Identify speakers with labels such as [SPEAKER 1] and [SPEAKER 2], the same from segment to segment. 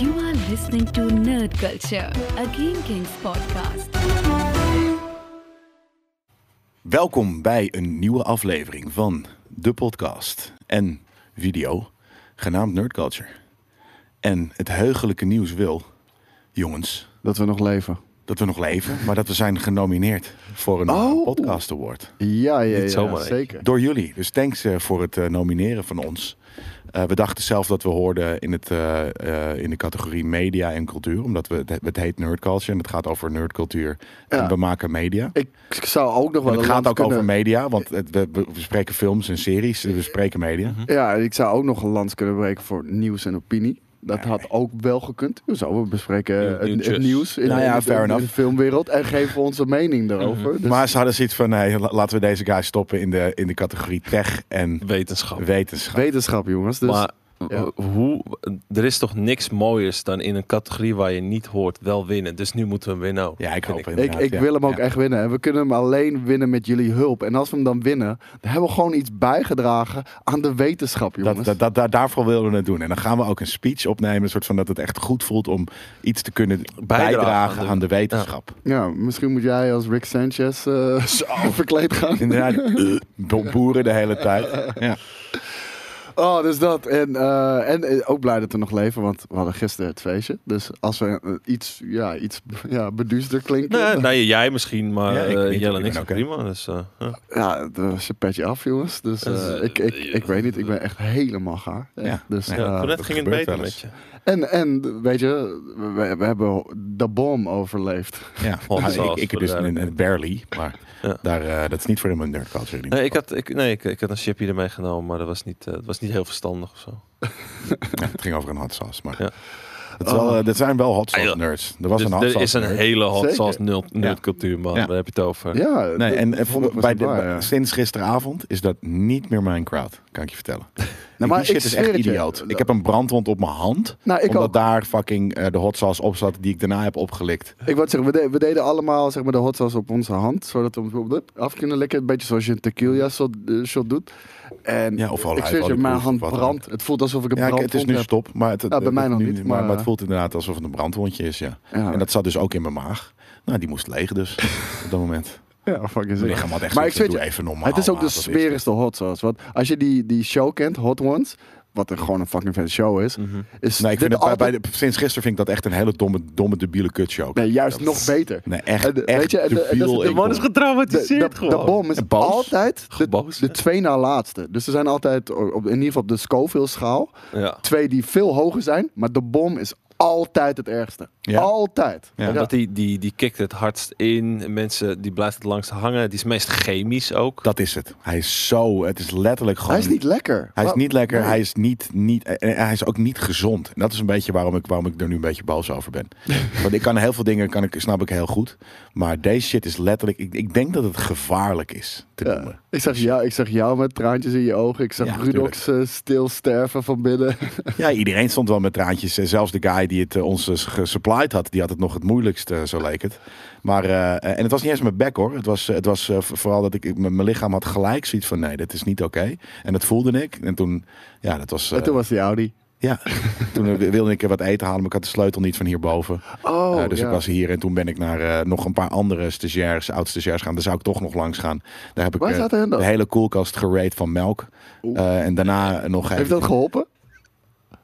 [SPEAKER 1] You are listening to Nerd Culture, a Game Kings podcast.
[SPEAKER 2] Welkom bij een nieuwe aflevering van de podcast en video genaamd Nerd Culture. En het heugelijke nieuws wil, jongens,
[SPEAKER 3] Dat we nog leven.
[SPEAKER 2] dat we nog leven, maar dat we zijn genomineerd voor een
[SPEAKER 3] Oh.
[SPEAKER 2] podcast award.
[SPEAKER 3] Ja, ja,
[SPEAKER 4] Niet
[SPEAKER 3] ja
[SPEAKER 4] zomaar, hè?
[SPEAKER 3] zeker.
[SPEAKER 2] Door jullie. Dus thanks eh, voor het eh, nomineren van ons. Eh, we dachten zelf dat we hoorden in, het, eh, eh, in de categorie media en cultuur. Omdat we het, het heet Nerd Culture en het gaat over nerdcultuur. En
[SPEAKER 3] Ja.
[SPEAKER 2] we maken media.
[SPEAKER 3] Ik zou ook nog
[SPEAKER 2] En
[SPEAKER 3] wel
[SPEAKER 2] het
[SPEAKER 3] een
[SPEAKER 2] gaat
[SPEAKER 3] land
[SPEAKER 2] ook
[SPEAKER 3] kunnen...
[SPEAKER 2] over media, want het, we, we bespreken films en series, dus we bespreken media.
[SPEAKER 3] Ja, en ik zou ook nog een lans kunnen breken voor nieuws en opinie. Dat had ook wel gekund. We zouden bespreken
[SPEAKER 4] Nieuw-
[SPEAKER 3] eh, het,
[SPEAKER 4] nieuwtjes.
[SPEAKER 3] het nieuws in,
[SPEAKER 2] Nou ja,
[SPEAKER 3] in de-
[SPEAKER 2] fair
[SPEAKER 3] in de,
[SPEAKER 2] enough. Mhm.
[SPEAKER 3] filmwereld en geven we onze mening daarover. Dus
[SPEAKER 2] Maar ze hadden zoiets van, nee, la- laten we deze guy stoppen in de, in de categorie tech en
[SPEAKER 3] Oh.
[SPEAKER 4] Wetenschap.
[SPEAKER 2] wetenschap.
[SPEAKER 3] wetenschap, jongens. Dus
[SPEAKER 4] maar
[SPEAKER 3] ja.
[SPEAKER 4] w- hoe, er is toch niks mooiers dan in een categorie waar je niet hoort wel winnen. Dus nu moeten we hem winnen. ook,
[SPEAKER 2] Ja, ik
[SPEAKER 4] vind
[SPEAKER 2] hoop het.
[SPEAKER 3] ik, ik wil hem ook echt winnen. En we kunnen hem alleen winnen met jullie hulp. En als we hem dan winnen, dan hebben we gewoon iets bijgedragen aan de wetenschap, jongens.
[SPEAKER 2] Dat, dat, dat, daar- daarvoor willen we het doen. En dan gaan we ook een speech opnemen, een soort van dat het echt goed voelt om iets te kunnen bijdragen,
[SPEAKER 4] aan
[SPEAKER 2] aan,
[SPEAKER 4] de-
[SPEAKER 2] de, wetenschap.
[SPEAKER 3] Ja, misschien moet jij als Rick Sanchez eh, verkleed gaan.
[SPEAKER 2] Inderdaad, eh, bo- boeren de hele tijd. Ja.
[SPEAKER 3] Oh, dus dat. En, eh, en eh, ook blij dat we nog leven, want we hadden gisteren het feestje. Dus als we eh, iets, ja, iets ja, beduusder klinken.
[SPEAKER 4] Nee, nee, jij misschien, maar
[SPEAKER 2] Ja,
[SPEAKER 4] ja,
[SPEAKER 2] ik niet.
[SPEAKER 4] Jelle
[SPEAKER 2] Ik
[SPEAKER 4] niks
[SPEAKER 2] ben oké.
[SPEAKER 4] prima. Dus, eh, ja.
[SPEAKER 3] Ja, het was een petje af, jongens. Dus eh,
[SPEAKER 4] Dus, eh,
[SPEAKER 3] ik, ik, ik weet niet, ik ben echt helemaal gaar. Echt.
[SPEAKER 2] Ja.
[SPEAKER 3] Dus,
[SPEAKER 2] Ja,
[SPEAKER 3] eh,
[SPEAKER 4] Ja, toen net
[SPEAKER 2] dat
[SPEAKER 4] ging het
[SPEAKER 2] gebeurt
[SPEAKER 4] beter
[SPEAKER 2] wel
[SPEAKER 4] met
[SPEAKER 2] eens.
[SPEAKER 4] je.
[SPEAKER 3] en, en weet je, we, we hebben de bom overleefd.
[SPEAKER 2] Ja.
[SPEAKER 4] Oh,
[SPEAKER 2] Nou,
[SPEAKER 4] zoals
[SPEAKER 2] ik, ik
[SPEAKER 4] voor
[SPEAKER 2] dus
[SPEAKER 4] de-
[SPEAKER 2] een- een barely, maar
[SPEAKER 4] Ja.
[SPEAKER 2] daar, eh, dat is niet voor helemaal nerd culture. in ieder
[SPEAKER 4] Nee, ik had, ik, nee ik, ik had een chipje ermee genomen, maar dat was niet, eh, dat was niet heel verstandig of zo.
[SPEAKER 2] Ja, het ging over een hot sauce, maar
[SPEAKER 4] Ja.
[SPEAKER 2] het is wel, eh, dit zijn wel hot
[SPEAKER 4] Ah,
[SPEAKER 2] sauce
[SPEAKER 4] ja.
[SPEAKER 2] nerds. Er was
[SPEAKER 4] Dus
[SPEAKER 2] een hot
[SPEAKER 4] er
[SPEAKER 2] sauce
[SPEAKER 4] is een
[SPEAKER 2] nerd.
[SPEAKER 4] hele hot
[SPEAKER 3] Zeker.
[SPEAKER 4] sauce nerd, nerdcultuur, man.
[SPEAKER 2] Ja.
[SPEAKER 4] Daar heb je het over.
[SPEAKER 3] Ja,
[SPEAKER 2] Nee,
[SPEAKER 3] dat-
[SPEAKER 2] en, en
[SPEAKER 3] dat
[SPEAKER 2] voor-
[SPEAKER 3] vond ik
[SPEAKER 2] bij de,
[SPEAKER 3] wel waar,
[SPEAKER 2] bij-
[SPEAKER 3] ja.
[SPEAKER 2] sinds gisteravond is dat niet meer mijn crowd, kan ik je vertellen.
[SPEAKER 3] Nou, maar
[SPEAKER 2] die shit
[SPEAKER 3] ik
[SPEAKER 2] is
[SPEAKER 3] zweer
[SPEAKER 2] echt
[SPEAKER 3] het je.
[SPEAKER 2] idioot. Ik heb een brandwond op mijn hand,
[SPEAKER 3] Nou, ik
[SPEAKER 2] omdat
[SPEAKER 3] ook.
[SPEAKER 2] daar fucking eh, de hot sauce op zat die ik daarna heb opgelikt.
[SPEAKER 3] Ik wou zeggen, we, de- we deden allemaal zeg maar, de hot sauce op onze hand. Zodat we hem op- af kunnen likken. Een beetje zoals je een tequila shot, eh, shot doet. En
[SPEAKER 2] Ja, of
[SPEAKER 3] ik
[SPEAKER 2] olijfolie
[SPEAKER 3] zweer het je, mijn
[SPEAKER 2] proef,
[SPEAKER 3] hand
[SPEAKER 2] wat dan
[SPEAKER 3] brandt. Het voelt alsof ik een
[SPEAKER 2] Ja, ik- het is
[SPEAKER 3] brandwond
[SPEAKER 2] nu
[SPEAKER 3] heb.
[SPEAKER 2] stop, maar het, het-
[SPEAKER 3] Ja, bij
[SPEAKER 2] het-
[SPEAKER 3] mij nog
[SPEAKER 2] nu-
[SPEAKER 3] niet,
[SPEAKER 2] Maar,
[SPEAKER 3] maar-
[SPEAKER 2] maar het voelt inderdaad alsof het een brandwondje is, ja.
[SPEAKER 3] Ja.
[SPEAKER 2] En dat zat dus ook in mijn maag. Nou, die moest leeg dus, op dat moment.
[SPEAKER 3] Ja, fuck is
[SPEAKER 2] Mijn
[SPEAKER 3] het.
[SPEAKER 2] lichaam had echt
[SPEAKER 3] Maar ik
[SPEAKER 2] zoiets,
[SPEAKER 3] zweer
[SPEAKER 2] doe
[SPEAKER 3] je,
[SPEAKER 2] even normaal.
[SPEAKER 3] het is ook
[SPEAKER 2] maat,
[SPEAKER 3] de
[SPEAKER 2] wat
[SPEAKER 3] smerigste hot sauce. Want als je die, die show kent, Hot Ones, wat er gewoon een fucking vette show is, is
[SPEAKER 2] Nee, ik
[SPEAKER 3] dit
[SPEAKER 2] vind het, bij,
[SPEAKER 3] altijd...
[SPEAKER 2] bij de- sinds gisteren vind ik dat echt een hele domme, domme debiele kutshow.
[SPEAKER 3] Nee, juist nog beter.
[SPEAKER 2] Nee, echt,
[SPEAKER 3] En de-
[SPEAKER 2] echt
[SPEAKER 3] weet je, en de- en Oh, dat is-
[SPEAKER 2] debiel.
[SPEAKER 3] de
[SPEAKER 2] Ik-
[SPEAKER 3] man is
[SPEAKER 4] getraumatiseerd
[SPEAKER 3] De, de, de bom is
[SPEAKER 2] En boos.
[SPEAKER 3] altijd de,
[SPEAKER 4] Geboos,
[SPEAKER 3] de
[SPEAKER 4] hè?
[SPEAKER 3] twee na laatste. Dus er zijn altijd, op, in ieder geval op de Scoville-schaal,
[SPEAKER 4] Ja.
[SPEAKER 3] twee die veel hoger zijn. Maar de bom is altijd het ergste.
[SPEAKER 2] Ja.
[SPEAKER 3] Altijd.
[SPEAKER 2] Ja.
[SPEAKER 4] Omdat die, die, die kikt het hardst in. Mensen, die blijft het langst hangen. Die is meest chemisch ook.
[SPEAKER 2] Dat is het. Hij is zo. Het is letterlijk gewoon.
[SPEAKER 3] Hij is niet lekker.
[SPEAKER 2] hij is
[SPEAKER 3] Wa-
[SPEAKER 2] niet lekker.
[SPEAKER 3] Nee.
[SPEAKER 2] Hij is niet, niet. En hij is ook niet gezond. En dat is een beetje waarom ik, waarom ik er nu een beetje boos over ben. Want ik kan heel veel dingen, kan ik, snap ik heel goed. Maar deze shit is letterlijk. Ik, ik denk dat het gevaarlijk is te
[SPEAKER 3] Ja.
[SPEAKER 2] noemen.
[SPEAKER 3] Ik, zag jou, ik zag jou met traantjes in je ogen. Ik zag
[SPEAKER 2] Ja,
[SPEAKER 3] Rudox eh, stil sterven van binnen.
[SPEAKER 2] Ja, iedereen stond wel met traantjes. En Zelfs de guy die het eh, ons eh, gesupplied had, die had het nog het moeilijkst, eh, zo leek het. Maar, eh, eh, en het was niet eens mijn bek hoor. Het was, eh, het was eh, v- vooral dat ik, ik- mijn mijn lichaam had gelijk zoiets van: nee, dat is niet oké. En dat voelde ik. En toen, ja, dat was. eh,
[SPEAKER 3] En toen was die Audi.
[SPEAKER 2] Ja, toen eh, wilde ik er wat eten halen, maar ik had de sleutel niet van hierboven.
[SPEAKER 3] Oh,
[SPEAKER 2] Eh, dus ik was hier en toen ben ik naar eh, nog een paar andere stagiairs, oud-stagiairs gaan. Daar zou ik toch nog langs gaan. Daar heb ik
[SPEAKER 3] Waar
[SPEAKER 2] eh,
[SPEAKER 3] zaten hen dan?
[SPEAKER 2] de hele koelkast gerate van melk.
[SPEAKER 3] Oeh.
[SPEAKER 2] Eh, en daarna nog
[SPEAKER 3] Heeft dat geholpen?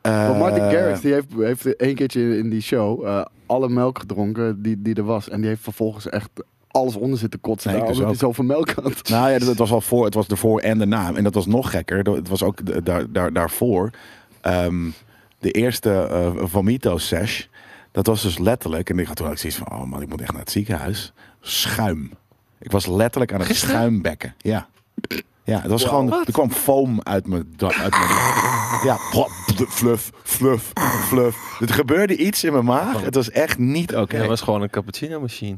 [SPEAKER 2] Eh,
[SPEAKER 3] Want Martin Garrix die heeft, heeft één keertje in die show eh, alle melk gedronken die, die er was. En die heeft vervolgens echt alles onder zitten kotsen.
[SPEAKER 2] Nee, ik
[SPEAKER 3] daar,
[SPEAKER 2] dus
[SPEAKER 3] omdat hij zoveel melk had.
[SPEAKER 2] Nou ja, dat- het was al voor, het was ervoor en daarna. En dat was nog gekker. Dat- Het was ook da- daar, daar, daarvoor. ehm, de eerste eh Vomito Sesh. Dat was dus letterlijk. En ik had toen ook zoiets van: oh man, ik moet echt naar het ziekenhuis. Schuim. Ik was letterlijk aan het schuimbekken. Ja. Ja, het was gewoon. Er kwam foam uit mijn. da- Uit mijn ja, plop, fluff, fluff, fluff. Er gebeurde iets in mijn maag. Het was echt niet oké.
[SPEAKER 4] Ja, dat was gewoon een cappuccino machine.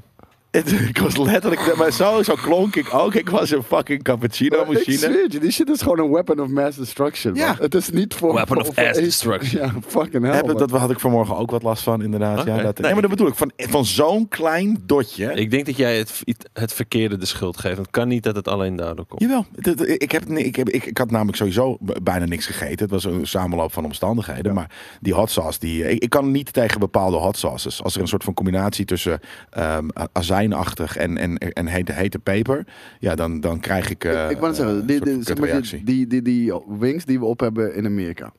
[SPEAKER 2] Het- ik was letterlijk, maar zo, zo klonk ik ook. Ik was een fucking cappuccino
[SPEAKER 3] Ik
[SPEAKER 2] machine.
[SPEAKER 3] zweer het je, die shit is gewoon een weapon of mass destruction. man.
[SPEAKER 2] Ja.
[SPEAKER 3] Het is niet voor...
[SPEAKER 4] Weapon of
[SPEAKER 3] voor- voor
[SPEAKER 4] ass
[SPEAKER 3] één-
[SPEAKER 4] destruction.
[SPEAKER 3] Ja, fucking hell.
[SPEAKER 2] Heb,
[SPEAKER 3] man.
[SPEAKER 2] dat had ik vanmorgen ook wat last van, inderdaad.
[SPEAKER 4] Oké.
[SPEAKER 2] Ja, dat,
[SPEAKER 4] Nee,
[SPEAKER 2] nee, maar dat bedoel ik. Van, van zo'n klein dotje.
[SPEAKER 4] Ik denk dat jij het, het verkeerde de schuld geeft. Het kan niet dat het alleen daardoor komt.
[SPEAKER 2] Jawel, dat- dat- ik, heb, nee, ik, heb, ik, ik had namelijk sowieso b- bijna niks gegeten. Het was een samenloop van omstandigheden. Maar die hot sauce, die, eh, ik, ik kan niet tegen bepaalde hot sauces. Als er een soort van combinatie tussen ehm, a- azijnachtig en, en, en hete, hete peper. Ja, dan, dan krijg ik. eh,
[SPEAKER 3] Ik- ik wou net
[SPEAKER 2] eh,
[SPEAKER 3] zeggen,
[SPEAKER 2] een
[SPEAKER 3] die,
[SPEAKER 2] soort
[SPEAKER 3] die,
[SPEAKER 2] van
[SPEAKER 3] zeg maar, die-
[SPEAKER 2] kutreactie.
[SPEAKER 3] die, die, die wings die we op hebben in Amerika.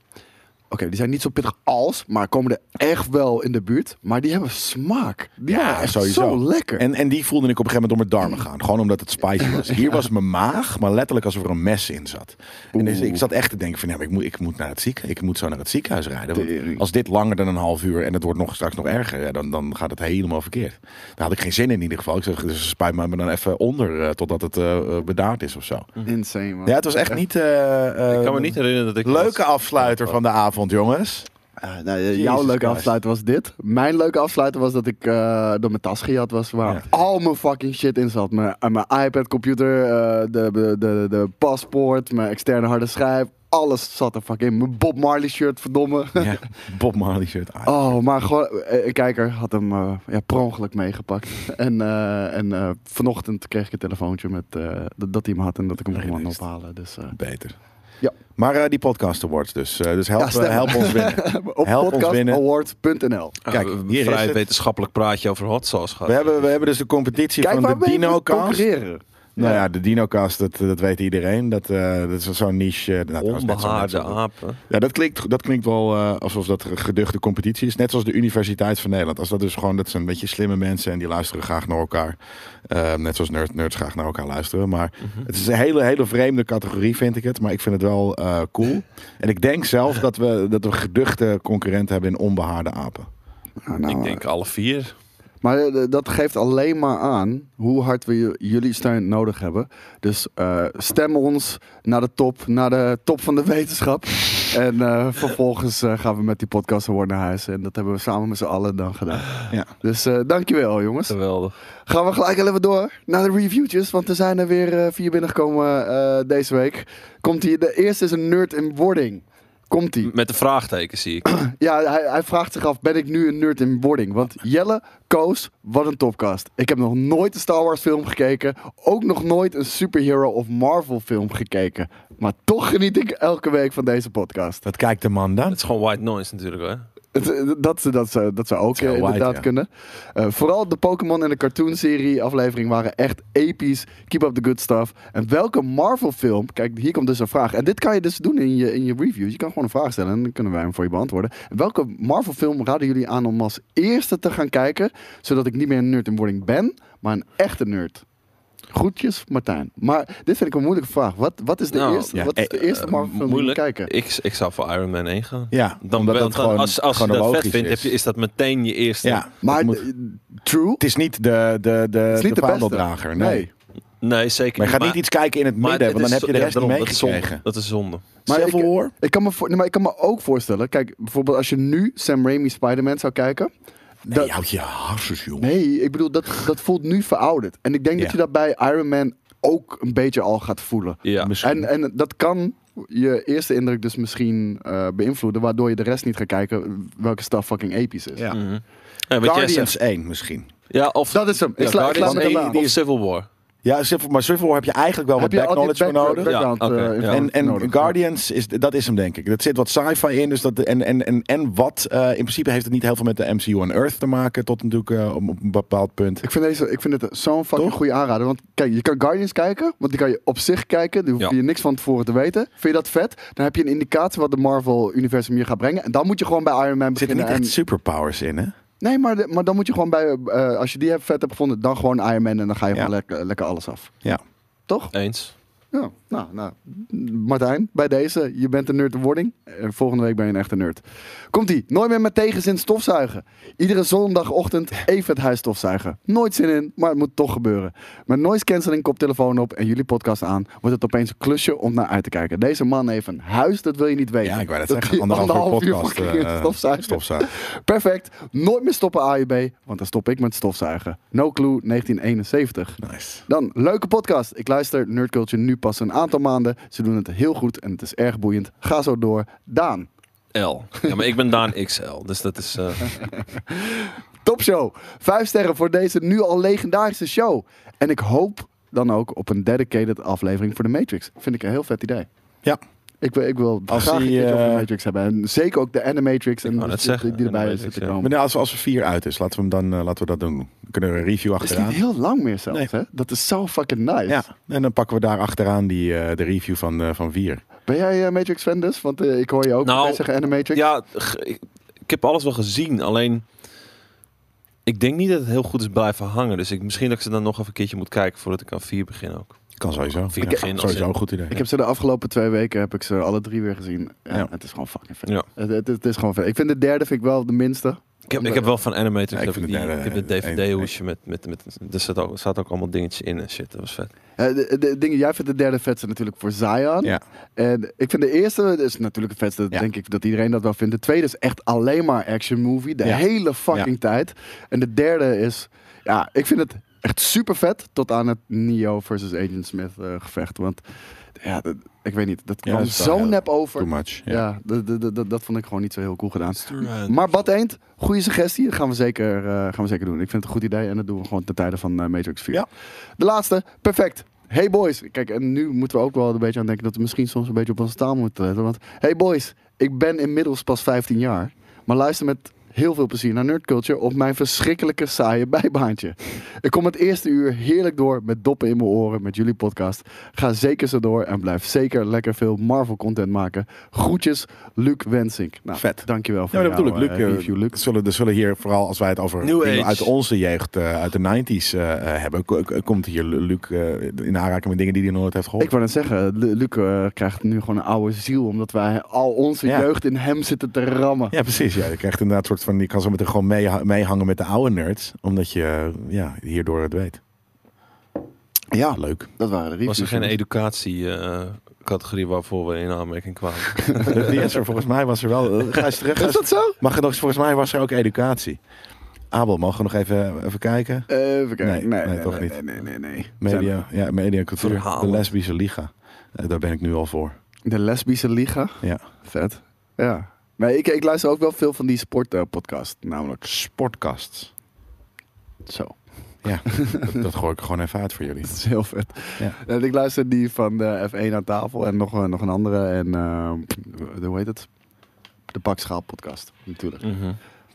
[SPEAKER 3] Oké, die zijn niet zo pittig als, maar komen er echt wel in de buurt. Maar die hebben smaak. Die
[SPEAKER 2] Ja,
[SPEAKER 3] waren echt
[SPEAKER 2] sowieso.
[SPEAKER 3] zo lekker. Mm.
[SPEAKER 2] En, en die voelde ik op een gegeven moment door mijn darmen gaan. Gewoon omdat het spicy was. Hier was mijn maag, maar letterlijk alsof er een mes in zat. En dus
[SPEAKER 3] Oeh.
[SPEAKER 2] ik zat echt te denken van, ja, maar ik, moet, ik moet naar het ziekenhuis. Ik moet zo naar het ziekenhuis rijden. Want
[SPEAKER 3] Tering.
[SPEAKER 2] als dit langer dan een half uur en het wordt nog, straks nog erger, ja, dan, dan gaat het helemaal verkeerd. Daar had ik geen zin in in ieder geval. Ik zeg, dus spuit me maar dan even onder eh, totdat het eh, eh, bedaard is of zo.
[SPEAKER 3] Mm.
[SPEAKER 4] Mhm.
[SPEAKER 3] Insane, man.
[SPEAKER 2] Ja, het was echt niet... eh, eh,
[SPEAKER 4] Ik kan me niet herinneren dat ik...
[SPEAKER 2] Leuke afsluiter van de avond, jongens.
[SPEAKER 3] Ah, nou, eh, jouw
[SPEAKER 2] Jesus
[SPEAKER 3] leuke
[SPEAKER 2] Christ.
[SPEAKER 3] afsluiter was dit. Mijn leuke afsluiter was dat ik eh, door mijn tas gejat was. Waar
[SPEAKER 2] Ja.
[SPEAKER 3] al mijn fucking shit in zat. Mijn, eh, mijn iPad, computer, eh, de, de, de, de paspoort, mijn externe harde schijf. Alles zat er fucking in. Mijn Bob Marley shirt, verdomme.
[SPEAKER 2] Ja, Bob Marley shirt aan.
[SPEAKER 3] Oh, maar gewoon, eh, een kijker had hem eh, ja, per ongeluk meegepakt. en eh, en eh, vanochtend kreeg ik een telefoontje met, eh, dat, dat hij hem had en dat ik hem
[SPEAKER 2] Nee,
[SPEAKER 3] gewoon
[SPEAKER 2] dat is-
[SPEAKER 3] ophalen. Dus, eh,
[SPEAKER 2] Beter.
[SPEAKER 3] Ja.
[SPEAKER 2] Maar eh, die podcast awards dus. eh, dus
[SPEAKER 3] Ja,
[SPEAKER 2] help,
[SPEAKER 3] stemmen.
[SPEAKER 2] help ons winnen.
[SPEAKER 3] op
[SPEAKER 2] Help ons winnen.
[SPEAKER 3] podcastawards.nl.
[SPEAKER 2] Kijk,
[SPEAKER 4] Kijk,
[SPEAKER 2] hier is
[SPEAKER 4] vrij
[SPEAKER 2] het.
[SPEAKER 4] Ah, wetenschappelijk praatje over hot sauce gehad.
[SPEAKER 2] We hebben, we hebben dus de competitie
[SPEAKER 3] Kijk waar
[SPEAKER 2] van de
[SPEAKER 3] we mee
[SPEAKER 2] DinoCast.
[SPEAKER 3] concurreren.
[SPEAKER 2] Nou ja, de DinoCast, dat, dat weet iedereen. Dat, eh, dat is zo'n niche. eh, nou, trouwens, net zo- net zo-
[SPEAKER 4] Onbehaarde apen.
[SPEAKER 2] Ja, dat klinkt, dat klinkt wel eh, alsof dat een geduchte competitie is. Net zoals de Universiteit van Nederland. Als dat dus gewoon, dat zijn een beetje slimme mensen en die luisteren graag naar elkaar. Eh, net zoals nerd, nerds graag naar elkaar luisteren. Maar het is een hele, hele vreemde categorie, vind ik het. Maar ik vind het wel eh, cool. En ik denk zelf dat we, dat we geduchte concurrenten hebben in onbehaarde apen.
[SPEAKER 3] Ah, nou,
[SPEAKER 4] Ik denk alle vier.
[SPEAKER 3] Maar eh, dat geeft alleen maar aan hoe hard we j- jullie steun nodig hebben. Dus eh, stem ons naar de top, naar de top van de wetenschap. en eh, vervolgens eh, gaan we met die podcast award naar huis. En dat hebben we samen met z'n allen dan gedaan.
[SPEAKER 2] Ja.
[SPEAKER 3] Dus eh, dankjewel jongens.
[SPEAKER 4] Geweldig.
[SPEAKER 3] Gaan we gelijk al even door naar de reviewtjes. Want er zijn er weer eh, vier binnengekomen eh, deze week. Komt hier, de eerste is een nerd in wording. Komt ie.
[SPEAKER 4] Met de vraagteken zie ik.
[SPEAKER 3] Ja, hij, hij vraagt zich af: ben ik nu een nerd in wording? Want Jelle, Koos, wat een topcast. Ik heb nog nooit een Star Wars film gekeken. Ook nog nooit een superhero of Marvel film gekeken. Maar toch geniet ik elke week van deze podcast.
[SPEAKER 2] Dat kijkt de man dan.
[SPEAKER 4] Het is gewoon white noise natuurlijk hè.
[SPEAKER 3] Het- Dat, ze- dat, ze- dat zou ook
[SPEAKER 2] heel
[SPEAKER 3] eh,
[SPEAKER 2] wide,
[SPEAKER 3] inderdaad
[SPEAKER 2] ja.
[SPEAKER 3] kunnen. Eh, vooral de Pokémon en de cartoonserie aflevering waren echt episch. Keep up the good stuff. En welke Marvel film... Kijk, hier komt dus een vraag. En dit kan je dus doen in je, in je review. Je kan gewoon een vraag stellen en dan kunnen wij hem voor je beantwoorden. En welke Marvel film raden jullie aan om als eerste te gaan kijken... zodat ik niet meer een nerd in wording ben, maar een echte nerd? Groetjes, Martijn. Maar dit vind ik een moeilijke vraag. Wat, wat is de
[SPEAKER 4] Nou,
[SPEAKER 3] eerste,
[SPEAKER 2] ja,
[SPEAKER 3] wat is de
[SPEAKER 4] Eh,
[SPEAKER 3] eerste Marvel film die je moet
[SPEAKER 4] moeilijk.
[SPEAKER 3] kijken?
[SPEAKER 4] Ik, ik zou voor Iron Man 1 gaan.
[SPEAKER 2] Ja,
[SPEAKER 4] Dan,
[SPEAKER 2] omdat
[SPEAKER 4] wel,
[SPEAKER 2] dat
[SPEAKER 4] dan
[SPEAKER 2] gewoon-
[SPEAKER 4] als, als je
[SPEAKER 2] gewoon
[SPEAKER 4] dat vet
[SPEAKER 2] logisch
[SPEAKER 4] vindt,
[SPEAKER 2] is.
[SPEAKER 4] heb je- is dat meteen je eerste.
[SPEAKER 2] Ja,
[SPEAKER 3] maar
[SPEAKER 2] dat moet-
[SPEAKER 3] eh, true...
[SPEAKER 2] het is niet de, de, de,
[SPEAKER 3] Het is niet de, beste.
[SPEAKER 2] vaandeldrager. Nee.
[SPEAKER 4] Nee, zeker
[SPEAKER 2] Maar je gaat
[SPEAKER 4] niet.
[SPEAKER 2] niet iets kijken in het
[SPEAKER 4] Maar
[SPEAKER 2] midden,
[SPEAKER 4] het
[SPEAKER 2] want dan
[SPEAKER 4] is
[SPEAKER 2] heb je de
[SPEAKER 4] zo-
[SPEAKER 2] rest
[SPEAKER 4] ja,
[SPEAKER 2] niet
[SPEAKER 4] daarom, dat is zonde.
[SPEAKER 2] meegekregen.
[SPEAKER 4] Dat is zonde.
[SPEAKER 3] Maar
[SPEAKER 2] Civil
[SPEAKER 3] ik-
[SPEAKER 2] War?
[SPEAKER 3] Ik kan, me voor, nee, maar ik kan me ook voorstellen, kijk, bijvoorbeeld als je nu Sam Raimi Spider-Man zou kijken.
[SPEAKER 2] Nee,
[SPEAKER 3] dat-
[SPEAKER 2] je houdt je harses, jongen.
[SPEAKER 3] nee, ik bedoel, dat, dat voelt nu verouderd. En ik denk
[SPEAKER 2] Ja.
[SPEAKER 3] dat je dat bij Iron Man ook een beetje al gaat voelen.
[SPEAKER 4] Ja.
[SPEAKER 2] Misschien.
[SPEAKER 3] En, en dat kan je eerste indruk dus misschien eh, beïnvloeden, waardoor je de rest niet gaat kijken welke stuff fucking episch is.
[SPEAKER 2] ja.
[SPEAKER 4] Mhm. Ja, wat jij zegt.
[SPEAKER 2] Guardians 1 misschien.
[SPEAKER 4] Ja, of,
[SPEAKER 3] Dat is hem. Ik
[SPEAKER 4] ja,
[SPEAKER 3] sla- ik
[SPEAKER 4] Guardians
[SPEAKER 3] sla met hem
[SPEAKER 4] 1
[SPEAKER 3] aan.
[SPEAKER 4] of Civil War.
[SPEAKER 2] Ja, Civil- maar Civil War heb je eigenlijk wel
[SPEAKER 3] Heb
[SPEAKER 2] wat
[SPEAKER 3] je
[SPEAKER 2] back
[SPEAKER 3] al die
[SPEAKER 2] knowledge voor nodig.
[SPEAKER 3] background, background
[SPEAKER 4] Ja,
[SPEAKER 3] eh,
[SPEAKER 4] oké, ja.
[SPEAKER 2] En,
[SPEAKER 3] informatie
[SPEAKER 2] en
[SPEAKER 3] nodig?
[SPEAKER 2] Guardians, is, dat is hem denk ik. Dat zit wat sci-fi in. Dus dat, en, en, en, en wat, eh, in principe heeft het niet heel veel met de MCU en Earth te maken. Tot natuurlijk eh, op een bepaald punt.
[SPEAKER 3] Ik vind, deze, ik vind het zo'n fucking
[SPEAKER 2] Toch?
[SPEAKER 3] goede aanrader. Want kijk, je kan Guardians kijken, want die kan je op zich kijken. Daar hoef
[SPEAKER 4] Ja.
[SPEAKER 3] je niks van tevoren te weten. Vind je dat vet? Dan heb je een indicatie wat de Marvel-universum hier gaat brengen. En dan moet je gewoon bij Iron Man
[SPEAKER 2] Er zitten
[SPEAKER 3] beginnen.
[SPEAKER 2] niet echt
[SPEAKER 3] en-
[SPEAKER 2] superpowers in, hè?
[SPEAKER 3] Nee, maar, de- maar dan moet je gewoon bij, eh, als je die hebt vet hebt gevonden, dan gewoon Iron Man. En dan ga je
[SPEAKER 2] Ja.
[SPEAKER 3] gewoon lekker, lekker alles af.
[SPEAKER 2] Ja.
[SPEAKER 3] Toch?
[SPEAKER 4] Eens.
[SPEAKER 3] Ja. Nou, Nou, nou, Martijn, bij deze, je bent een nerd de wording. Eh, Volgende week ben je een echte nerd. Komt-ie, nooit meer met tegenzin stofzuigen. Iedere zondagochtend even het huis stofzuigen. Nooit zin in, maar het moet toch gebeuren. Met noise cancelling, koptelefoon op en jullie podcast aan, wordt het opeens een klusje om naar uit te kijken. Deze man heeft een huis, dat wil je niet weten.
[SPEAKER 2] Ja, ik wou dat
[SPEAKER 3] Dat die
[SPEAKER 2] zeggen. Anderhalf uur podcast.
[SPEAKER 3] fucking
[SPEAKER 2] eh,
[SPEAKER 3] stofzuigen.
[SPEAKER 2] stofzuigen.
[SPEAKER 3] Perfect, nooit meer stoppen AUB, want dan stop ik met stofzuigen. No Clue 1971.
[SPEAKER 2] Nice.
[SPEAKER 3] Dan, leuke podcast. Ik luister Nerd Culture nu pas een aantal maanden. Ze doen het heel goed en het is erg boeiend. Ga zo door. Daan,
[SPEAKER 4] L. Ja, maar ik ben Daan XL, dus dat is... eh,
[SPEAKER 3] topshow. Vijf sterren voor deze nu al legendarische show. En ik hoop dan ook op een dedicated aflevering voor de Matrix. Vind ik een heel vet idee.
[SPEAKER 2] Ja.
[SPEAKER 3] Ik wil, ik wil
[SPEAKER 2] Als
[SPEAKER 3] graag een
[SPEAKER 2] die,
[SPEAKER 3] keertje over de
[SPEAKER 2] eh,
[SPEAKER 3] Matrix hebben. En zeker ook de Animatrix en
[SPEAKER 4] wou
[SPEAKER 3] de shit
[SPEAKER 4] net zeggen,
[SPEAKER 3] die erbij
[SPEAKER 4] Animatrix,
[SPEAKER 3] zitten
[SPEAKER 4] ja.
[SPEAKER 2] Maar
[SPEAKER 3] komen.
[SPEAKER 2] nou, als, als er vier uit is, laten we, hem dan, eh, laten we dat doen. Dan kunnen we een review
[SPEAKER 3] Het is niet
[SPEAKER 2] achteraan.
[SPEAKER 3] heel lang meer zelfs,
[SPEAKER 2] Nee.
[SPEAKER 3] hè? Dat is zo fucking nice.
[SPEAKER 2] Ja, en dan pakken we daar achteraan die, eh, de review van, eh, van vier.
[SPEAKER 3] Ben jij eh, Matrix-fan dus? Want eh, ik hoor je ook
[SPEAKER 4] Nou,
[SPEAKER 3] altijd zeggen Animatrix.
[SPEAKER 4] ja, g- ik, ik heb alles wel gezien, alleen... Ik denk niet dat het heel goed is blijven hangen. Dus ik, misschien dat ik ze dan nog even een keertje moet kijken voordat ik aan 4 begin ook.
[SPEAKER 2] Kan sowieso.
[SPEAKER 4] Vier
[SPEAKER 2] Ja,
[SPEAKER 4] begin als
[SPEAKER 2] sowieso
[SPEAKER 4] in.
[SPEAKER 2] een goed idee.
[SPEAKER 3] Ik heb ze de afgelopen twee weken heb ik ze alle drie weer gezien. Ja,
[SPEAKER 2] Ja.
[SPEAKER 3] Het is gewoon fucking vet.
[SPEAKER 4] Ja.
[SPEAKER 3] Het, het, het is gewoon vet. Ik vind de derde vind ik wel de minste.
[SPEAKER 4] Ik heb, ik heb wel van Animatrix,
[SPEAKER 2] Ja, ik
[SPEAKER 4] heb ik,
[SPEAKER 2] vind
[SPEAKER 4] die,
[SPEAKER 2] het,
[SPEAKER 4] ik
[SPEAKER 2] eh,
[SPEAKER 4] heb het
[SPEAKER 2] eh,
[SPEAKER 4] DVD-hoesje met, met, met... Er zat ook, zat ook allemaal dingetjes in en shit, dat was vet.
[SPEAKER 3] Eh, de, de dingen, jij vindt de derde vetste natuurlijk voor Zion.
[SPEAKER 2] Ja.
[SPEAKER 3] En ik vind de eerste is natuurlijk het vetste.
[SPEAKER 2] Ja.
[SPEAKER 3] Denk ik dat iedereen dat wel vindt. De tweede is echt alleen maar action movie. De
[SPEAKER 2] Ja.
[SPEAKER 3] hele fucking
[SPEAKER 2] Ja.
[SPEAKER 3] tijd. En de derde is... Ja, ik vind het echt super vet. Tot aan het Neo versus Agent Smith eh, gevecht. Want ja, dat- ik weet niet. Dat
[SPEAKER 2] Ja,
[SPEAKER 3] kwam
[SPEAKER 2] dat is wel
[SPEAKER 3] zo
[SPEAKER 2] heel-
[SPEAKER 3] nep
[SPEAKER 2] Too
[SPEAKER 3] over.
[SPEAKER 2] much. Ja.
[SPEAKER 3] Ja, dat- dat- dat- dat vond ik gewoon niet zo heel cool gedaan. Maar Bad Eend, goede suggestie. Dat gaan we, zeker, eh, gaan we zeker doen. Ik vind het een goed idee en dat doen we gewoon ten tijde van eh, Matrix 4.
[SPEAKER 2] Ja.
[SPEAKER 3] De laatste, perfect. Hey boys. Kijk, en nu moeten we ook wel een beetje aan denken dat we misschien soms een beetje op onze taal moeten letten. Want hey boys, ik ben inmiddels pas 15 jaar. Maar luister met heel veel plezier naar Nerd Culture op mijn verschrikkelijke saaie bijbaantje. Ik kom het eerste uur heerlijk door met doppen in mijn oren met jullie podcast. Ga zeker zo door en blijf zeker lekker veel Marvel content maken. Groetjes, Luc Wensink. Nou,
[SPEAKER 2] Vet.
[SPEAKER 3] Dankjewel
[SPEAKER 2] Ja,
[SPEAKER 3] voor
[SPEAKER 2] dat
[SPEAKER 3] jouw,
[SPEAKER 2] bedoel ik. Luc,
[SPEAKER 3] eh,
[SPEAKER 2] eh,
[SPEAKER 3] review, Luc.
[SPEAKER 2] er zullen, er zullen hier, vooral als wij het over
[SPEAKER 4] New
[SPEAKER 2] dingen
[SPEAKER 4] Age.
[SPEAKER 2] uit onze jeugd, eh, uit de 90s eh, eh, hebben, ko- ko- komt hier Luc eh, in aanraking met dingen die hij nooit heeft gehoord.
[SPEAKER 3] Ik wou net zeggen, Lu- Luc eh, krijgt nu gewoon een oude ziel, omdat wij al onze
[SPEAKER 2] Ja.
[SPEAKER 3] jeugd in hem zitten te rammen.
[SPEAKER 2] Ja, precies. Ja. Je krijgt inderdaad soort van, je kan zo meteen gewoon mee- meehangen met de oude nerds, omdat je eh, ja, hierdoor het weet.
[SPEAKER 3] Ja,
[SPEAKER 2] Leuk.
[SPEAKER 3] dat waren de reviews.
[SPEAKER 4] Was er geen educatie-categorie waarvoor we in aanmerking kwamen?
[SPEAKER 2] Die is er, volgens mij was er wel. eh, Ga eens terug. ga
[SPEAKER 3] Is
[SPEAKER 2] eens-
[SPEAKER 3] dat zo?
[SPEAKER 2] Mag er nog, volgens mij was er ook educatie. Abel, mogen we nog even, even kijken?
[SPEAKER 3] Even kijken.
[SPEAKER 2] Nee, nee, toch
[SPEAKER 3] nee,
[SPEAKER 2] niet.
[SPEAKER 3] Nee, nee, nee. Zijn-
[SPEAKER 2] Media, ja, media en cultuur.
[SPEAKER 4] Verhalen.
[SPEAKER 2] De lesbische liga. Eh, daar ben ik nu al voor.
[SPEAKER 3] De lesbische liga.
[SPEAKER 2] Ja.
[SPEAKER 3] Vet. Ja. Nee, ik, ik luister ook wel veel van die sportpodcast, namelijk
[SPEAKER 2] Sportcasts.
[SPEAKER 3] zo.
[SPEAKER 2] Ja, dat, dat gooi ik er gewoon even uit voor jullie.
[SPEAKER 3] Dat is heel vet.
[SPEAKER 2] Ja.
[SPEAKER 3] En ik luister die van de F1 aan tafel en nog, een- nog een andere. En eh, hoe heet het? De Pakschaal podcast, natuurlijk.
[SPEAKER 4] Mhm.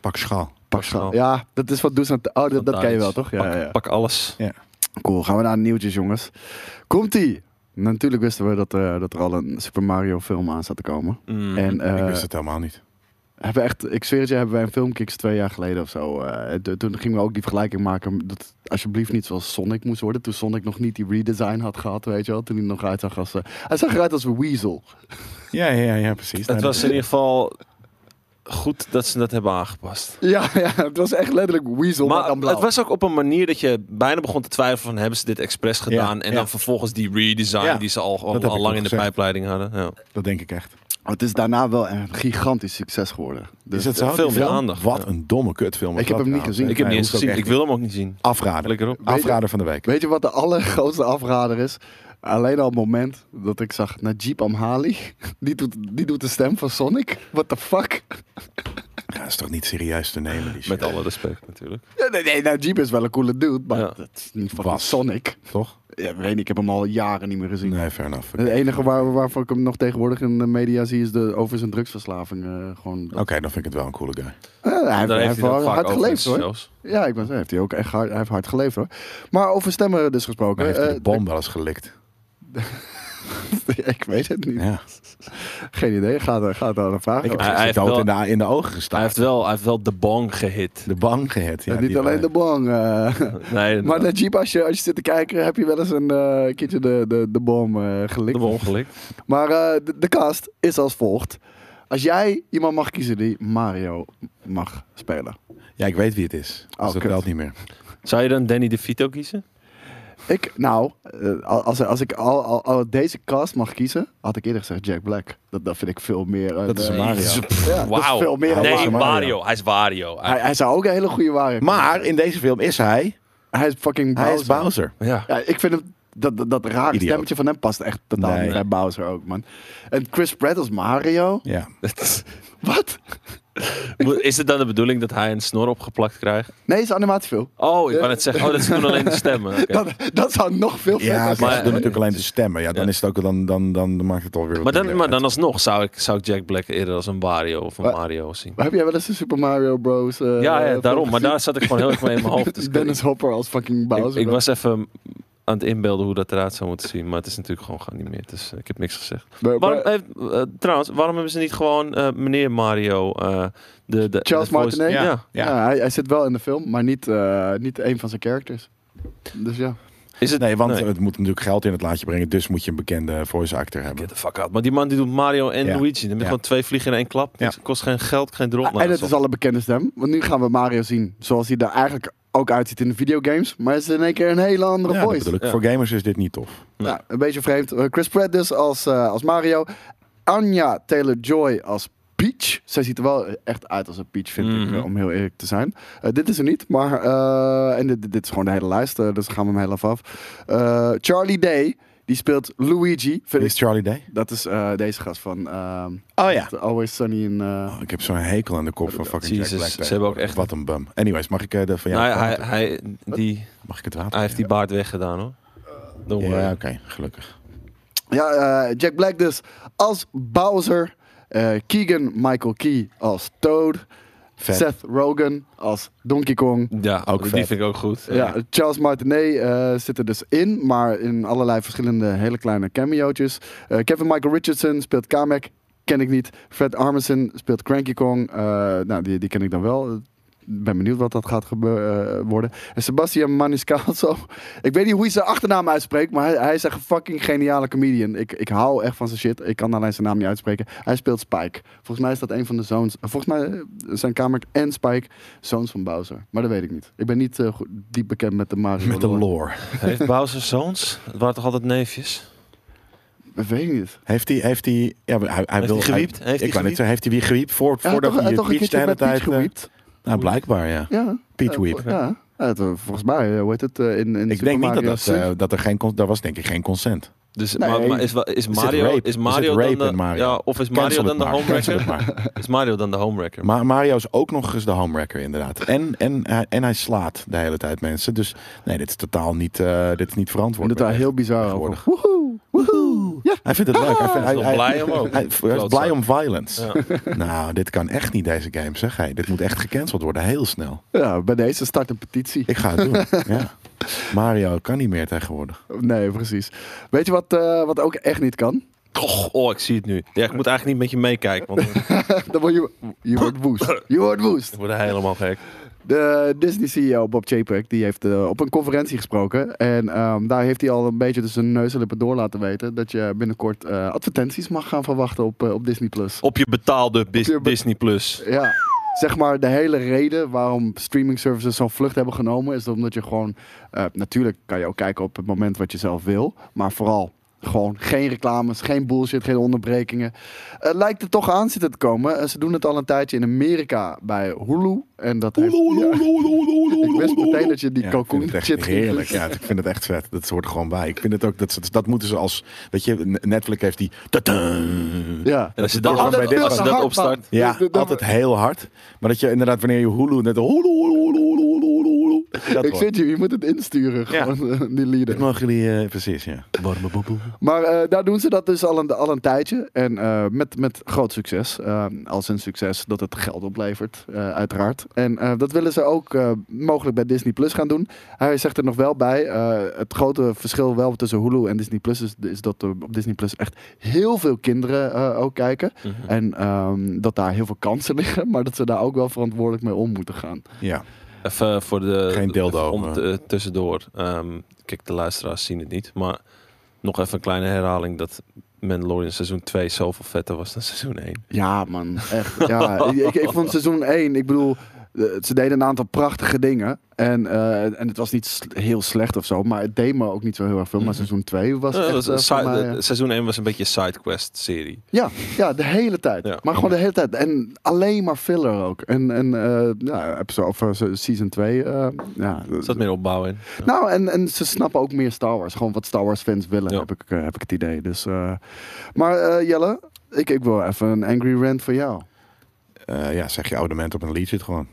[SPEAKER 2] Pak schaal.
[SPEAKER 3] Pakschaal.
[SPEAKER 4] Pakschaal.
[SPEAKER 3] Ja, dat is wat Does aan ta- Oh, dat, dat
[SPEAKER 4] Van
[SPEAKER 3] ken je
[SPEAKER 4] Tadic.
[SPEAKER 3] wel, toch? Ja,
[SPEAKER 4] pak,
[SPEAKER 3] ja, ja.
[SPEAKER 4] pak alles.
[SPEAKER 3] Cool, gaan we naar nieuwtjes, jongens. Komt-ie! Natuurlijk wisten we dat, eh, dat er al een Super Mario film aan zat te komen.
[SPEAKER 4] Mm.
[SPEAKER 3] En
[SPEAKER 2] ik
[SPEAKER 3] eh,
[SPEAKER 2] wist het helemaal niet.
[SPEAKER 3] hebben echt, ik zweer het je, hebben wij een filmkicks twee jaar geleden of zo. eh, t- toen gingen we ook die vergelijking maken dat het alsjeblieft niet zoals Sonic moest worden. Toen Sonic nog niet die redesign had gehad, weet je wel. Toen hij nog uitzag als... eh, hij zag eruit als een weasel.
[SPEAKER 2] Ja, ja, ja, ja, precies.
[SPEAKER 4] Het
[SPEAKER 2] Nou,
[SPEAKER 4] was in ieder geval goed dat ze dat hebben aangepast.
[SPEAKER 3] Ja, ja, het was echt letterlijk weasel, maar,
[SPEAKER 4] Maar
[SPEAKER 3] dan blauw.
[SPEAKER 4] het was ook op een manier dat je bijna begon te twijfelen van hebben ze dit expres gedaan en
[SPEAKER 2] ja.
[SPEAKER 4] dan vervolgens die redesign
[SPEAKER 2] Ja,
[SPEAKER 4] die ze al,
[SPEAKER 2] heb
[SPEAKER 4] al,
[SPEAKER 2] ik
[SPEAKER 4] al
[SPEAKER 2] ook
[SPEAKER 4] lang in de
[SPEAKER 2] gezegd.
[SPEAKER 4] pijpleiding hadden. Ja.
[SPEAKER 2] dat denk ik echt.
[SPEAKER 3] Maar het is daarna wel een gigantisch succes geworden.
[SPEAKER 2] Is
[SPEAKER 3] Dus,
[SPEAKER 2] het zo?
[SPEAKER 4] veel
[SPEAKER 2] Die
[SPEAKER 4] meer
[SPEAKER 2] film?
[SPEAKER 4] aandacht,
[SPEAKER 2] Wat
[SPEAKER 4] ja.
[SPEAKER 2] een domme kutfilm. is
[SPEAKER 3] Ik heb
[SPEAKER 2] dat
[SPEAKER 3] hem niet
[SPEAKER 2] nou?
[SPEAKER 3] gezien.
[SPEAKER 4] Ik heb
[SPEAKER 2] Nee,
[SPEAKER 4] hem niet eens
[SPEAKER 2] hoeft ook
[SPEAKER 4] gezien.
[SPEAKER 2] echt
[SPEAKER 4] Ik wil hem ook niet zien.
[SPEAKER 2] Afraden.
[SPEAKER 4] Lekker op.
[SPEAKER 2] Afrader van de week.
[SPEAKER 3] Weet je wat de allergrootste afrader is? Alleen al het moment dat ik zag Najib Amhali. Die doet, die doet de stem van Sonic. What the fuck?
[SPEAKER 2] Ja, dat is toch niet serieus te nemen, die shit.
[SPEAKER 4] Met alle respect natuurlijk.
[SPEAKER 3] Ja, nee, nee, Najib is wel een coole dude, maar
[SPEAKER 4] Ja.
[SPEAKER 3] dat is niet van
[SPEAKER 2] Was.
[SPEAKER 3] Sonic.
[SPEAKER 2] Toch?
[SPEAKER 3] Ja, weet niet, ik heb hem al jaren niet meer gezien.
[SPEAKER 2] Nee, fair enough.
[SPEAKER 3] Het enige waar, waarvan ik hem nog tegenwoordig in de media zie is de, over zijn drugsverslaving. eh, gewoon,
[SPEAKER 2] Oké, dan vind ik het wel een coole guy.
[SPEAKER 3] Eh, hij, heeft,
[SPEAKER 4] Daar
[SPEAKER 3] hij heeft
[SPEAKER 4] dan
[SPEAKER 3] wel
[SPEAKER 4] vaak
[SPEAKER 3] hard
[SPEAKER 4] over
[SPEAKER 3] geleefd
[SPEAKER 4] iets
[SPEAKER 3] hoor.
[SPEAKER 4] zelfs.
[SPEAKER 3] Ja, ik ben, hij heeft hij ook echt hard, hij heeft hard geleefd hoor. Maar over stemmen dus
[SPEAKER 2] Maar
[SPEAKER 3] gesproken.
[SPEAKER 2] heeft hij
[SPEAKER 3] eh,
[SPEAKER 2] de bom wel eens gelikt?
[SPEAKER 3] ik weet het niet.
[SPEAKER 2] Ja.
[SPEAKER 3] Geen idee. Ga, ga daar een vraag
[SPEAKER 2] Ik heb
[SPEAKER 4] Hij-
[SPEAKER 2] hij,
[SPEAKER 4] hij heeft
[SPEAKER 2] dood
[SPEAKER 4] wel-
[SPEAKER 2] in, de, in de ogen gestaan.
[SPEAKER 4] Hij heeft wel, hij heeft wel de bang gehit.
[SPEAKER 2] de bang gehad. Ja,
[SPEAKER 3] niet
[SPEAKER 2] die-
[SPEAKER 3] alleen de bong. eh.
[SPEAKER 4] Nee,
[SPEAKER 3] maar
[SPEAKER 4] de,
[SPEAKER 3] Najib, als je, als je zit te kijken, heb je wel eens een eh, keertje de, de, de bom eh,
[SPEAKER 4] de
[SPEAKER 3] gelikt.
[SPEAKER 4] bang gelikt.
[SPEAKER 3] Maar eh, de, de cast is als volgt. Als jij iemand mag kiezen die Mario mag spelen.
[SPEAKER 2] Ja, ik weet wie het is. Dus
[SPEAKER 3] Oh,
[SPEAKER 2] dat
[SPEAKER 3] kut.
[SPEAKER 2] telt niet meer.
[SPEAKER 4] Zou je dan Danny DeVito kiezen?
[SPEAKER 3] Ik, nou, eh, als, als ik al, al, al deze cast mag kiezen, had ik eerder gezegd Jack Black. Dat, dat vind ik veel meer... een,
[SPEAKER 2] Dat is een
[SPEAKER 3] eh,
[SPEAKER 2] Mario.
[SPEAKER 3] Ja, dat is
[SPEAKER 4] Wauw.
[SPEAKER 3] veel meer dan
[SPEAKER 4] nee,
[SPEAKER 3] Mario.
[SPEAKER 4] Mario. Hij is Wario.
[SPEAKER 3] Hij, hij zou ook een hele goede Mario kunnen
[SPEAKER 2] Maar
[SPEAKER 3] zijn.
[SPEAKER 2] in deze film is hij.
[SPEAKER 3] hij is fucking
[SPEAKER 2] Hij is
[SPEAKER 3] Bowser.
[SPEAKER 2] Bowser.
[SPEAKER 4] ja.
[SPEAKER 3] Ja, ik vind hem, dat, dat, dat rare
[SPEAKER 2] Idioot.
[SPEAKER 3] stemmetje van hem past echt totaal
[SPEAKER 2] Nee.
[SPEAKER 3] niet bij Bowser ook, man. En Chris Pratt als Mario?
[SPEAKER 2] Ja.
[SPEAKER 3] Wat?
[SPEAKER 4] Is het dan de bedoeling dat hij een snor opgeplakt krijgt?
[SPEAKER 3] Nee, is animatiefilm.
[SPEAKER 4] Oh, ik kan het zeggen. Oh, dat is toen alleen de stemmen. Oké.
[SPEAKER 3] Dat, dat zou nog veel
[SPEAKER 2] Ja,
[SPEAKER 3] vetter
[SPEAKER 2] maar, ze
[SPEAKER 3] zijn.
[SPEAKER 2] doen
[SPEAKER 4] Maar-
[SPEAKER 2] natuurlijk alleen de stemmen. Ja, dan
[SPEAKER 4] Ja.
[SPEAKER 2] is het ook dan, dan, dan, dan maakt het alweer. wat
[SPEAKER 4] Maar dan,
[SPEAKER 2] minder
[SPEAKER 4] maar dan
[SPEAKER 2] uit.
[SPEAKER 4] alsnog zou ik, zou ik Jack Black eerder als een Wario of een
[SPEAKER 3] Maar-
[SPEAKER 4] Mario zien.
[SPEAKER 3] Maar heb jij wel eens de Super Mario Bros? eh,
[SPEAKER 4] Ja, ja
[SPEAKER 3] film
[SPEAKER 4] daarom. Maar
[SPEAKER 3] gezien?
[SPEAKER 4] daar zat ik gewoon heel erg mee in mijn hoofd. Dus ik-
[SPEAKER 3] Dennis Hopper als fucking
[SPEAKER 4] ik,
[SPEAKER 3] Bowser.
[SPEAKER 4] ik was even aan het inbeelden hoe dat eruit zou moeten zien. Maar het is natuurlijk gewoon geanimeerd. Dus eh, ik heb niks gezegd.
[SPEAKER 3] Maar-
[SPEAKER 4] Waarom,
[SPEAKER 3] maar-
[SPEAKER 4] heeft- eh, trouwens, waarom hebben ze niet gewoon eh, meneer Mario... eh, de, de,
[SPEAKER 3] Charles
[SPEAKER 4] de voice-
[SPEAKER 3] Martinet?
[SPEAKER 4] Ja.
[SPEAKER 2] Ja.
[SPEAKER 3] ja, hij, hij zit wel in de film, maar niet, eh, niet een van zijn characters. Dus ja.
[SPEAKER 4] Is het,
[SPEAKER 2] Nee, want eh,
[SPEAKER 4] nee.
[SPEAKER 2] het moet natuurlijk geld in het laadje brengen. Dus moet je een bekende voice actor hebben.
[SPEAKER 4] Get the fuck out. Maar die man die doet Mario en
[SPEAKER 2] Ja.
[SPEAKER 4] Luigi. Dan heb je
[SPEAKER 2] Ja.
[SPEAKER 4] gewoon twee vliegen in één klap.
[SPEAKER 2] Ja.
[SPEAKER 4] Het kost geen geld, geen drop.
[SPEAKER 3] Ah, en het is al een bekende stem, want nu gaan we Mario zien zoals hij er eigenlijk ook uitziet in de videogames. Maar het is in één keer een hele andere
[SPEAKER 2] Ja, dat
[SPEAKER 3] voice.
[SPEAKER 2] bedoel ik.
[SPEAKER 4] Ja.
[SPEAKER 2] Voor gamers is dit niet tof.
[SPEAKER 4] Nee.
[SPEAKER 3] Ja, een beetje vreemd. Eh, Chris Pratt dus als, eh, als Mario. Anya Taylor-Joy als Peach. Zij ziet er wel echt uit als een Peach, vind ik,
[SPEAKER 4] Mhm.
[SPEAKER 3] eh, om heel eerlijk te zijn. Eh, dit is er niet, maar... eh, en dit, dit is gewoon de hele lijst, eh, dus gaan we hem heel even af. Eh, Charlie Day, die speelt Luigi. Vind
[SPEAKER 2] Wie
[SPEAKER 3] ik,
[SPEAKER 2] is Charlie Day?
[SPEAKER 3] dat is eh, deze gast van... ehm,
[SPEAKER 2] Oh ja.
[SPEAKER 3] Always Sunny in... eh,
[SPEAKER 2] Oh, ik heb zo'n hekel aan de kop van fucking
[SPEAKER 4] Jezus,
[SPEAKER 2] Jack Black.
[SPEAKER 4] ze hebben ook echt-
[SPEAKER 2] Wat een bum. Anyways, mag ik, eh, de, van jou
[SPEAKER 4] Nou,
[SPEAKER 2] het
[SPEAKER 4] hij,
[SPEAKER 2] water-
[SPEAKER 4] hij, die,
[SPEAKER 2] mag ik het water?
[SPEAKER 4] hij heeft die baard weggedaan hoor. Don't worry.
[SPEAKER 2] Ja, oké. Gelukkig.
[SPEAKER 3] Ja, eh, Jack Black dus als Bowser. eh, Keegan Michael Key als Toad.
[SPEAKER 2] Vet.
[SPEAKER 3] Seth Rogen als Donkey Kong.
[SPEAKER 4] Ja,
[SPEAKER 2] Ook
[SPEAKER 4] die
[SPEAKER 2] vet.
[SPEAKER 4] vind ik ook goed.
[SPEAKER 3] Ja, Charles Martinet eh, zit er dus in, maar in allerlei verschillende hele kleine cameo'tjes. Eh, Kevin Michael Richardson speelt Kamek, ken ik niet. Fred Armisen speelt Cranky Kong, eh, nou die, die ken ik dan wel. Ik ben benieuwd wat dat gaat gebe- eh, worden. En Sebastian Maniscalco, ik weet niet hoe hij zijn achternaam uitspreekt, maar hij, hij is echt een fucking geniale comedian. Ik, ik hou echt van zijn shit, ik kan alleen zijn naam niet uitspreken. Hij speelt Spike. Volgens mij is dat een van de zoons, eh, volgens mij eh, zijn Kamek en Spike zoons van Bowser. Maar dat weet ik niet. Ik ben niet eh, goed- diep bekend met de Mario.
[SPEAKER 2] Met de
[SPEAKER 3] lore.
[SPEAKER 2] lore.
[SPEAKER 4] Heeft Bowser zoons? Het waren toch altijd neefjes?
[SPEAKER 3] Dat weet ik niet.
[SPEAKER 2] Heeft hij, heeft hij, ja, maar hij, hij
[SPEAKER 4] Heeft
[SPEAKER 2] wil,
[SPEAKER 4] hij gewiept?
[SPEAKER 2] Hij,
[SPEAKER 4] Heeft hij
[SPEAKER 2] ik wou
[SPEAKER 4] gewiept?
[SPEAKER 2] net zeggen, heeft hij wie gewiept voor,
[SPEAKER 3] Ja,
[SPEAKER 2] voordat hij
[SPEAKER 3] toch, hij
[SPEAKER 2] je
[SPEAKER 3] toch een
[SPEAKER 2] Peach de
[SPEAKER 3] keertje
[SPEAKER 2] hele tijd...
[SPEAKER 3] met Peach
[SPEAKER 2] eh,
[SPEAKER 3] gewiept?
[SPEAKER 2] nou, blijkbaar ja.
[SPEAKER 3] Ja.
[SPEAKER 2] Peach
[SPEAKER 3] Ja,
[SPEAKER 2] Weep.
[SPEAKER 3] Ja, Ja, het, eh, volgens mij, eh, hoe heet het, eh, in, in
[SPEAKER 2] Ik
[SPEAKER 3] Super
[SPEAKER 2] denk niet dat
[SPEAKER 3] Mario
[SPEAKER 2] dat, eh, dat er geen, cons- daar was denk ik geen consent.
[SPEAKER 4] Dus,
[SPEAKER 3] Nee.
[SPEAKER 4] maar, maar is, wa- is
[SPEAKER 2] zit
[SPEAKER 4] Mario,
[SPEAKER 2] rape.
[SPEAKER 4] is
[SPEAKER 2] Er
[SPEAKER 4] Mario
[SPEAKER 2] zit rape
[SPEAKER 4] dan de,
[SPEAKER 2] in Mario.
[SPEAKER 4] Ja, of is Mario
[SPEAKER 2] Cancel
[SPEAKER 4] dan
[SPEAKER 2] het
[SPEAKER 4] de
[SPEAKER 2] maar, cancel
[SPEAKER 4] homewrecker?
[SPEAKER 2] het maar.
[SPEAKER 4] Is Mario dan de homewrecker?
[SPEAKER 2] Maar Mario is ook nog eens de homewrecker inderdaad. En, en, hij- en hij slaat de hele tijd mensen. Dus nee, dit is totaal niet, eh, dit is niet
[SPEAKER 3] Doet
[SPEAKER 2] verantwoord.
[SPEAKER 3] het daar
[SPEAKER 2] bij
[SPEAKER 3] heel bizar over.
[SPEAKER 2] tegenwoordig.
[SPEAKER 3] Woehoe, woehoe. Ja,
[SPEAKER 2] Hij vindt het leuk. Hij, vindt,
[SPEAKER 4] Ah, Hij is
[SPEAKER 2] hij-
[SPEAKER 4] wel
[SPEAKER 2] hij-
[SPEAKER 4] blij om ook.
[SPEAKER 2] hij- hij is blij om violence.
[SPEAKER 4] Ja.
[SPEAKER 2] Nou, dit kan echt niet deze game, zeg hij. Dit moet echt gecanceld worden, heel snel.
[SPEAKER 3] ja, bij deze start een petitie.
[SPEAKER 2] Ik ga het doen. ja. Mario kan niet meer tegenwoordig.
[SPEAKER 3] Nee, precies. Weet je wat, eh, wat ook echt niet kan?
[SPEAKER 4] Och, oh, ik zie het nu. Ja, ik moet eigenlijk niet met je meekijken, want dan-
[SPEAKER 3] Dan word je, je wordt woest. Je wordt woest.
[SPEAKER 4] ik word helemaal gek.
[SPEAKER 3] De Disney-CEO Bob Chapek die heeft eh, op een conferentie gesproken. En ehm, daar heeft hij al een beetje tussen neus en lippen door laten weten... dat je binnenkort eh, advertenties mag gaan verwachten op, eh, op Disney+. Plus.
[SPEAKER 4] Op je betaalde Bis-
[SPEAKER 3] je be-
[SPEAKER 4] Disney Plus.
[SPEAKER 3] Ja, zeg maar de hele reden waarom streaming services zo'n vlucht hebben genomen is omdat je gewoon, eh, natuurlijk kan je ook kijken op het moment wat je zelf wil, maar vooral gewoon geen reclames, geen bullshit, geen onderbrekingen. Het lijkt er toch aan zitten te komen. Eh, ze doen het al een tijdje in Amerika bij Hulu en dat heeft. Ja, ik wist meteen dat je die
[SPEAKER 2] Ja, ik vind
[SPEAKER 3] kalkoen
[SPEAKER 2] het echt
[SPEAKER 3] shit ging
[SPEAKER 2] heerlijk.
[SPEAKER 3] doen.
[SPEAKER 2] Ja, ik vind het echt vet. Dat hoort er gewoon bij. Ik vind het ook dat ze, dat moeten ze als weet je N- Netflix heeft die
[SPEAKER 3] Ja.
[SPEAKER 4] En als je
[SPEAKER 2] Dat
[SPEAKER 4] dat,
[SPEAKER 2] is wel bij dit
[SPEAKER 4] als je
[SPEAKER 2] was.
[SPEAKER 4] dat opstart...
[SPEAKER 2] ja,
[SPEAKER 3] Dus dat-
[SPEAKER 2] altijd heel hard. Maar dat je inderdaad wanneer je Hulu net Hulu, Hulu, Hulu, Hulu, Hulu, Hulu, Dat
[SPEAKER 3] ik zit hier, je moet het insturen,
[SPEAKER 2] Ja.
[SPEAKER 3] gewoon, eh, die lieden.
[SPEAKER 2] mogen jullie, eh, precies, ja. Warme boeboe.
[SPEAKER 3] Maar eh, daar doen ze dat dus al een, al een tijdje. En eh, met, met groot succes. Eh, als een succes dat het geld oplevert, eh, uiteraard. En eh, dat willen ze ook eh, mogelijk bij Disney Plus gaan doen. Hij zegt er nog wel bij. eh, het grote verschil wel tussen Hulu en Disney Plus is, is dat er op Disney Plus echt heel veel kinderen eh, ook kijken. En ehm, dat daar heel veel kansen liggen. Maar dat ze daar ook wel verantwoordelijk mee om moeten gaan.
[SPEAKER 2] Ja,
[SPEAKER 4] Even eh, voor de...
[SPEAKER 2] Geen eh. dildo,
[SPEAKER 4] even Om
[SPEAKER 2] maar-
[SPEAKER 4] te- eh, tussendoor. Ehm, kijk, de luisteraars zien het niet. Maar nog even een kleine herhaling dat Mandalorian seizoen 2 zoveel vetter was dan seizoen 1.
[SPEAKER 3] Ja, man. Echt. Ja, ik, ik, ik vond seizoen 1, ik bedoel, eh, ze deden een aantal prachtige dingen. En, eh, en het was niet s- heel slecht of zo, maar het deed me ook niet zo heel erg veel. Maar seizoen 2 was
[SPEAKER 4] Eh,
[SPEAKER 3] echt...
[SPEAKER 4] dat was
[SPEAKER 3] eh,
[SPEAKER 4] een
[SPEAKER 3] voor
[SPEAKER 4] side-
[SPEAKER 3] mij,
[SPEAKER 4] de-
[SPEAKER 3] eh,
[SPEAKER 4] Seizoen 1 was een beetje een sidequest serie.
[SPEAKER 3] ja, ja, de hele tijd.
[SPEAKER 4] Ja.
[SPEAKER 3] Maar gewoon de hele tijd. En alleen maar filler ook. En, en eh ja, episode, of, eh, season 2, eh ja.
[SPEAKER 4] Er zat meer opbouw in.
[SPEAKER 3] Nou, en, en ze snappen ook meer Star Wars. Gewoon wat Star Wars fans willen,
[SPEAKER 4] Ja.
[SPEAKER 3] heb, ik, eh, heb ik het idee. Dus, eh, maar eh, Jelle, ik, ik wil even een angry rant voor jou.
[SPEAKER 2] Eh, ja, zeg je abonnement op een lied zit gewoon.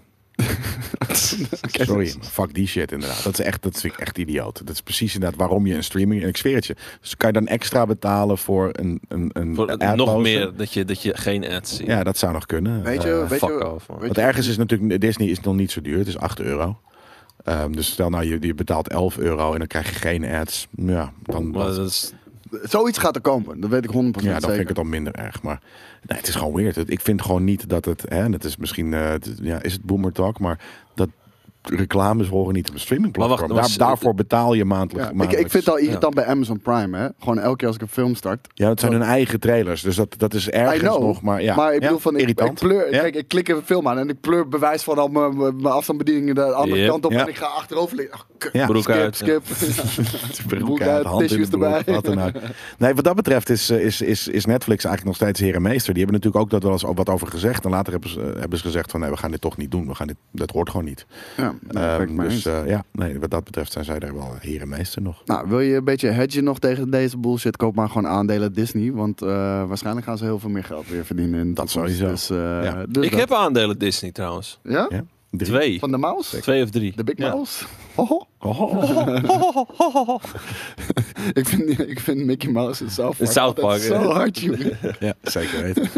[SPEAKER 2] Sorry, maar fuck die shit inderdaad. Dat, is echt, dat vind ik echt idioot. Dat is precies inderdaad waarom je een streaming... En ik zweer het je. Dus kan je dan extra betalen voor een, een, een
[SPEAKER 4] Voor,
[SPEAKER 2] adloader?
[SPEAKER 4] nog meer dat je, dat je geen ads ziet.
[SPEAKER 2] Ja, dat zou nog kunnen.
[SPEAKER 3] Weet je,
[SPEAKER 4] Eh,
[SPEAKER 3] weet
[SPEAKER 4] fuck
[SPEAKER 3] je,
[SPEAKER 4] off, man.
[SPEAKER 3] weet
[SPEAKER 2] Want
[SPEAKER 3] je-
[SPEAKER 2] ergens is natuurlijk Disney is nog niet zo duur. Het is 8 euro. Ehm, dus stel nou, je, je betaalt 11 euro en dan krijg je geen ads. Ja, dan,
[SPEAKER 4] Maar dat
[SPEAKER 3] Dus
[SPEAKER 4] is,
[SPEAKER 3] Zoiets gaat er komen, dat weet ik 100%
[SPEAKER 2] ja, dan
[SPEAKER 3] zeker.
[SPEAKER 2] vind ik het dan minder erg. Maar nee, het is gewoon weird. Het- Ik vind gewoon niet dat het... Hè, dat is misschien... eh, het- ja, is het boomer talk, maar dat... Reclames horen niet op een streamingplatform.
[SPEAKER 4] Maar wacht, maar-
[SPEAKER 2] Daar, daarvoor betaal je maandelijk.
[SPEAKER 3] Ja, ik,
[SPEAKER 2] maandelijks.
[SPEAKER 3] ik vind het al irritant bij Amazon Prime, hè. Gewoon elke keer als ik een film start.
[SPEAKER 2] Ja, het zijn hun eigen trailers, dus dat, dat is
[SPEAKER 3] Oh. I
[SPEAKER 2] ergens
[SPEAKER 3] know,
[SPEAKER 2] nog. Maar, ja.
[SPEAKER 3] ik
[SPEAKER 2] Ja,
[SPEAKER 3] bedoel van, ik, ik
[SPEAKER 2] irritant.
[SPEAKER 3] pleur,
[SPEAKER 2] Ja.
[SPEAKER 3] kijk, ik klik een film aan en ik pleur bewijs van al mijn, mijn mijn afstandsbedieningen de andere
[SPEAKER 4] Yep.
[SPEAKER 3] kant op
[SPEAKER 2] Ja.
[SPEAKER 3] en ik ga achterover liggen. Ach, kut.
[SPEAKER 2] Ja.
[SPEAKER 4] broek
[SPEAKER 3] Skip,
[SPEAKER 4] uit.
[SPEAKER 3] skip.
[SPEAKER 2] broek
[SPEAKER 3] Broek
[SPEAKER 2] uit,
[SPEAKER 3] uit,
[SPEAKER 2] hand in de
[SPEAKER 3] tissues
[SPEAKER 2] broek,
[SPEAKER 3] erbij.
[SPEAKER 2] Wat dan ook. Nee, wat dat betreft is, eh, is, is, is Netflix eigenlijk nog steeds heer en meester. Die hebben natuurlijk ook dat wel eens wat over gezegd. En later hebben ze, eh, hebben ze gezegd van nee, we gaan dit toch niet doen. We gaan dit, dat hoort gewoon niet.
[SPEAKER 3] Ja, dat
[SPEAKER 2] Ehm,
[SPEAKER 3] ben ik mee eens.
[SPEAKER 2] dus eh, ja, nee, wat dat betreft zijn zij daar wel heer en meester nog.
[SPEAKER 3] Nou, wil je een beetje hedgen nog tegen deze bullshit? Koop maar gewoon aandelen Disney. Want eh, waarschijnlijk gaan ze heel veel meer geld weer verdienen. In de
[SPEAKER 2] Dat
[SPEAKER 3] toekomst.
[SPEAKER 2] sowieso.
[SPEAKER 3] Dus, eh,
[SPEAKER 2] Ja.
[SPEAKER 3] dus
[SPEAKER 4] ik
[SPEAKER 3] dat.
[SPEAKER 4] heb aandelen Disney trouwens.
[SPEAKER 3] Ja?
[SPEAKER 2] Ja? Drie.
[SPEAKER 4] Twee.
[SPEAKER 3] Van de mouse?
[SPEAKER 4] Twee of drie.
[SPEAKER 3] De Big
[SPEAKER 2] Ja.
[SPEAKER 3] Mouse? Hoho.
[SPEAKER 2] Oh, oh, oh.
[SPEAKER 3] Ik vind, ik vind Mickey Mouse in South
[SPEAKER 4] In
[SPEAKER 3] Park,
[SPEAKER 4] South
[SPEAKER 3] altijd
[SPEAKER 4] Park,
[SPEAKER 3] zo
[SPEAKER 4] ja.
[SPEAKER 3] hard, jongen.
[SPEAKER 2] Ja, zeker weten.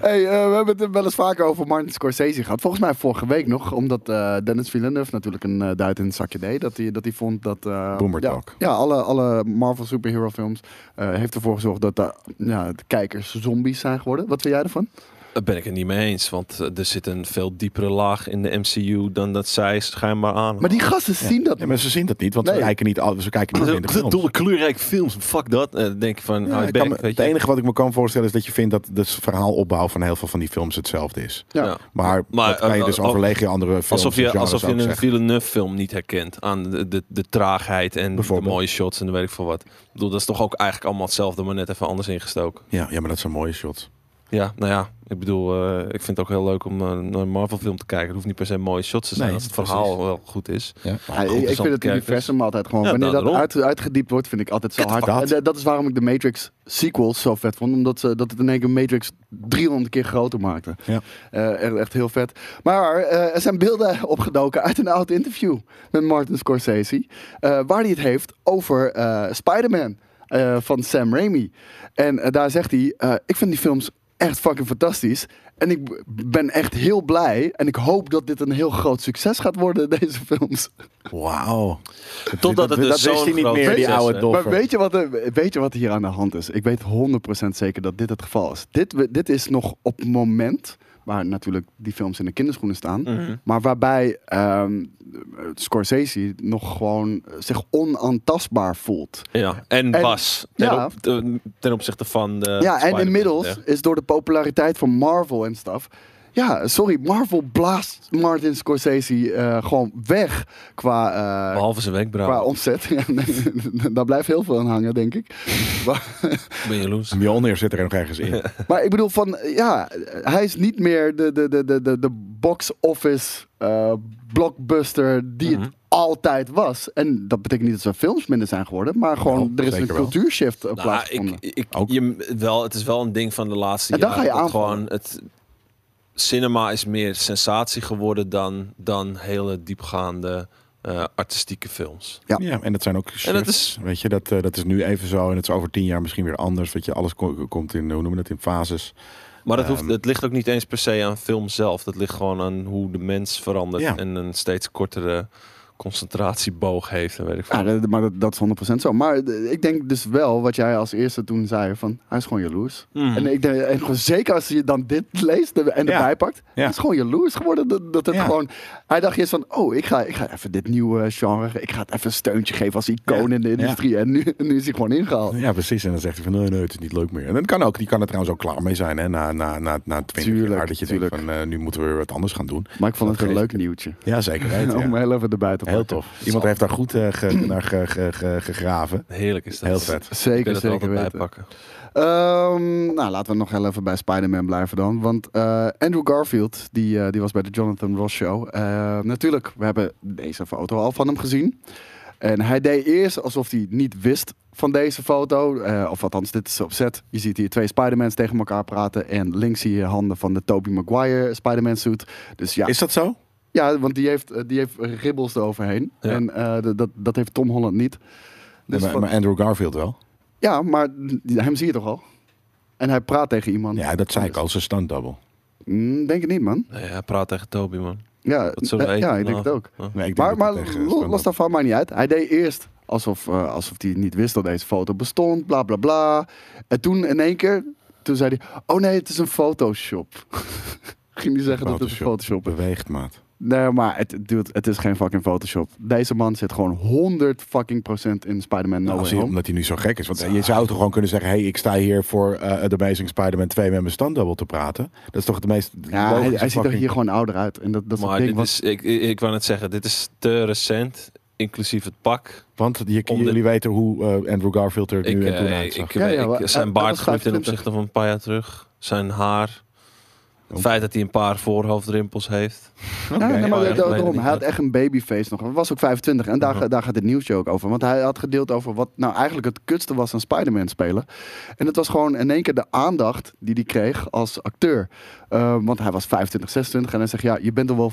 [SPEAKER 3] Hey, eh, we hebben het er wel eens vaker over Martin Scorsese gehad. Volgens mij vorige week nog, omdat eh, Dennis Villeneuve natuurlijk een eh, duit in het zakje deed. Dat hij, dat hij vond dat... eh,
[SPEAKER 2] Boomer
[SPEAKER 3] ja,
[SPEAKER 2] talk.
[SPEAKER 3] Ja, alle, alle Marvel superhero films eh, heeft ervoor gezorgd dat de, ja, de kijkers zombies zijn geworden. Wat vind jij ervan?
[SPEAKER 4] Daar ben ik het niet mee eens, want eh, er zit een veel diepere laag in de MCU dan dat zij schijnbaar aan.
[SPEAKER 3] Maar die gasten zien dat
[SPEAKER 2] Ja,
[SPEAKER 3] niet.
[SPEAKER 2] maar ze zien dat niet, want ze
[SPEAKER 3] Nee.
[SPEAKER 2] kijken niet, al- ze kijken niet meer in de films.
[SPEAKER 4] dolle kleurrijke films, fuck dat. Eh, dan denk je van,
[SPEAKER 2] Ja,
[SPEAKER 4] hou je
[SPEAKER 2] ik kan
[SPEAKER 4] bek,
[SPEAKER 2] me-
[SPEAKER 4] weet
[SPEAKER 2] het
[SPEAKER 4] je.
[SPEAKER 2] enige wat ik me kan voorstellen is dat je vindt dat de verhaalopbouw van heel veel van die films hetzelfde is.
[SPEAKER 3] Ja.
[SPEAKER 4] Ja.
[SPEAKER 2] Maar,
[SPEAKER 4] Maar,
[SPEAKER 2] dat kan je
[SPEAKER 4] eh,
[SPEAKER 2] dus
[SPEAKER 4] eh,
[SPEAKER 2] over legio andere films
[SPEAKER 4] Alsof
[SPEAKER 2] en
[SPEAKER 4] je,
[SPEAKER 2] genres
[SPEAKER 4] alsof
[SPEAKER 2] ook
[SPEAKER 4] je een
[SPEAKER 2] zeggen.
[SPEAKER 4] Villeneuve-film niet herkent aan de, de, de traagheid en de
[SPEAKER 2] Bijvoorbeeld.
[SPEAKER 4] mooie shots en de weet ik veel wat. Ik bedoel, dat is toch ook eigenlijk allemaal hetzelfde, maar net even anders ingestoken.
[SPEAKER 2] Ja, ja, maar dat zijn mooie shots.
[SPEAKER 4] Ja, nou ja, ik bedoel, eh, ik vind het ook heel leuk om een, een Marvel-film te kijken. Het hoeft niet per se mooie shots te zijn
[SPEAKER 2] Nee,
[SPEAKER 4] als het
[SPEAKER 2] precies.
[SPEAKER 4] verhaal wel goed is.
[SPEAKER 2] Ja.
[SPEAKER 3] Ja, ik- ik
[SPEAKER 4] interessante
[SPEAKER 3] vind het
[SPEAKER 4] kijkers.
[SPEAKER 3] universum altijd gewoon.
[SPEAKER 4] Ja,
[SPEAKER 3] wanneer dat
[SPEAKER 4] daarom.
[SPEAKER 3] uit, uitgediept wordt, vind ik altijd zo
[SPEAKER 2] Get the
[SPEAKER 3] hard.
[SPEAKER 2] fuck
[SPEAKER 3] En eh,
[SPEAKER 2] out.
[SPEAKER 3] dat- dat is waarom ik de Matrix sequels zo vet vond. Omdat ze, dat het in één keer Matrix 300 keer groter maakte.
[SPEAKER 2] Ja.
[SPEAKER 3] Eh, echt, echt heel vet. Maar eh, er zijn beelden opgedoken uit een oud interview met Martin Scorsese. eh, waar hij het heeft over eh, Spider-Man eh, van Sam Raimi. En eh, daar zegt hij: eh, Ik vind die films echt fucking fantastisch. En ik b- ben echt heel blij. En ik hoop dat dit een heel groot succes gaat worden, deze films.
[SPEAKER 2] Wauw. dat,
[SPEAKER 4] Totdat het dus
[SPEAKER 2] dat wist
[SPEAKER 4] zo'n
[SPEAKER 2] hij niet
[SPEAKER 4] groot
[SPEAKER 2] meer, die
[SPEAKER 4] succes,
[SPEAKER 2] oude
[SPEAKER 4] hè?
[SPEAKER 2] doffer.
[SPEAKER 3] Maar weet je, wat er, weet je wat hier aan de hand is? Ik weet 100% zeker dat dit het geval is. Dit, we- dit is nog op het moment waar natuurlijk die films in de kinderschoenen staan.
[SPEAKER 4] Mm. Mhm.
[SPEAKER 3] Maar waarbij ehm, Scorsese nog gewoon zich onaantastbaar voelt.
[SPEAKER 4] Ja, en,
[SPEAKER 3] En-
[SPEAKER 4] Bas. Ten,
[SPEAKER 3] ja.
[SPEAKER 4] op- ten- ten opzichte van de
[SPEAKER 3] ja, en
[SPEAKER 4] Spider-Man,
[SPEAKER 3] inmiddels
[SPEAKER 4] ja.
[SPEAKER 3] is door de populariteit van Marvel en stuff. Ja, sorry, Marvel blaast Martin Scorsese eh, gewoon weg qua, eh,
[SPEAKER 4] Behalve zijn
[SPEAKER 3] qua
[SPEAKER 4] wenkbrauw.
[SPEAKER 3] omzet. Ja, nee, Daar blijft heel veel aan hangen, denk ik. Maar-
[SPEAKER 4] Ben je jaloers?
[SPEAKER 2] Mjolnir zit er nog ergens in.
[SPEAKER 3] Maar ik bedoel van, ja, hij is niet meer de, de, de, de, de, de box office eh, blockbuster die het altijd was. En dat betekent niet dat zijn films minder zijn geworden, maar gewoon
[SPEAKER 2] Wel,
[SPEAKER 3] er is een
[SPEAKER 2] zeker wel.
[SPEAKER 3] cultuurshift eh,
[SPEAKER 4] Nou, ik,
[SPEAKER 3] plaatsgevonden.
[SPEAKER 4] ik,
[SPEAKER 2] Ook.
[SPEAKER 4] je, wel, het is wel een ding van de laatste
[SPEAKER 3] En dan
[SPEAKER 4] jaren
[SPEAKER 3] ga je
[SPEAKER 4] dat
[SPEAKER 3] aanvallen.
[SPEAKER 4] Gewoon het, cinema is meer sensatie geworden dan, dan hele diepgaande eh, artistieke films.
[SPEAKER 3] Ja.
[SPEAKER 2] Ja, en dat zijn ook shifts.
[SPEAKER 4] En dat is-
[SPEAKER 2] Weet je, dat, eh, dat is nu even zo en het is over tien jaar misschien weer anders. Weet je, alles ko- komt in, hoe noemen we dat, in fases.
[SPEAKER 4] Maar dat, hoeft,
[SPEAKER 2] Ehm.
[SPEAKER 4] dat ligt ook niet eens per se aan film zelf. Dat ligt gewoon aan hoe de mens verandert
[SPEAKER 2] Ja.
[SPEAKER 4] en een steeds kortere concentratieboog heeft. En weet ik veel.
[SPEAKER 3] Ja, Ah, dat- maar dat, dat is 100% zo. Maar eh, ik denk dus wel wat jij als eerste toen zei: van hij is gewoon jaloers.
[SPEAKER 4] Mm.
[SPEAKER 3] En, ik denk, en gewoon zeker als je dan dit leest en erbij
[SPEAKER 2] Hmm. Ja.
[SPEAKER 3] pakt.
[SPEAKER 2] Ja.
[SPEAKER 3] Hij is gewoon jaloers geworden. Dat, dat het
[SPEAKER 2] Ja.
[SPEAKER 3] gewoon, hij dacht eerst van, oh, ik ga, ik ga even dit nieuwe genre. Ik ga het even een steuntje geven als icoon
[SPEAKER 2] Ja.
[SPEAKER 3] in de
[SPEAKER 2] Ja.
[SPEAKER 3] industrie. En nu, nu is hij gewoon ingehaald.
[SPEAKER 2] Ja, precies. En dan zegt hij van, nee, nee, het is niet leuk meer. En dat kan ook. Die kan er trouwens ook klaar mee zijn, hè. Na, na, na, na twintig
[SPEAKER 3] Tuurlijk,
[SPEAKER 2] jaar dat je
[SPEAKER 3] tuurlijk.
[SPEAKER 2] denkt van, eh, nu moeten we weer wat anders gaan doen.
[SPEAKER 3] Maar Oh, ik vond
[SPEAKER 2] Dat
[SPEAKER 3] het een
[SPEAKER 2] geeft-
[SPEAKER 3] leuk nieuwtje.
[SPEAKER 2] Ja, zeker weten.
[SPEAKER 3] Om
[SPEAKER 2] ja.
[SPEAKER 3] heel even erbij te pakken.
[SPEAKER 2] Heel tof. Iemand heeft daar goed eh, ge- naar ge- ge- ge- gegraven.
[SPEAKER 4] Heerlijk is dat.
[SPEAKER 2] Heel vet.
[SPEAKER 4] Ik wil
[SPEAKER 3] Ah. Zeker,
[SPEAKER 4] het
[SPEAKER 3] zeker
[SPEAKER 4] er altijd bij
[SPEAKER 3] weten.
[SPEAKER 4] pakken.
[SPEAKER 3] Ehm, nou, laten we nog heel even bij Spider-Man blijven dan. Want eh, Andrew Garfield, die, eh, die was bij de Jonathan Ross Show. Eh, natuurlijk, we hebben deze foto al van hem gezien. En hij deed eerst alsof hij niet wist van deze foto. Eh, of althans, dit is opzet. Je ziet hier twee Spider-Mans tegen elkaar praten. En links zie je handen van de Tobey Maguire Spider-Man suit. Dus ja,
[SPEAKER 2] Is dat zo?
[SPEAKER 3] ja want die heeft, eh, die heeft ribbels eroverheen.
[SPEAKER 4] Ja.
[SPEAKER 3] En eh, dat- dat, dat heeft Tom Holland niet. Dus
[SPEAKER 2] maar,
[SPEAKER 3] van-
[SPEAKER 2] maar Andrew Garfield wel.
[SPEAKER 3] ja, maar hem zie je toch al? En hij praat tegen iemand.
[SPEAKER 2] Ja, dat zei ik al. Zijn stunt double.
[SPEAKER 3] Mm, denk het niet, man.
[SPEAKER 4] Nee, hij praat tegen Toby, man.
[SPEAKER 3] Ja,
[SPEAKER 4] Dat zullen we
[SPEAKER 3] eh,
[SPEAKER 4] eten
[SPEAKER 3] ja ik denk het
[SPEAKER 4] vanavond.
[SPEAKER 3] ook.
[SPEAKER 4] Ja.
[SPEAKER 2] Nee, ik denk
[SPEAKER 3] Maar,
[SPEAKER 2] dat
[SPEAKER 3] maar
[SPEAKER 2] het eh, tegen
[SPEAKER 3] lo-
[SPEAKER 2] stand-up-
[SPEAKER 3] los daarvan, maakt niet uit. Hij deed eerst alsof, eh, alsof hij niet wist dat deze foto bestond, bla bla bla. En toen in één keer, toen zei hij, oh nee, het is een Photoshop. Ging hij zeggen dat het een
[SPEAKER 2] Photoshop.
[SPEAKER 3] Photoshop is.
[SPEAKER 2] Beweegt, maat.
[SPEAKER 3] Nee, maar het, dude, het is geen fucking Photoshop. Deze man zit gewoon 100 fucking procent in Spider-Man No
[SPEAKER 2] Nou,
[SPEAKER 3] Way
[SPEAKER 2] zie je,
[SPEAKER 3] Home.
[SPEAKER 2] omdat hij nu zo gek is. Want eh, je zou toch gewoon kunnen zeggen... hey, ik sta hier voor eh, The Amazing Spider-Man 2 met mijn standdubbel te praten. Dat is toch het meest
[SPEAKER 3] Ja, hij,
[SPEAKER 2] logische
[SPEAKER 3] hij ziet er
[SPEAKER 2] fucking-
[SPEAKER 3] hier gewoon ouder uit. En dat, dat is het
[SPEAKER 4] Maar
[SPEAKER 3] ding.
[SPEAKER 4] dit
[SPEAKER 3] want-
[SPEAKER 4] is, ik, ik, ik wou net zeggen, dit is te recent. Inclusief het pak.
[SPEAKER 2] Want je,
[SPEAKER 4] Om de-
[SPEAKER 2] jullie weten hoe eh, Andrew Garfield er
[SPEAKER 4] Ik,
[SPEAKER 2] nu en toen
[SPEAKER 4] eh,
[SPEAKER 2] uitzag.
[SPEAKER 4] ik,
[SPEAKER 3] Ja, ja,
[SPEAKER 4] ik-
[SPEAKER 3] maar hij-
[SPEAKER 4] zijn baard
[SPEAKER 3] hij was
[SPEAKER 4] groeit ten
[SPEAKER 3] 25.
[SPEAKER 4] opzichte van een paar jaar terug. Zijn haar. Het
[SPEAKER 2] Oh.
[SPEAKER 4] feit dat hij een paar voorhoofdrimpels heeft.
[SPEAKER 2] Oké.
[SPEAKER 3] Ja, nee, maar
[SPEAKER 4] Oh, ja,
[SPEAKER 3] da-
[SPEAKER 4] dat weet ik
[SPEAKER 3] daarom,
[SPEAKER 4] niet.
[SPEAKER 3] hij had echt een babyface nog. Hij was ook 25 en daar,
[SPEAKER 4] Mhm.
[SPEAKER 3] daar gaat het nieuwtje ook over. Want hij had gedeeld over wat nou eigenlijk het kutste was aan Spider-Man spelen. En dat was gewoon in één keer de aandacht die hij kreeg als acteur. Eh, want hij was 25, 26 en hij zegt ja, je bent, dan wel,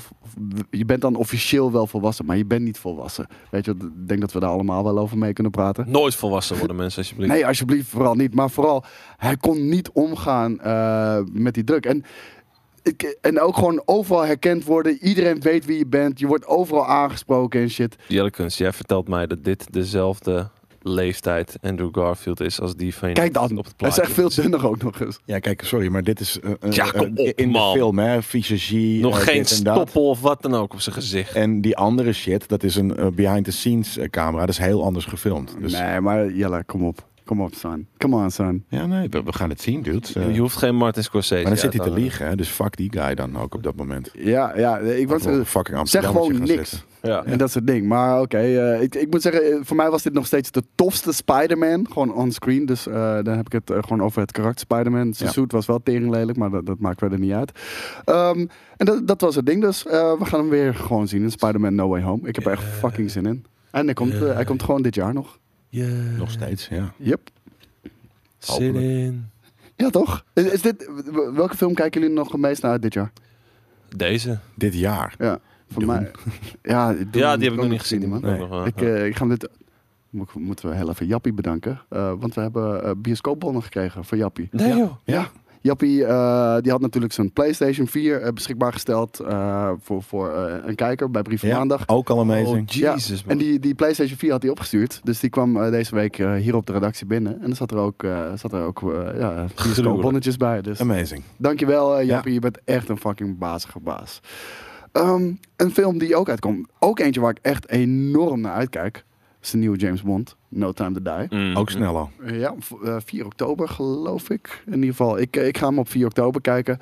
[SPEAKER 3] je bent dan officieel wel volwassen, maar je bent niet volwassen. Weet je, ik denk dat we daar allemaal wel over mee kunnen praten.
[SPEAKER 4] Nooit volwassen worden mensen, alsjeblieft.
[SPEAKER 3] Nee, alsjeblieft, vooral niet. Maar vooral, hij kon niet omgaan eh, met die druk. En, ik, en ook gewoon overal herkend worden. Iedereen weet wie je bent. Je wordt overal aangesproken en shit.
[SPEAKER 4] Jellekens, jij vertelt mij dat dit dezelfde leeftijd Andrew Garfield is als die van...
[SPEAKER 3] Kijk dan.
[SPEAKER 4] Op het
[SPEAKER 3] Hij is
[SPEAKER 4] plaatje.
[SPEAKER 3] echt veel dunner ook nog eens.
[SPEAKER 2] Ja, kijk, sorry, maar dit is eh, eh,
[SPEAKER 4] Ja,
[SPEAKER 2] eh,
[SPEAKER 4] kom op,
[SPEAKER 2] in
[SPEAKER 4] man.
[SPEAKER 2] de film, hè? Visagie.
[SPEAKER 4] Nog
[SPEAKER 2] eh,
[SPEAKER 4] geen
[SPEAKER 2] dit en dat.
[SPEAKER 4] stoppel of wat dan ook op zijn gezicht.
[SPEAKER 2] En die andere shit, dat is een eh, behind-the-scenes eh, camera. Dat is heel anders gefilmd. Dus,
[SPEAKER 3] Nee, maar Jelle, kom op. Kom op, son. Come on, son.
[SPEAKER 2] Ja, nee, we, we gaan het zien, dude. Eh,
[SPEAKER 4] Je- eh, Je hoeft geen Martin Scorsese
[SPEAKER 2] maar dan
[SPEAKER 4] uit
[SPEAKER 2] zit hij te
[SPEAKER 4] hangen.
[SPEAKER 2] liegen, hè? Dus fuck die guy dan ook op dat moment.
[SPEAKER 3] Ja, ja. Ik
[SPEAKER 2] Laten we op
[SPEAKER 3] was,
[SPEAKER 2] een fucking
[SPEAKER 3] eh, zeg
[SPEAKER 2] Amsterdammertje
[SPEAKER 3] gewoon
[SPEAKER 2] gaan
[SPEAKER 3] niks.
[SPEAKER 2] zitten.
[SPEAKER 4] Ja.
[SPEAKER 3] En dat soort ding. Maar oké, eh, ik, ik moet zeggen, eh, voor mij was dit nog steeds de tofste Spider-Man. Gewoon on-screen. Dus eh, dan heb ik het eh, gewoon over het karakter Spider-Man. Zijn
[SPEAKER 2] Ja.
[SPEAKER 3] suit was wel tering lelijk, maar dat, dat maakt verder niet uit. Ehm, en dat, dat was het ding dus. Eh, we gaan hem weer gewoon zien in Spider-Man No Way Home. Ik heb er echt fucking zin in. En hij komt, eh, hij komt gewoon dit jaar nog.
[SPEAKER 2] Nog steeds, ja.
[SPEAKER 3] Yep.
[SPEAKER 4] Zin in.
[SPEAKER 3] Ja, toch? Is, is dit, w- welke film kijken jullie nog het meest naar uit dit jaar?
[SPEAKER 4] Deze.
[SPEAKER 2] Dit jaar.
[SPEAKER 3] Ja, voor
[SPEAKER 2] Doom.
[SPEAKER 3] mij. Ja,
[SPEAKER 4] Ja, die heb ik nog niet gezien.
[SPEAKER 3] man.
[SPEAKER 4] die moet ik nog, eh,
[SPEAKER 3] Ik, eh, ik ga hem dit. mo- Moeten we heel even Jappie bedanken. eh, want we hebben eh bioscoopbonnen gekregen voor Jappie.
[SPEAKER 4] Nee joh.
[SPEAKER 2] Ja.
[SPEAKER 3] Jappie eh, die had natuurlijk zijn PlayStation 4 eh, beschikbaar gesteld eh, voor, voor eh, een kijker bij Brief van
[SPEAKER 2] Ja,
[SPEAKER 3] Maandag.
[SPEAKER 2] Ook al amazing.
[SPEAKER 4] Oh, Jesus,
[SPEAKER 3] En
[SPEAKER 4] man.
[SPEAKER 3] die, die PlayStation 4 had hij opgestuurd. Dus die kwam eh, deze week eh, hier op de redactie binnen. En er zat er ook, eh zat er ook eh ja, bioscoopbonnetjes bij. Dus
[SPEAKER 2] Amazing.
[SPEAKER 3] Dankjewel, eh
[SPEAKER 2] Ja.
[SPEAKER 3] Jappie. Je bent echt een fucking bazige baas. Ehm, een film die ook uitkomt. Ook eentje waar ik echt enorm naar uitkijk. Is de nieuwe James Bond. No Time to Die.
[SPEAKER 4] Mm.
[SPEAKER 2] Ook snel al.
[SPEAKER 3] Ja, v- eh, 4 oktober geloof ik. In ieder geval, ik, eh, ik ga hem op 4 oktober kijken.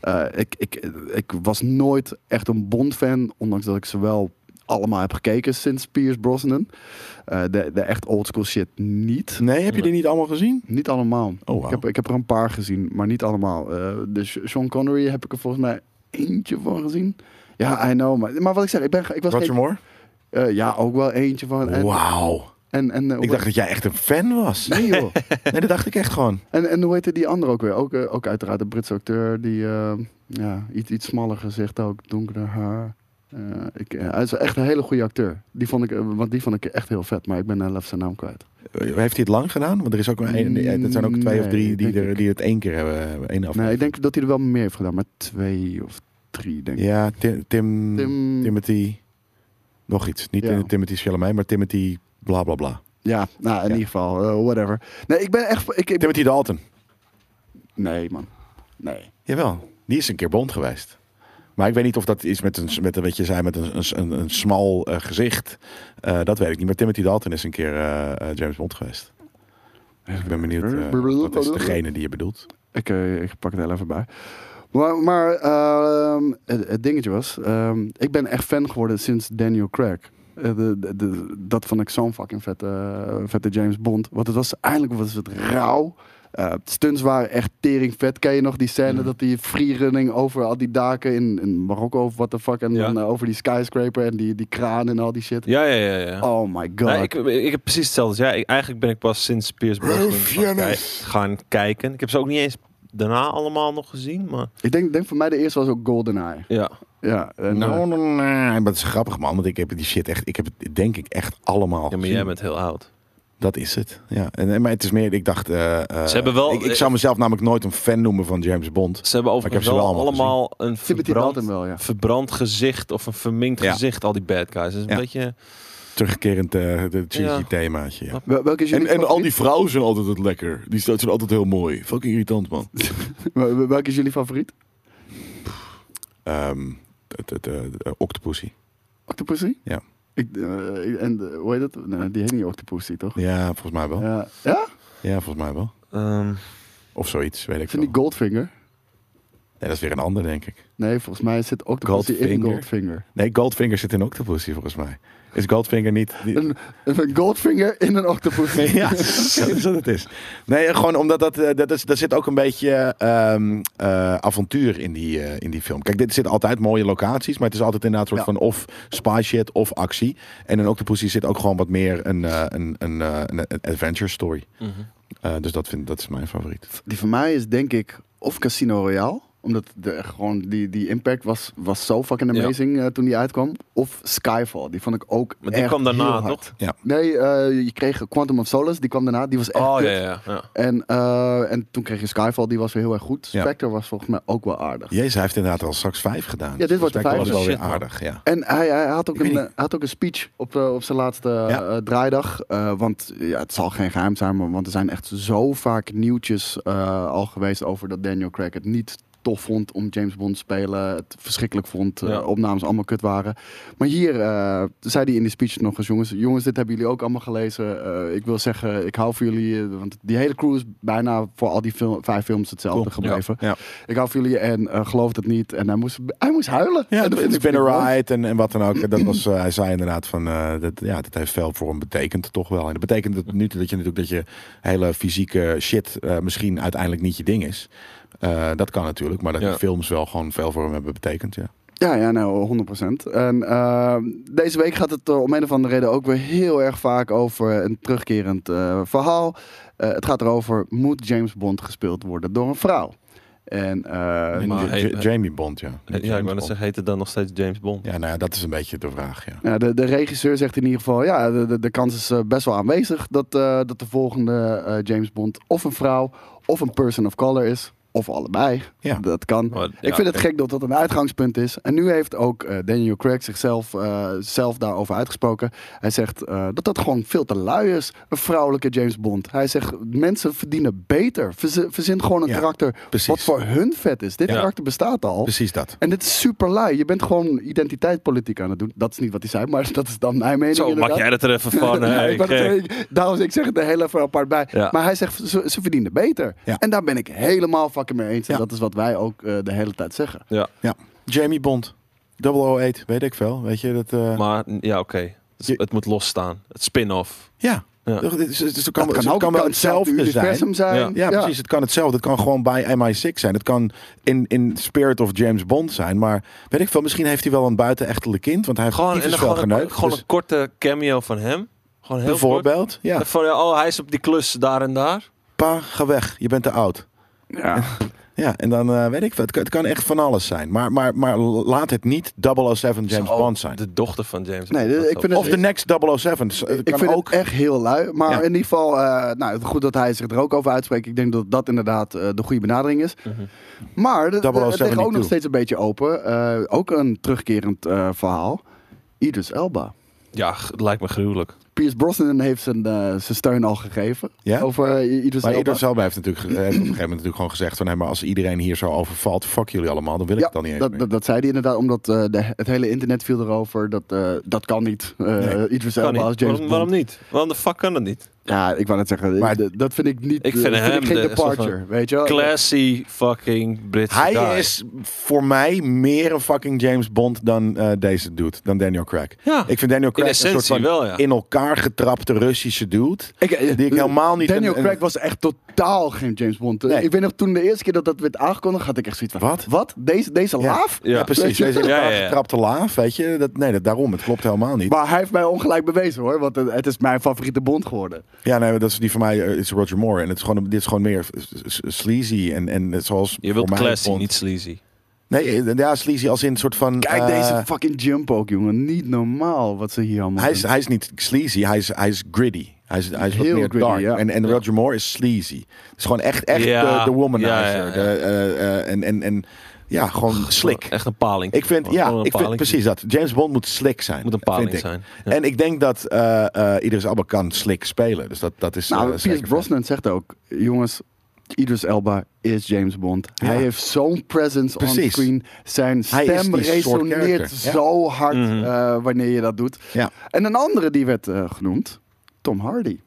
[SPEAKER 3] Eh, ik, ik, ik was nooit echt een Bond-fan. Ondanks dat ik ze wel allemaal heb gekeken sinds Pierce Brosnan. Eh, de, de echt oldschool shit niet.
[SPEAKER 2] Nee, heb je die niet allemaal gezien?
[SPEAKER 3] Niet allemaal.
[SPEAKER 2] Oh,
[SPEAKER 3] Ik
[SPEAKER 2] wow.
[SPEAKER 3] heb, ik heb er een paar gezien, maar niet allemaal. Eh, de Sh- Sean Connery heb ik er volgens mij eentje van gezien. Ja, I know. Maar, maar wat ik zeg, ik, ben, ge- ik was
[SPEAKER 2] Roger
[SPEAKER 3] geen-
[SPEAKER 2] Moore?
[SPEAKER 3] Eh, ja, ook wel eentje van. En,
[SPEAKER 2] Wauw.
[SPEAKER 3] En, en, eh,
[SPEAKER 2] Ik dacht dat jij echt een fan was.
[SPEAKER 3] Nee joh.
[SPEAKER 2] Nee, dat dacht ik echt gewoon.
[SPEAKER 3] En, en hoe heette die andere ook weer? Ook, eh, ook uiteraard een Britse acteur die eh, ja, iets, iets smaller gezicht ook, donkerder haar. Eh, ik, eh, hij is echt een hele goede acteur. Die vond ik, eh, want die vond ik echt heel vet, maar ik ben zelf zijn naam kwijt.
[SPEAKER 2] Heeft hij het lang gedaan? Want er is ook een, nee, dat zijn ook twee of
[SPEAKER 3] Nee,
[SPEAKER 2] drie die,
[SPEAKER 3] denk
[SPEAKER 2] er,
[SPEAKER 3] ik.
[SPEAKER 2] die het één keer hebben. hebben één
[SPEAKER 3] Nee, ik
[SPEAKER 2] aflevering.
[SPEAKER 3] denk dat hij er wel meer heeft gedaan, maar twee of drie denk ik.
[SPEAKER 2] Ja, Tim, Tim,
[SPEAKER 3] Tim-
[SPEAKER 2] Timothy. Nog iets. Niet
[SPEAKER 3] Ja.
[SPEAKER 2] eh, Timothy Chalamet, maar Timothy bla bla bla.
[SPEAKER 3] Ja, nou in
[SPEAKER 2] Ja.
[SPEAKER 3] ieder geval, eh, whatever. Nee, ik ben echt... Ik, ik,
[SPEAKER 2] Timothy Dalton.
[SPEAKER 3] nee man, nee.
[SPEAKER 2] Jawel. Die is een keer bond geweest. Maar ik weet niet of dat iets met een, met een wat je zei, met een, een, een, een smal eh, gezicht. Eh, dat weet ik niet. Maar Timothy Dalton is een keer eh, eh, James Bond geweest. Dus ik ben benieuwd. eh, wat is degene die je bedoelt?
[SPEAKER 3] Ik, eh, ik pak het heel even bij. Maar, maar ehm, het, het dingetje was, ehm, ik ben echt fan geworden sinds Daniel Craig. Eh, de, de, de- dat vond ik zo'n fucking vette, eh, vette James Bond. Want het was eindelijk was het rauw. Eh, stunts waren echt tering vet. Ken je nog die scène
[SPEAKER 4] Mm.
[SPEAKER 2] Mhm.
[SPEAKER 3] dat die freerunning over al die daken in, in Marokko of what the fuck. En
[SPEAKER 4] Ja.
[SPEAKER 3] dan eh, over die skyscraper en die, die kraan en al die shit.
[SPEAKER 4] Ja, ja, ja. ja.
[SPEAKER 3] Oh my god.
[SPEAKER 4] Nee, ik, ik heb precies hetzelfde. als jij. ik, eigenlijk ben ik pas sinds Piers Brosnan gaan, kijk- gaan kijken. Ik heb ze ook niet eens daarna allemaal nog gezien, maar
[SPEAKER 3] Ik denk, denk voor mij de eerste was ook GoldenEye.
[SPEAKER 4] ja.
[SPEAKER 3] Ja, en, eh,
[SPEAKER 2] Nou, nou, nou, dat is grappig man, want ik heb die shit echt, ik heb het denk ik echt allemaal
[SPEAKER 4] ja maar
[SPEAKER 2] gezien.
[SPEAKER 4] jij bent heel oud.
[SPEAKER 2] Dat is het. Ja. En, en- maar het is meer, ik dacht. eh, eh,
[SPEAKER 4] Ze hebben wel-
[SPEAKER 2] Ik, ik zou mezelf namelijk nooit een fan noemen van James Bond.
[SPEAKER 4] Ze hebben
[SPEAKER 2] Maar ik heb
[SPEAKER 4] overigens
[SPEAKER 2] ze
[SPEAKER 4] wel
[SPEAKER 2] wel allemaal
[SPEAKER 4] allemaal een
[SPEAKER 3] Timothy
[SPEAKER 4] verbrand,
[SPEAKER 3] Dalton wel, ja.
[SPEAKER 4] verbrand gezicht of een verminkt
[SPEAKER 2] Ja.
[SPEAKER 4] gezicht, al die bad guys. Dat is een
[SPEAKER 2] Ja.
[SPEAKER 4] beetje...
[SPEAKER 2] Terugkerend eh de cheesy
[SPEAKER 4] Ja.
[SPEAKER 2] themaatje. ja.
[SPEAKER 3] Wel- Welke is
[SPEAKER 2] En,
[SPEAKER 3] jullie
[SPEAKER 2] en al
[SPEAKER 3] favoriet?
[SPEAKER 2] die vrouwen zijn altijd het lekker. Die sta- zijn altijd heel mooi. Fucking irritant man.
[SPEAKER 3] Wel- wel- Welke is jullie favoriet?
[SPEAKER 2] Ehm het, het, eh, eh, Octopussy.
[SPEAKER 3] Octopussy?
[SPEAKER 2] Ja.
[SPEAKER 3] Ik, eh, ik- en eh, hoe heet dat? Nee, die heet niet Octopussy, toch?
[SPEAKER 2] Ja, volgens mij wel. Ja,
[SPEAKER 3] Ja. ja?
[SPEAKER 2] volgens mij wel.
[SPEAKER 4] ehm,
[SPEAKER 2] Of zoiets, weet ik
[SPEAKER 3] Is het
[SPEAKER 2] wel.
[SPEAKER 3] niet Goldfinger?
[SPEAKER 2] Nee, dat is weer een ander, denk ik.
[SPEAKER 3] Nee, volgens mij zit Octopussy in
[SPEAKER 2] Goldfinger?
[SPEAKER 3] Goldfinger.
[SPEAKER 2] Nee, Goldfinger zit in Octopussy, volgens mij. Is Goldfinger niet... die-
[SPEAKER 3] Een, een Goldfinger in een Octopussy.
[SPEAKER 2] Ja, dat is wat het is. Nee, gewoon omdat dat, eh, dat is, daar zit ook een beetje ehm, eh, avontuur in die, eh, in die film. Kijk, dit zit altijd mooie locaties, maar het is altijd inderdaad een soort van of spy shit of actie. En in Octopussy zit ook gewoon wat meer een, eh, een, een, eh, een, een adventure story.
[SPEAKER 4] mhm.
[SPEAKER 2] Eh, dus dat, vind, dat is mijn favoriet.
[SPEAKER 3] Die van mij is denk ik of Casino Royale. Omdat de, gewoon die, die impact was, was zo fucking
[SPEAKER 4] Ja.
[SPEAKER 3] amazing eh, toen die uitkwam. Of Skyfall. Die vond ik ook
[SPEAKER 4] Maar die
[SPEAKER 3] echt
[SPEAKER 4] kwam
[SPEAKER 3] heel
[SPEAKER 4] daarna,
[SPEAKER 3] hard.
[SPEAKER 4] toch?
[SPEAKER 3] Nee, eh, je kreeg Quantum of Solace. Die kwam daarna. Die was echt
[SPEAKER 4] Oh,
[SPEAKER 3] kut.
[SPEAKER 4] ja, ja, ja.
[SPEAKER 3] En, eh, en toen kreeg je Skyfall, die was weer heel erg goed.
[SPEAKER 2] Ja.
[SPEAKER 3] Spectre was volgens mij ook wel aardig.
[SPEAKER 2] Jezus, hij heeft inderdaad al straks vijf gedaan.
[SPEAKER 3] dit
[SPEAKER 2] Dus
[SPEAKER 3] wordt de
[SPEAKER 2] dat lijkt me
[SPEAKER 4] vijfde.
[SPEAKER 2] wel weer
[SPEAKER 4] Shit, man.
[SPEAKER 2] aardig, ja.
[SPEAKER 3] En hij, hij had, ook
[SPEAKER 2] Ik weet
[SPEAKER 3] een,
[SPEAKER 2] niet.
[SPEAKER 3] eh, had ook een speech op, eh, op zijn laatste
[SPEAKER 2] Ja.
[SPEAKER 3] eh, draaidag. Eh, want ja, het zal geen geheim zijn, maar, want er zijn echt zo vaak nieuwtjes eh, al geweest over dat Daniel Craig het niet tof vond om James Bond te spelen. Het verschrikkelijk vond, eh,
[SPEAKER 4] Ja.
[SPEAKER 3] opnames allemaal kut waren. Maar hier eh, zei hij in die speech nog eens, jongens, jongens dit hebben jullie ook allemaal gelezen. Eh, ik wil zeggen, ik hou voor jullie, eh, want die hele crew is bijna voor al die fil- vijf films hetzelfde
[SPEAKER 2] Cool.
[SPEAKER 3] gebleven.
[SPEAKER 2] Ja.
[SPEAKER 3] Ik hou voor jullie en eh, geloof het niet. En hij moest, hij moest huilen.
[SPEAKER 2] Ja,
[SPEAKER 3] En dat
[SPEAKER 2] het
[SPEAKER 3] vind
[SPEAKER 2] is
[SPEAKER 3] ik
[SPEAKER 2] been
[SPEAKER 3] mooi.
[SPEAKER 2] a ride en, en wat dan ook. Dat was, eh, hij zei inderdaad van, eh, dat, ja, dat heeft veel voor hem betekend toch wel. En dat betekent dat nu dat je natuurlijk dat je hele fysieke shit eh, misschien uiteindelijk niet je ding is. Eh, dat kan natuurlijk, maar dat
[SPEAKER 4] Ja. Eh,
[SPEAKER 2] die films wel gewoon veel voor hem hebben betekend, ja.
[SPEAKER 3] Ja, ja, nou, 100%. En ehm, deze week gaat het eh, om een of andere reden ook weer heel erg vaak over een terugkerend eh, verhaal. Eh, het gaat erover, moet James Bond gespeeld worden door een vrouw? En eh,
[SPEAKER 4] Nee, maar
[SPEAKER 2] Ja,
[SPEAKER 4] hij-
[SPEAKER 2] Ja- Jamie Bond, ja.
[SPEAKER 4] Ja, ik wou net zeggen, heet het dan nog steeds James Bond?
[SPEAKER 2] Ja, nou ja, dat is een beetje de vraag, ja.
[SPEAKER 3] ja, de, de regisseur zegt in ieder geval, ja, de, de, de kans is eh, best wel aanwezig dat, eh, dat de volgende eh, James Bond of een vrouw of een person of color is. Of allebei.
[SPEAKER 2] Ja.
[SPEAKER 3] Dat kan.
[SPEAKER 4] Maar,
[SPEAKER 3] Ik
[SPEAKER 4] ja,
[SPEAKER 3] vind het
[SPEAKER 4] oké.
[SPEAKER 3] gek dat dat een uitgangspunt is. En nu heeft ook eh, Daniel Craig zichzelf eh, zelf daarover uitgesproken. Hij zegt eh, dat dat gewoon veel te lui is, een vrouwelijke James Bond. Hij zegt, mensen verdienen beter. Verzi- verzin gewoon een
[SPEAKER 2] Ja,
[SPEAKER 3] karakter
[SPEAKER 2] precies.
[SPEAKER 3] wat voor hun vet is. Dit
[SPEAKER 4] Ja.
[SPEAKER 3] karakter bestaat al.
[SPEAKER 2] Precies dat.
[SPEAKER 3] En dit is super lui. Je bent gewoon identiteitspolitiek aan het doen. Dat is niet wat hij zei, maar dat is dan mijn mening
[SPEAKER 4] Zo,
[SPEAKER 3] inderdaad.
[SPEAKER 4] maak jij dat er even van.
[SPEAKER 3] Ja,
[SPEAKER 4] hè, eh,
[SPEAKER 3] ik wou
[SPEAKER 4] gek.
[SPEAKER 3] net zeggen, ik- daarom ik zeg het er heel even apart bij.
[SPEAKER 4] Ja.
[SPEAKER 3] Maar hij zegt, ze, ze verdienen beter.
[SPEAKER 2] Ja.
[SPEAKER 3] En daar ben ik helemaal fucking mee eens. En
[SPEAKER 2] Ja.
[SPEAKER 3] dat is wat wij ook eh, de hele tijd zeggen.
[SPEAKER 4] ja,
[SPEAKER 2] Ja, Jamie Bond. 008, weet ik veel. Weet je, dat... eh,
[SPEAKER 4] maar ja, oké. Het,
[SPEAKER 2] Je-
[SPEAKER 4] het moet losstaan. Het spin-off.
[SPEAKER 2] ja.
[SPEAKER 4] Ja.
[SPEAKER 2] Dus, dus, dus het kan,
[SPEAKER 3] Dat
[SPEAKER 2] het kan wel hetzelfde zijn.
[SPEAKER 3] universum zijn.
[SPEAKER 4] Ja.
[SPEAKER 2] Ja, precies. Het kan hetzelfde. Het kan gewoon bij MI6 zijn. Het kan in, in Spirit of James Bond zijn. Maar weet ik veel, misschien heeft hij wel een buitenechtelijk kind. Want hij heeft
[SPEAKER 4] Gewoon, en
[SPEAKER 2] tyfus
[SPEAKER 4] dan
[SPEAKER 2] wel
[SPEAKER 4] gewoon, een,
[SPEAKER 2] geneukt.
[SPEAKER 4] gewoon
[SPEAKER 2] dus-
[SPEAKER 4] een korte cameo van hem. Gewoon heel kort.
[SPEAKER 2] Bijvoorbeeld, ja.
[SPEAKER 4] Van, ja, oh, hij is op die klus daar en daar.
[SPEAKER 2] Pa, ga weg. Je bent te oud.
[SPEAKER 3] Ja.
[SPEAKER 2] Ja, en dan eh, weet ik wat. Het, kan echt van alles zijn. Maar, maar, maar laat het niet 007 James
[SPEAKER 4] Zo,
[SPEAKER 2] Bond zijn.
[SPEAKER 4] Oh, De dochter van James
[SPEAKER 3] Nee, dit-
[SPEAKER 4] Bond.
[SPEAKER 3] ik vind het-
[SPEAKER 2] Of de next 007. Dus, eh,
[SPEAKER 3] Ik
[SPEAKER 2] kan
[SPEAKER 3] vind
[SPEAKER 2] ook.
[SPEAKER 3] het echt heel lui. Maar
[SPEAKER 2] Ja.
[SPEAKER 3] in ieder geval, eh, nou, goed dat hij zich er ook over uitspreekt. Ik denk dat dat inderdaad eh, de goede benadering is.
[SPEAKER 4] Mhm.
[SPEAKER 3] Maar de- de- het
[SPEAKER 2] 007
[SPEAKER 3] ligt ook nog
[SPEAKER 2] toe.
[SPEAKER 3] steeds een beetje open. Eh, ook een terugkerend eh, verhaal. Idris Elba.
[SPEAKER 4] Ja, g- het lijkt me gruwelijk.
[SPEAKER 3] Piers Brosnan heeft zijn, eh, zijn steun al gegeven.
[SPEAKER 2] Ja?
[SPEAKER 3] Over eh, Idris
[SPEAKER 2] Maar
[SPEAKER 3] Elba.
[SPEAKER 2] Idris Elba heeft natuurlijk ge- heeft op een gegeven moment natuurlijk gewoon gezegd van... Nee, maar als iedereen hier zo over valt, fuck jullie allemaal. Dan wil ik
[SPEAKER 3] Ja,
[SPEAKER 2] het dan niet eens
[SPEAKER 3] dat,
[SPEAKER 2] meer.
[SPEAKER 3] dat, dat zei hij inderdaad, omdat eh, de, het hele internet viel erover. Dat, eh, dat kan niet. Eh
[SPEAKER 2] Nee,
[SPEAKER 3] Idris
[SPEAKER 4] Kan
[SPEAKER 3] Elba
[SPEAKER 4] niet.
[SPEAKER 3] als James
[SPEAKER 4] Waarom,
[SPEAKER 3] Bond.
[SPEAKER 4] waarom niet? Waarom de fuck kan dat niet?
[SPEAKER 3] Ja, ik wou net zeggen,
[SPEAKER 2] Maar-
[SPEAKER 3] d- dat vind ik niet.
[SPEAKER 4] Ik
[SPEAKER 3] eh,
[SPEAKER 4] vind hem
[SPEAKER 3] geen
[SPEAKER 4] de-
[SPEAKER 3] departure,
[SPEAKER 4] soort
[SPEAKER 3] weet je wel?
[SPEAKER 4] Classy fucking Britse
[SPEAKER 2] Hij
[SPEAKER 4] guy.
[SPEAKER 2] is voor mij meer een fucking James Bond dan eh, deze dude, dan Daniel Craig.
[SPEAKER 4] Ja.
[SPEAKER 2] Ik vind Daniel Craig een
[SPEAKER 4] essentie
[SPEAKER 2] soort van
[SPEAKER 4] wel, ja.
[SPEAKER 2] in elkaar getrapte Russische dude. die ik helemaal niet...
[SPEAKER 3] eh, Daniel
[SPEAKER 2] een- een-
[SPEAKER 3] Craig was echt totaal geen James Bond.
[SPEAKER 2] Nee.
[SPEAKER 3] Ik weet nog, toen de eerste keer dat dat werd aangekondigd, had ik echt zoiets van...
[SPEAKER 2] Wat?
[SPEAKER 3] Wat? Deze, deze
[SPEAKER 2] Ja.
[SPEAKER 3] laaf?
[SPEAKER 2] Ja, precies. Deze in
[SPEAKER 4] Ja,
[SPEAKER 2] elkaar
[SPEAKER 4] ja, ja.
[SPEAKER 2] getrapte laaf, weet je. Dat, nee, dat, daarom. Het klopt helemaal niet.
[SPEAKER 3] Maar hij heeft mij ongelijk bewezen hoor, want eh, het, het is mijn favoriete Bond geworden.
[SPEAKER 2] Ja, nee, dat is die van mij, eh, is Roger Moore. En het is gewoon, dit is gewoon meer s- s- sleazy. En, en zoals
[SPEAKER 4] Je wilt
[SPEAKER 2] voor mij
[SPEAKER 4] classy,
[SPEAKER 2] Bond-
[SPEAKER 4] niet sleazy.
[SPEAKER 2] Nee, eh, ja, sleazy als in een soort van...
[SPEAKER 3] Kijk
[SPEAKER 2] eh,
[SPEAKER 3] deze fucking jump ook jongen, niet normaal wat ze hier allemaal
[SPEAKER 2] Hij is,
[SPEAKER 3] doen.
[SPEAKER 2] hij is niet sleazy, hij is, hij is gritty. Hij is, hij is wat
[SPEAKER 3] Heel
[SPEAKER 2] meer
[SPEAKER 3] gritty,
[SPEAKER 2] dark.
[SPEAKER 3] ja.
[SPEAKER 2] En, en Roger Moore is sleazy. Het is gewoon echt, echt
[SPEAKER 4] Ja,
[SPEAKER 2] de, de womanizer.
[SPEAKER 4] ja, ja, ja.
[SPEAKER 2] De, eh, eh, en, en, en ja, gewoon slick.
[SPEAKER 4] Echt een paling.
[SPEAKER 2] Ik vind,
[SPEAKER 4] Gewoon
[SPEAKER 2] ja,
[SPEAKER 4] een
[SPEAKER 2] ik vind
[SPEAKER 4] paling.
[SPEAKER 2] precies dat. James Bond moet slick zijn.
[SPEAKER 4] Moet een
[SPEAKER 2] vind
[SPEAKER 4] paling
[SPEAKER 2] ik.
[SPEAKER 4] zijn.
[SPEAKER 2] En ik denk dat eh eh Idris Elba kan slick spelen. Dus dat, dat is eh,
[SPEAKER 3] Nou,
[SPEAKER 2] zeker
[SPEAKER 3] Pierce
[SPEAKER 2] vet.
[SPEAKER 3] Brosnan zegt ook, jongens, Idris Elba is James Bond.
[SPEAKER 2] Ja.
[SPEAKER 3] Hij heeft zo'n presence on
[SPEAKER 2] Precies.
[SPEAKER 3] screen. Zijn
[SPEAKER 2] Hij is
[SPEAKER 3] stem
[SPEAKER 2] die soort
[SPEAKER 3] resoneert
[SPEAKER 2] character, ja.
[SPEAKER 3] zo hard
[SPEAKER 4] Mhm.
[SPEAKER 3] eh, wanneer je dat doet.
[SPEAKER 2] Ja.
[SPEAKER 3] En een andere die werd eh, genoemd, Tom Hardy.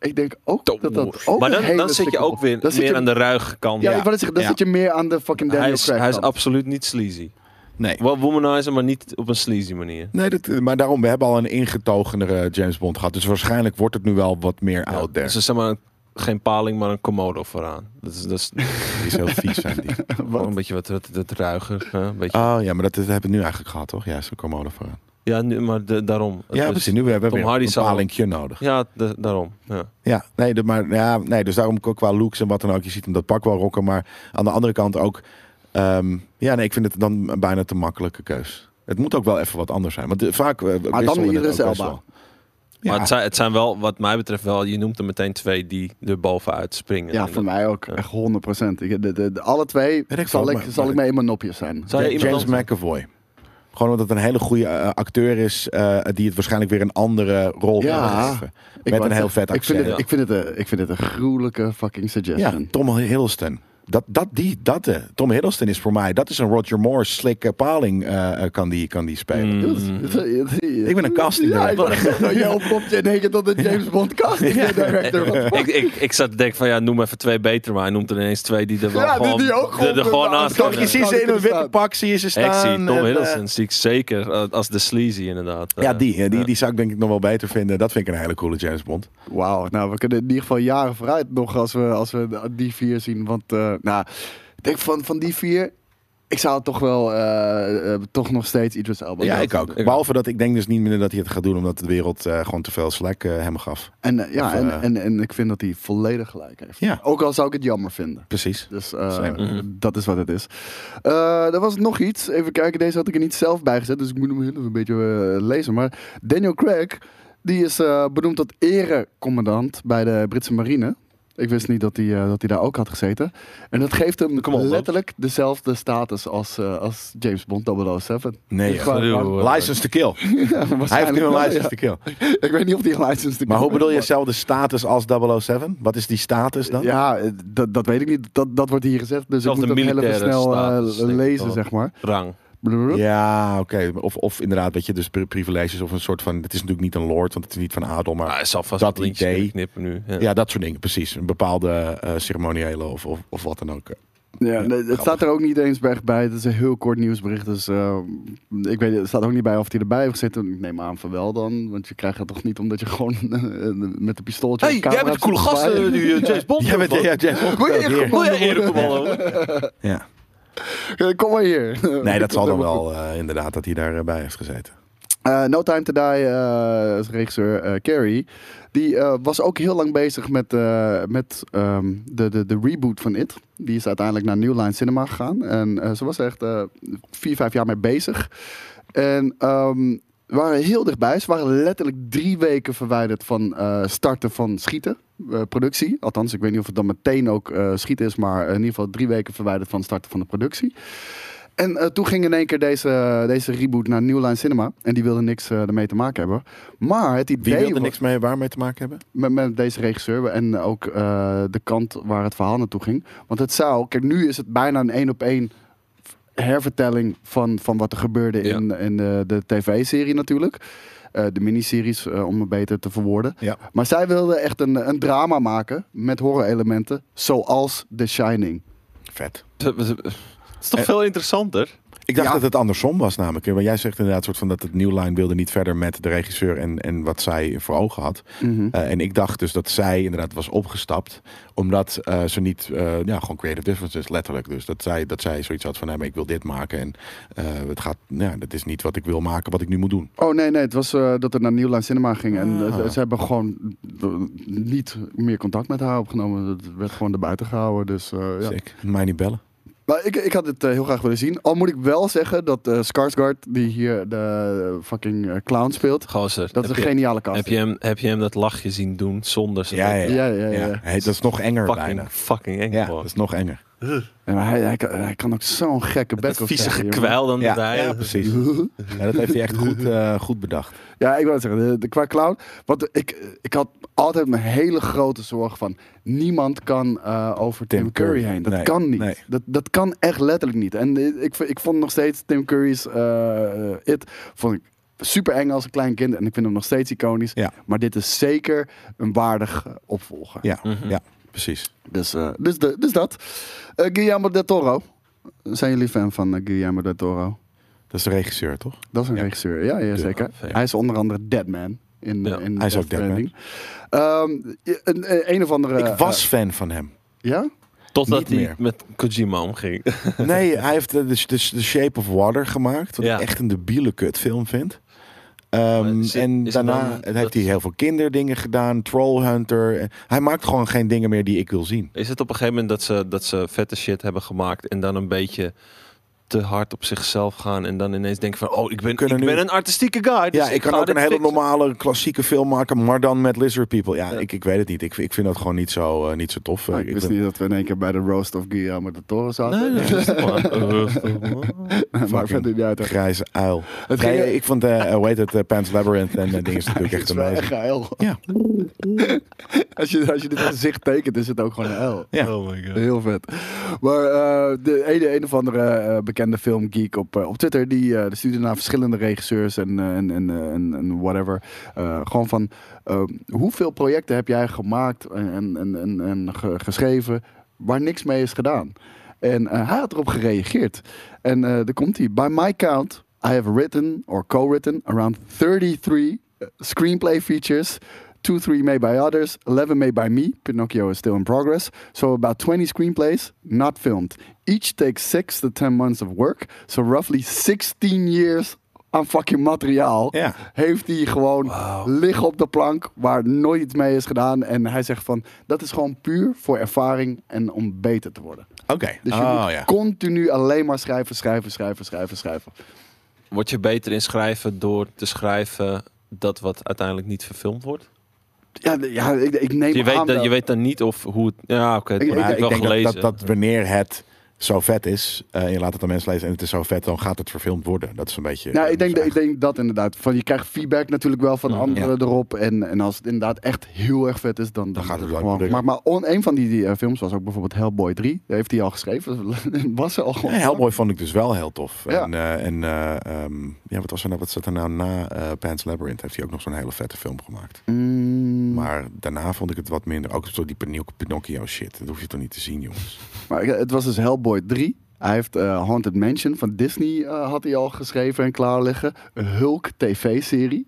[SPEAKER 3] Ik denk ook
[SPEAKER 4] Tom
[SPEAKER 3] dat dat
[SPEAKER 4] Moore.
[SPEAKER 3] ook
[SPEAKER 4] maar
[SPEAKER 3] een
[SPEAKER 4] dan,
[SPEAKER 3] hele
[SPEAKER 4] dan zit je
[SPEAKER 3] slimme
[SPEAKER 4] ook
[SPEAKER 3] op-
[SPEAKER 4] weer
[SPEAKER 3] Dan zit
[SPEAKER 4] meer
[SPEAKER 3] je-
[SPEAKER 4] aan de ruige kant.
[SPEAKER 3] Ja,
[SPEAKER 2] Ja.
[SPEAKER 3] ik wou net zeggen, dan
[SPEAKER 2] Ja.
[SPEAKER 3] zit je meer aan de fucking Daniel
[SPEAKER 4] hij, is,
[SPEAKER 3] Craig
[SPEAKER 4] hij is
[SPEAKER 3] kant.
[SPEAKER 4] absoluut niet sleazy.
[SPEAKER 2] Nee.
[SPEAKER 4] Wel womanizer, maar niet op een sleazy manier.
[SPEAKER 2] Nee, dat, eh, maar daarom, we hebben al een ingetogenere James Bond gehad. Dus waarschijnlijk wordt het nu wel wat meer
[SPEAKER 4] Ja,
[SPEAKER 2] out there.
[SPEAKER 4] Dus er is zeg maar een- geen paling, maar een komodo vooraan. Dat is, dat is
[SPEAKER 2] Die is heel vies, zijn die.
[SPEAKER 4] gewoon een beetje wat, wat, wat ruiger. hè, een beetje.
[SPEAKER 2] Oh ja, maar dat, dat hebben we nu eigenlijk gehad, toch? Ja, zo komen eh. we ervoor.
[SPEAKER 4] Ah, ja, nu, maar de- daarom. Het
[SPEAKER 2] Ja,
[SPEAKER 4] is-
[SPEAKER 2] precies. Nu hebben we
[SPEAKER 4] Tom
[SPEAKER 2] weer
[SPEAKER 4] Hardy
[SPEAKER 2] een
[SPEAKER 4] zou-
[SPEAKER 2] palinkje nodig.
[SPEAKER 4] Ja, de- daarom. Ja.
[SPEAKER 2] Ja, nee, de- maar, ja, nee, dus daarom ook qua looks en wat dan ook. Je ziet hem dat pak wel rocken, maar aan de andere kant ook... ehm, ja, nee, ik vind het dan bijna te makkelijke keus. Het moet ook wel even wat anders zijn. Want eh, vaak eh, wisselen
[SPEAKER 3] dan
[SPEAKER 2] het
[SPEAKER 3] Idris
[SPEAKER 2] ook best
[SPEAKER 3] Elba.
[SPEAKER 2] wel.
[SPEAKER 4] Maar
[SPEAKER 2] Ja,
[SPEAKER 4] het zijn, het zijn wel, wat mij betreft wel, je noemt er meteen twee die er bovenuit springen.
[SPEAKER 3] Ja,
[SPEAKER 4] En
[SPEAKER 3] voor
[SPEAKER 4] dat-
[SPEAKER 3] mij ook.
[SPEAKER 4] Ja.
[SPEAKER 3] Echt 100 procent. Alle twee
[SPEAKER 2] Weet ik
[SPEAKER 3] zal,
[SPEAKER 2] wel,
[SPEAKER 3] ik,
[SPEAKER 2] maar-
[SPEAKER 3] zal
[SPEAKER 2] maar-
[SPEAKER 3] ik mee in mijn nopjes zijn.
[SPEAKER 4] Zou je
[SPEAKER 2] Ja,
[SPEAKER 4] iemand
[SPEAKER 2] James
[SPEAKER 4] anders-
[SPEAKER 2] McAvoy. Gewoon omdat het een hele goede eh, acteur is... eh, die het waarschijnlijk weer een andere rol kan
[SPEAKER 3] Ja.
[SPEAKER 2] geven.
[SPEAKER 3] Ik
[SPEAKER 2] Met
[SPEAKER 3] wou
[SPEAKER 2] een heel
[SPEAKER 3] zeggen,
[SPEAKER 2] vet
[SPEAKER 3] ik vind,
[SPEAKER 2] accent.
[SPEAKER 3] het, ik, vind het een, ik vind het een gruwelijke fucking
[SPEAKER 2] Ja,
[SPEAKER 3] suggestion.
[SPEAKER 2] Tom Hiddleston. Dat, dat, die, dat, eh, Tom Hiddleston is voor mij, dat is een Roger Moore slick eh, paling eh, eh, kan, die, kan die spelen.
[SPEAKER 4] Mm.
[SPEAKER 2] Ik ben een casting
[SPEAKER 3] Ja, ik
[SPEAKER 2] director.
[SPEAKER 3] wou zeggen, jij opkomt je in één keer tot de James Bond casting director. Wat
[SPEAKER 4] ik, ik, ik zat te denken van ja, noem even twee beter, maar hij noemt er ineens twee die er wel
[SPEAKER 3] Ja, die-
[SPEAKER 4] gewoon,
[SPEAKER 3] die ook
[SPEAKER 4] er- er
[SPEAKER 3] gewoon-
[SPEAKER 4] gewoon
[SPEAKER 3] Ja, dat
[SPEAKER 4] naast
[SPEAKER 2] Toch,
[SPEAKER 3] kan
[SPEAKER 2] je
[SPEAKER 4] kunnen.
[SPEAKER 2] ziet ze in een witte pak, zie je ze
[SPEAKER 4] Ik
[SPEAKER 2] staan.
[SPEAKER 4] zie
[SPEAKER 2] en,
[SPEAKER 4] Tom
[SPEAKER 2] eh,
[SPEAKER 4] Hiddleston, zie ik zeker eh, als de sleazy inderdaad.
[SPEAKER 2] ja,
[SPEAKER 4] Eh,
[SPEAKER 2] die, eh, die, die zou ik denk ik nog wel beter vinden. Dat vind ik een hele coole James Bond.
[SPEAKER 3] Wauw, nou we kunnen in ieder geval jaren vooruit nog als we, als we die vier zien. Want eh, nou, ik denk van, van die vier, ik zou toch wel eh, eh, toch nog steeds Idris Elba.
[SPEAKER 2] ja,
[SPEAKER 3] laten
[SPEAKER 2] ik ook.
[SPEAKER 3] doen.
[SPEAKER 4] ook.
[SPEAKER 2] Behalve dat ik denk dus niet meer dat hij het gaat doen, omdat de wereld eh, gewoon te veel slack eh, hem gaf.
[SPEAKER 3] En, eh, ja,
[SPEAKER 2] Of,
[SPEAKER 3] en,
[SPEAKER 2] eh,
[SPEAKER 3] en, en ik vind dat hij volledig gelijk heeft.
[SPEAKER 2] Ja.
[SPEAKER 3] Ook al zou ik het jammer vinden.
[SPEAKER 2] Precies.
[SPEAKER 3] Dus eh,
[SPEAKER 2] Same.
[SPEAKER 4] Mhm.
[SPEAKER 3] dat is wat het is. Eh er was nog iets. Even kijken, deze had ik er niet zelf bij gezet. Dus ik moet hem heel even een beetje eh, lezen. Maar Daniel Craig, die is eh, benoemd tot erecommandant bij de Britse marine. Ik wist niet dat hij eh, dat hij daar ook had gezeten. En dat geeft hem
[SPEAKER 4] Kom op, man.
[SPEAKER 3] letterlijk dezelfde status als, eh, als James Bond 007.
[SPEAKER 2] Nee,
[SPEAKER 3] Qua-
[SPEAKER 2] joh.
[SPEAKER 4] gruwelijk.
[SPEAKER 2] License to kill.
[SPEAKER 3] Ja,
[SPEAKER 2] Hij heeft
[SPEAKER 3] waarschijnlijk
[SPEAKER 2] nu een
[SPEAKER 3] wel, ja.
[SPEAKER 2] license to kill.
[SPEAKER 3] Ik weet niet of die een license te
[SPEAKER 2] Maar hoe
[SPEAKER 3] kopen
[SPEAKER 2] bedoel je
[SPEAKER 3] heeft,
[SPEAKER 2] dezelfde status als 007? Wat is die status
[SPEAKER 3] maar-
[SPEAKER 2] dan?
[SPEAKER 3] Ja, eh, dat, dat weet ik niet. Dat, dat wordt hier gezet. Dus
[SPEAKER 4] Zelfde
[SPEAKER 3] ik moet dat heel even
[SPEAKER 4] militaire
[SPEAKER 3] snel eh,
[SPEAKER 4] status, denk ik
[SPEAKER 3] lezen,
[SPEAKER 4] wel.
[SPEAKER 3] zeg maar.
[SPEAKER 4] Rang.
[SPEAKER 2] Ja, oké. Of, of inderdaad, weet je, dus pri- privileges of een soort van... Het is natuurlijk niet een lord, want het is niet van adel, maar...
[SPEAKER 4] Ah, hij zal vast
[SPEAKER 2] Dat
[SPEAKER 4] dat liedje
[SPEAKER 2] idee.
[SPEAKER 4] kunnen knippen nu. Ja.
[SPEAKER 2] Ja, dat soort dingen, precies. Een bepaalde eh, ceremoniële of, of, of wat dan ook. eh.
[SPEAKER 3] Ja,
[SPEAKER 2] Ja,
[SPEAKER 3] nee, het
[SPEAKER 2] grappig.
[SPEAKER 3] staat er ook niet eens bij. bij. Het is een heel kort nieuwsbericht. Dus eh, ik weet, het staat ook niet bij of hij erbij heeft gezeten. Ik neem aan van wel dan. Want je krijgt het toch niet omdat je gewoon eh, met een pistooltje. op camera zit te
[SPEAKER 2] eh,
[SPEAKER 3] zwaaien.
[SPEAKER 4] James Bond.
[SPEAKER 2] Jij bent, ja, ja,
[SPEAKER 3] Wil je echt gewoon-
[SPEAKER 2] ja.
[SPEAKER 3] Kom maar hier.
[SPEAKER 2] Nee, dat zal dan
[SPEAKER 3] Helemaal goed.
[SPEAKER 2] wel eh, inderdaad dat hij daarbij eh, heeft gezeten.
[SPEAKER 3] Eh, no Time to Die, eh, is regisseur eh, Carey, die eh, was ook heel lang bezig met, eh, met ehm, de, de, de reboot van It. Die is uiteindelijk naar New Line Cinema gegaan. En eh, ze was er echt eh, vier, vijf jaar mee bezig. En ehm, we waren heel dichtbij. Ze waren letterlijk drie weken verwijderd van eh, starten van schieten. eh, productie. Althans, ik weet niet of het dan meteen ook eh schieten is, maar in ieder geval drie weken verwijderd van starten van de productie. En eh, toen ging in één keer deze, deze reboot naar New Line Cinema. En die wilde niks eh, ermee te maken hebben. Maar het idee
[SPEAKER 2] Wie wilde
[SPEAKER 3] was-
[SPEAKER 2] niks mee waarmee te maken hebben?
[SPEAKER 3] met, met deze regisseur en ook eh, de kant waar het verhaal naartoe ging. Want het zou, kijk, nu is het bijna een één op één hervertelling van, van wat er gebeurde
[SPEAKER 4] Ja.
[SPEAKER 3] in, in de, de tv-serie natuurlijk. Eh, de miniseries, eh, om het beter te verwoorden.
[SPEAKER 2] Ja.
[SPEAKER 3] Maar zij wilde echt een, een drama maken met horror-elementen, zoals The Shining.
[SPEAKER 2] Vet.
[SPEAKER 4] Het is toch
[SPEAKER 2] Eh.
[SPEAKER 4] veel interessanter?
[SPEAKER 2] Ik dacht
[SPEAKER 3] Ja.
[SPEAKER 2] dat het andersom was namelijk. Maar jij zegt inderdaad soort van dat het New Line wilde niet verder met de regisseur en, en wat zij voor ogen had. Eh, en ik dacht dus dat zij inderdaad was opgestapt. Omdat eh, ze niet, eh, ja, gewoon creative differences, letterlijk. Dus dat zij, dat zij zoiets had van, nee, maar ik wil dit maken. En eh, het gaat, ja, dat is niet wat ik wil maken, wat ik nu moet doen.
[SPEAKER 3] Oh nee, nee, het was eh, dat het naar New Line Cinema ging. En
[SPEAKER 2] Ah.
[SPEAKER 3] eh, ze hebben gewoon eh, niet meer contact met haar opgenomen. Het werd gewoon erbuiten gehouden. Dus eh, ja.
[SPEAKER 2] Sick. Mij niet bellen.
[SPEAKER 3] Maar ik, ik had het eh, heel graag willen zien. Al moet ik wel zeggen dat eh Skarsgård, die hier de eh, fucking eh, clown speelt,
[SPEAKER 4] Gozer,
[SPEAKER 3] dat is een
[SPEAKER 4] heb, je,
[SPEAKER 3] geniale cast.
[SPEAKER 4] heb, je hem, heb je hem dat lachje zien doen zonder zijn
[SPEAKER 2] Ja, ja,
[SPEAKER 3] ja,
[SPEAKER 2] ja.
[SPEAKER 3] ja, ja.
[SPEAKER 2] ja.
[SPEAKER 3] ja.
[SPEAKER 2] Hey, dat is nog enger
[SPEAKER 4] fucking,
[SPEAKER 2] bijna.
[SPEAKER 4] fucking eng
[SPEAKER 2] Ja,
[SPEAKER 4] gewoon.
[SPEAKER 2] dat is nog enger.
[SPEAKER 3] Ja, maar hij, hij, kan- hij kan ook zo'n gekke
[SPEAKER 4] Dat
[SPEAKER 3] bek op
[SPEAKER 4] vieze
[SPEAKER 3] zeggen,
[SPEAKER 4] gekwijl dan
[SPEAKER 2] Ja,
[SPEAKER 4] hij.
[SPEAKER 2] ja, precies. Ja, dat heeft hij echt goed, eh, goed bedacht.
[SPEAKER 3] jongen. Ja, ik wil het zeggen, de, de- qua clown. Want ik, ik had altijd mijn hele grote zorg van, niemand kan eh, over Tim,
[SPEAKER 2] Tim
[SPEAKER 3] Curry,
[SPEAKER 2] Curry.
[SPEAKER 3] heen. Dat
[SPEAKER 2] Nee,
[SPEAKER 3] kan niet.
[SPEAKER 2] nee.
[SPEAKER 3] Dat, dat kan echt letterlijk niet. En eh, ik, ik vond nog steeds Tim Curry's eh, eh, It, vond ik super eng als een klein kind. En ik vind hem nog steeds iconisch.
[SPEAKER 2] Ja.
[SPEAKER 3] Maar dit is zeker een waardig eh, opvolger.
[SPEAKER 2] Ja, ja Mhm. precies.
[SPEAKER 3] Dus, eh, dus, de- dus dat. Eh, Guillermo del Toro. Zijn jullie fan van eh, Guillermo del Toro?
[SPEAKER 2] Dat is de regisseur, toch?
[SPEAKER 3] Dat is een
[SPEAKER 2] Ja.
[SPEAKER 3] regisseur, ja, ja zeker.
[SPEAKER 4] zeker.
[SPEAKER 3] Hij is onder andere Deadman. In,
[SPEAKER 4] Ja,
[SPEAKER 3] in
[SPEAKER 2] hij is ook
[SPEAKER 3] Death Stranding. Ehm, je- een, een- een of andere...
[SPEAKER 2] Ik
[SPEAKER 3] eh,
[SPEAKER 2] was fan van hem.
[SPEAKER 3] ja?
[SPEAKER 4] Totdat
[SPEAKER 2] Niet
[SPEAKER 4] hij
[SPEAKER 2] meer.
[SPEAKER 4] met Kojima omging.
[SPEAKER 2] Nee, hij heeft eh, de, de, de Shape of Water gemaakt. Wat
[SPEAKER 4] Ja.
[SPEAKER 2] ik echt een debiele kutfilm vind. Ehm,
[SPEAKER 4] is het-
[SPEAKER 2] en
[SPEAKER 4] is het
[SPEAKER 2] daarna
[SPEAKER 4] dan-
[SPEAKER 2] heeft
[SPEAKER 4] dat-
[SPEAKER 2] hij heel veel kinderdingen gedaan. Trollhunter. Hij maakt gewoon geen dingen meer die ik wil zien.
[SPEAKER 4] Is het op een gegeven moment dat ze, dat ze vette shit hebben gemaakt en dan een beetje te hard op zichzelf gaan en dan ineens denken van oh ik ben, ik
[SPEAKER 2] kunnen nu-
[SPEAKER 4] ben een artistieke guy. dus
[SPEAKER 2] ja, ik kan
[SPEAKER 4] ga
[SPEAKER 2] ook
[SPEAKER 4] dit
[SPEAKER 2] een hele
[SPEAKER 4] fixen.
[SPEAKER 2] normale klassieke film maken, maar dan met Lizard People. Ja,
[SPEAKER 4] Ja.
[SPEAKER 2] Ik, ik weet het niet. Ik, ik vind dat gewoon niet zo, eh, niet zo tof.
[SPEAKER 3] Ah,
[SPEAKER 2] Eh,
[SPEAKER 3] ik
[SPEAKER 2] ik
[SPEAKER 3] wist
[SPEAKER 2] ben-
[SPEAKER 3] niet dat we in één keer bij de roast of Guillermo del Toro zaten.
[SPEAKER 4] Nee, nee, rustig maar. Rustig maar.
[SPEAKER 3] maar verder niet uit. hè.
[SPEAKER 2] Grijze uil.
[SPEAKER 3] Het
[SPEAKER 2] Nee,
[SPEAKER 3] ging-
[SPEAKER 2] ik vond, eh eh, hoe heet het, eh, Pan's Labyrinth en eh, dingen is natuurlijk
[SPEAKER 3] Het
[SPEAKER 2] echt
[SPEAKER 3] is wel echt
[SPEAKER 2] amazing.
[SPEAKER 3] geil.
[SPEAKER 2] Ja.
[SPEAKER 3] Als je, als je dit gezicht tekent, is het ook gewoon een L.
[SPEAKER 2] Ja.
[SPEAKER 4] Oh my god.
[SPEAKER 3] Heel vet. Maar eh, de ene, een of andere eh, bekende filmgeek op, eh, op Twitter, die eh, die stuurde naar verschillende regisseurs en, eh, en, en, eh, en, en whatever. eh, gewoon van, eh, hoeveel projecten heb jij gemaakt en, en, en, en, en ge- geschreven waar niks mee is gedaan? En eh, hij had erop gereageerd. En eh daar komt hij. By my count, I have written or co-written around 33 screenplay features. Two, three made by others, 11 made by me. Pinocchio is still in progress. So about 20 screenplays, not filmed. Each takes six to 10 months of work. So roughly 16 years aan fucking materiaal.
[SPEAKER 2] Ja.
[SPEAKER 3] Heeft hij gewoon liggen op de plank waar nooit iets mee is gedaan. En hij zegt van, dat is gewoon puur voor ervaring en om beter te worden.
[SPEAKER 2] Oké.
[SPEAKER 3] Dus je
[SPEAKER 2] Oh
[SPEAKER 3] moet
[SPEAKER 2] ja.
[SPEAKER 3] continu alleen maar schrijven, schrijven, schrijven, schrijven, schrijven.
[SPEAKER 4] Word je beter in schrijven door te schrijven dat wat uiteindelijk niet verfilmd wordt?
[SPEAKER 3] Ja, d- ja ik, ik neem
[SPEAKER 4] Je weet,
[SPEAKER 3] aan
[SPEAKER 4] dat, je weet dan niet of hoe het... Ja, oké, dat
[SPEAKER 3] Ik-
[SPEAKER 4] heb
[SPEAKER 2] Maar
[SPEAKER 4] ik
[SPEAKER 2] ik
[SPEAKER 4] wel
[SPEAKER 2] denk dat-
[SPEAKER 4] gelezen.
[SPEAKER 2] dat, dat, wanneer het zo vet is, eh, en je laat het aan mensen lezen en het is zo vet, dan gaat het verfilmd worden. Dat is een beetje... eh,
[SPEAKER 3] Nou, ik denk, dat,
[SPEAKER 2] dat
[SPEAKER 3] ik denk dat inderdaad. Van, je krijgt feedback natuurlijk wel van
[SPEAKER 4] Ja.
[SPEAKER 3] anderen erop. En, en als het inderdaad echt heel erg vet is, dan, dan,
[SPEAKER 2] gaat het wel
[SPEAKER 3] gewoon.
[SPEAKER 2] lukken.
[SPEAKER 3] Maar, maar on, een van die, die, eh, films was ook bijvoorbeeld Hellboy 3. Die heeft hij al geschreven. was er al gewoon.
[SPEAKER 2] Ja, Hellboy vond ik dus wel heel tof.
[SPEAKER 3] Ja.
[SPEAKER 2] En, eh, en eh, ehm, ja, wat was er nou? Wat zat er nou na eh Pan's Labyrinth? Heeft hij ook nog zo'n hele vette film gemaakt.
[SPEAKER 3] Mm, maar
[SPEAKER 2] Maar daarna vond ik het wat minder. Ook zo die Pinoc- Pinocchio shit. Dat hoef je toch niet te zien, jongens.
[SPEAKER 3] ik- het was dus Hellboy 3. Hij heeft eh, Haunted Mansion van Disney eh, had hij al geschreven en klaar liggen. Een Hulk TV-serie.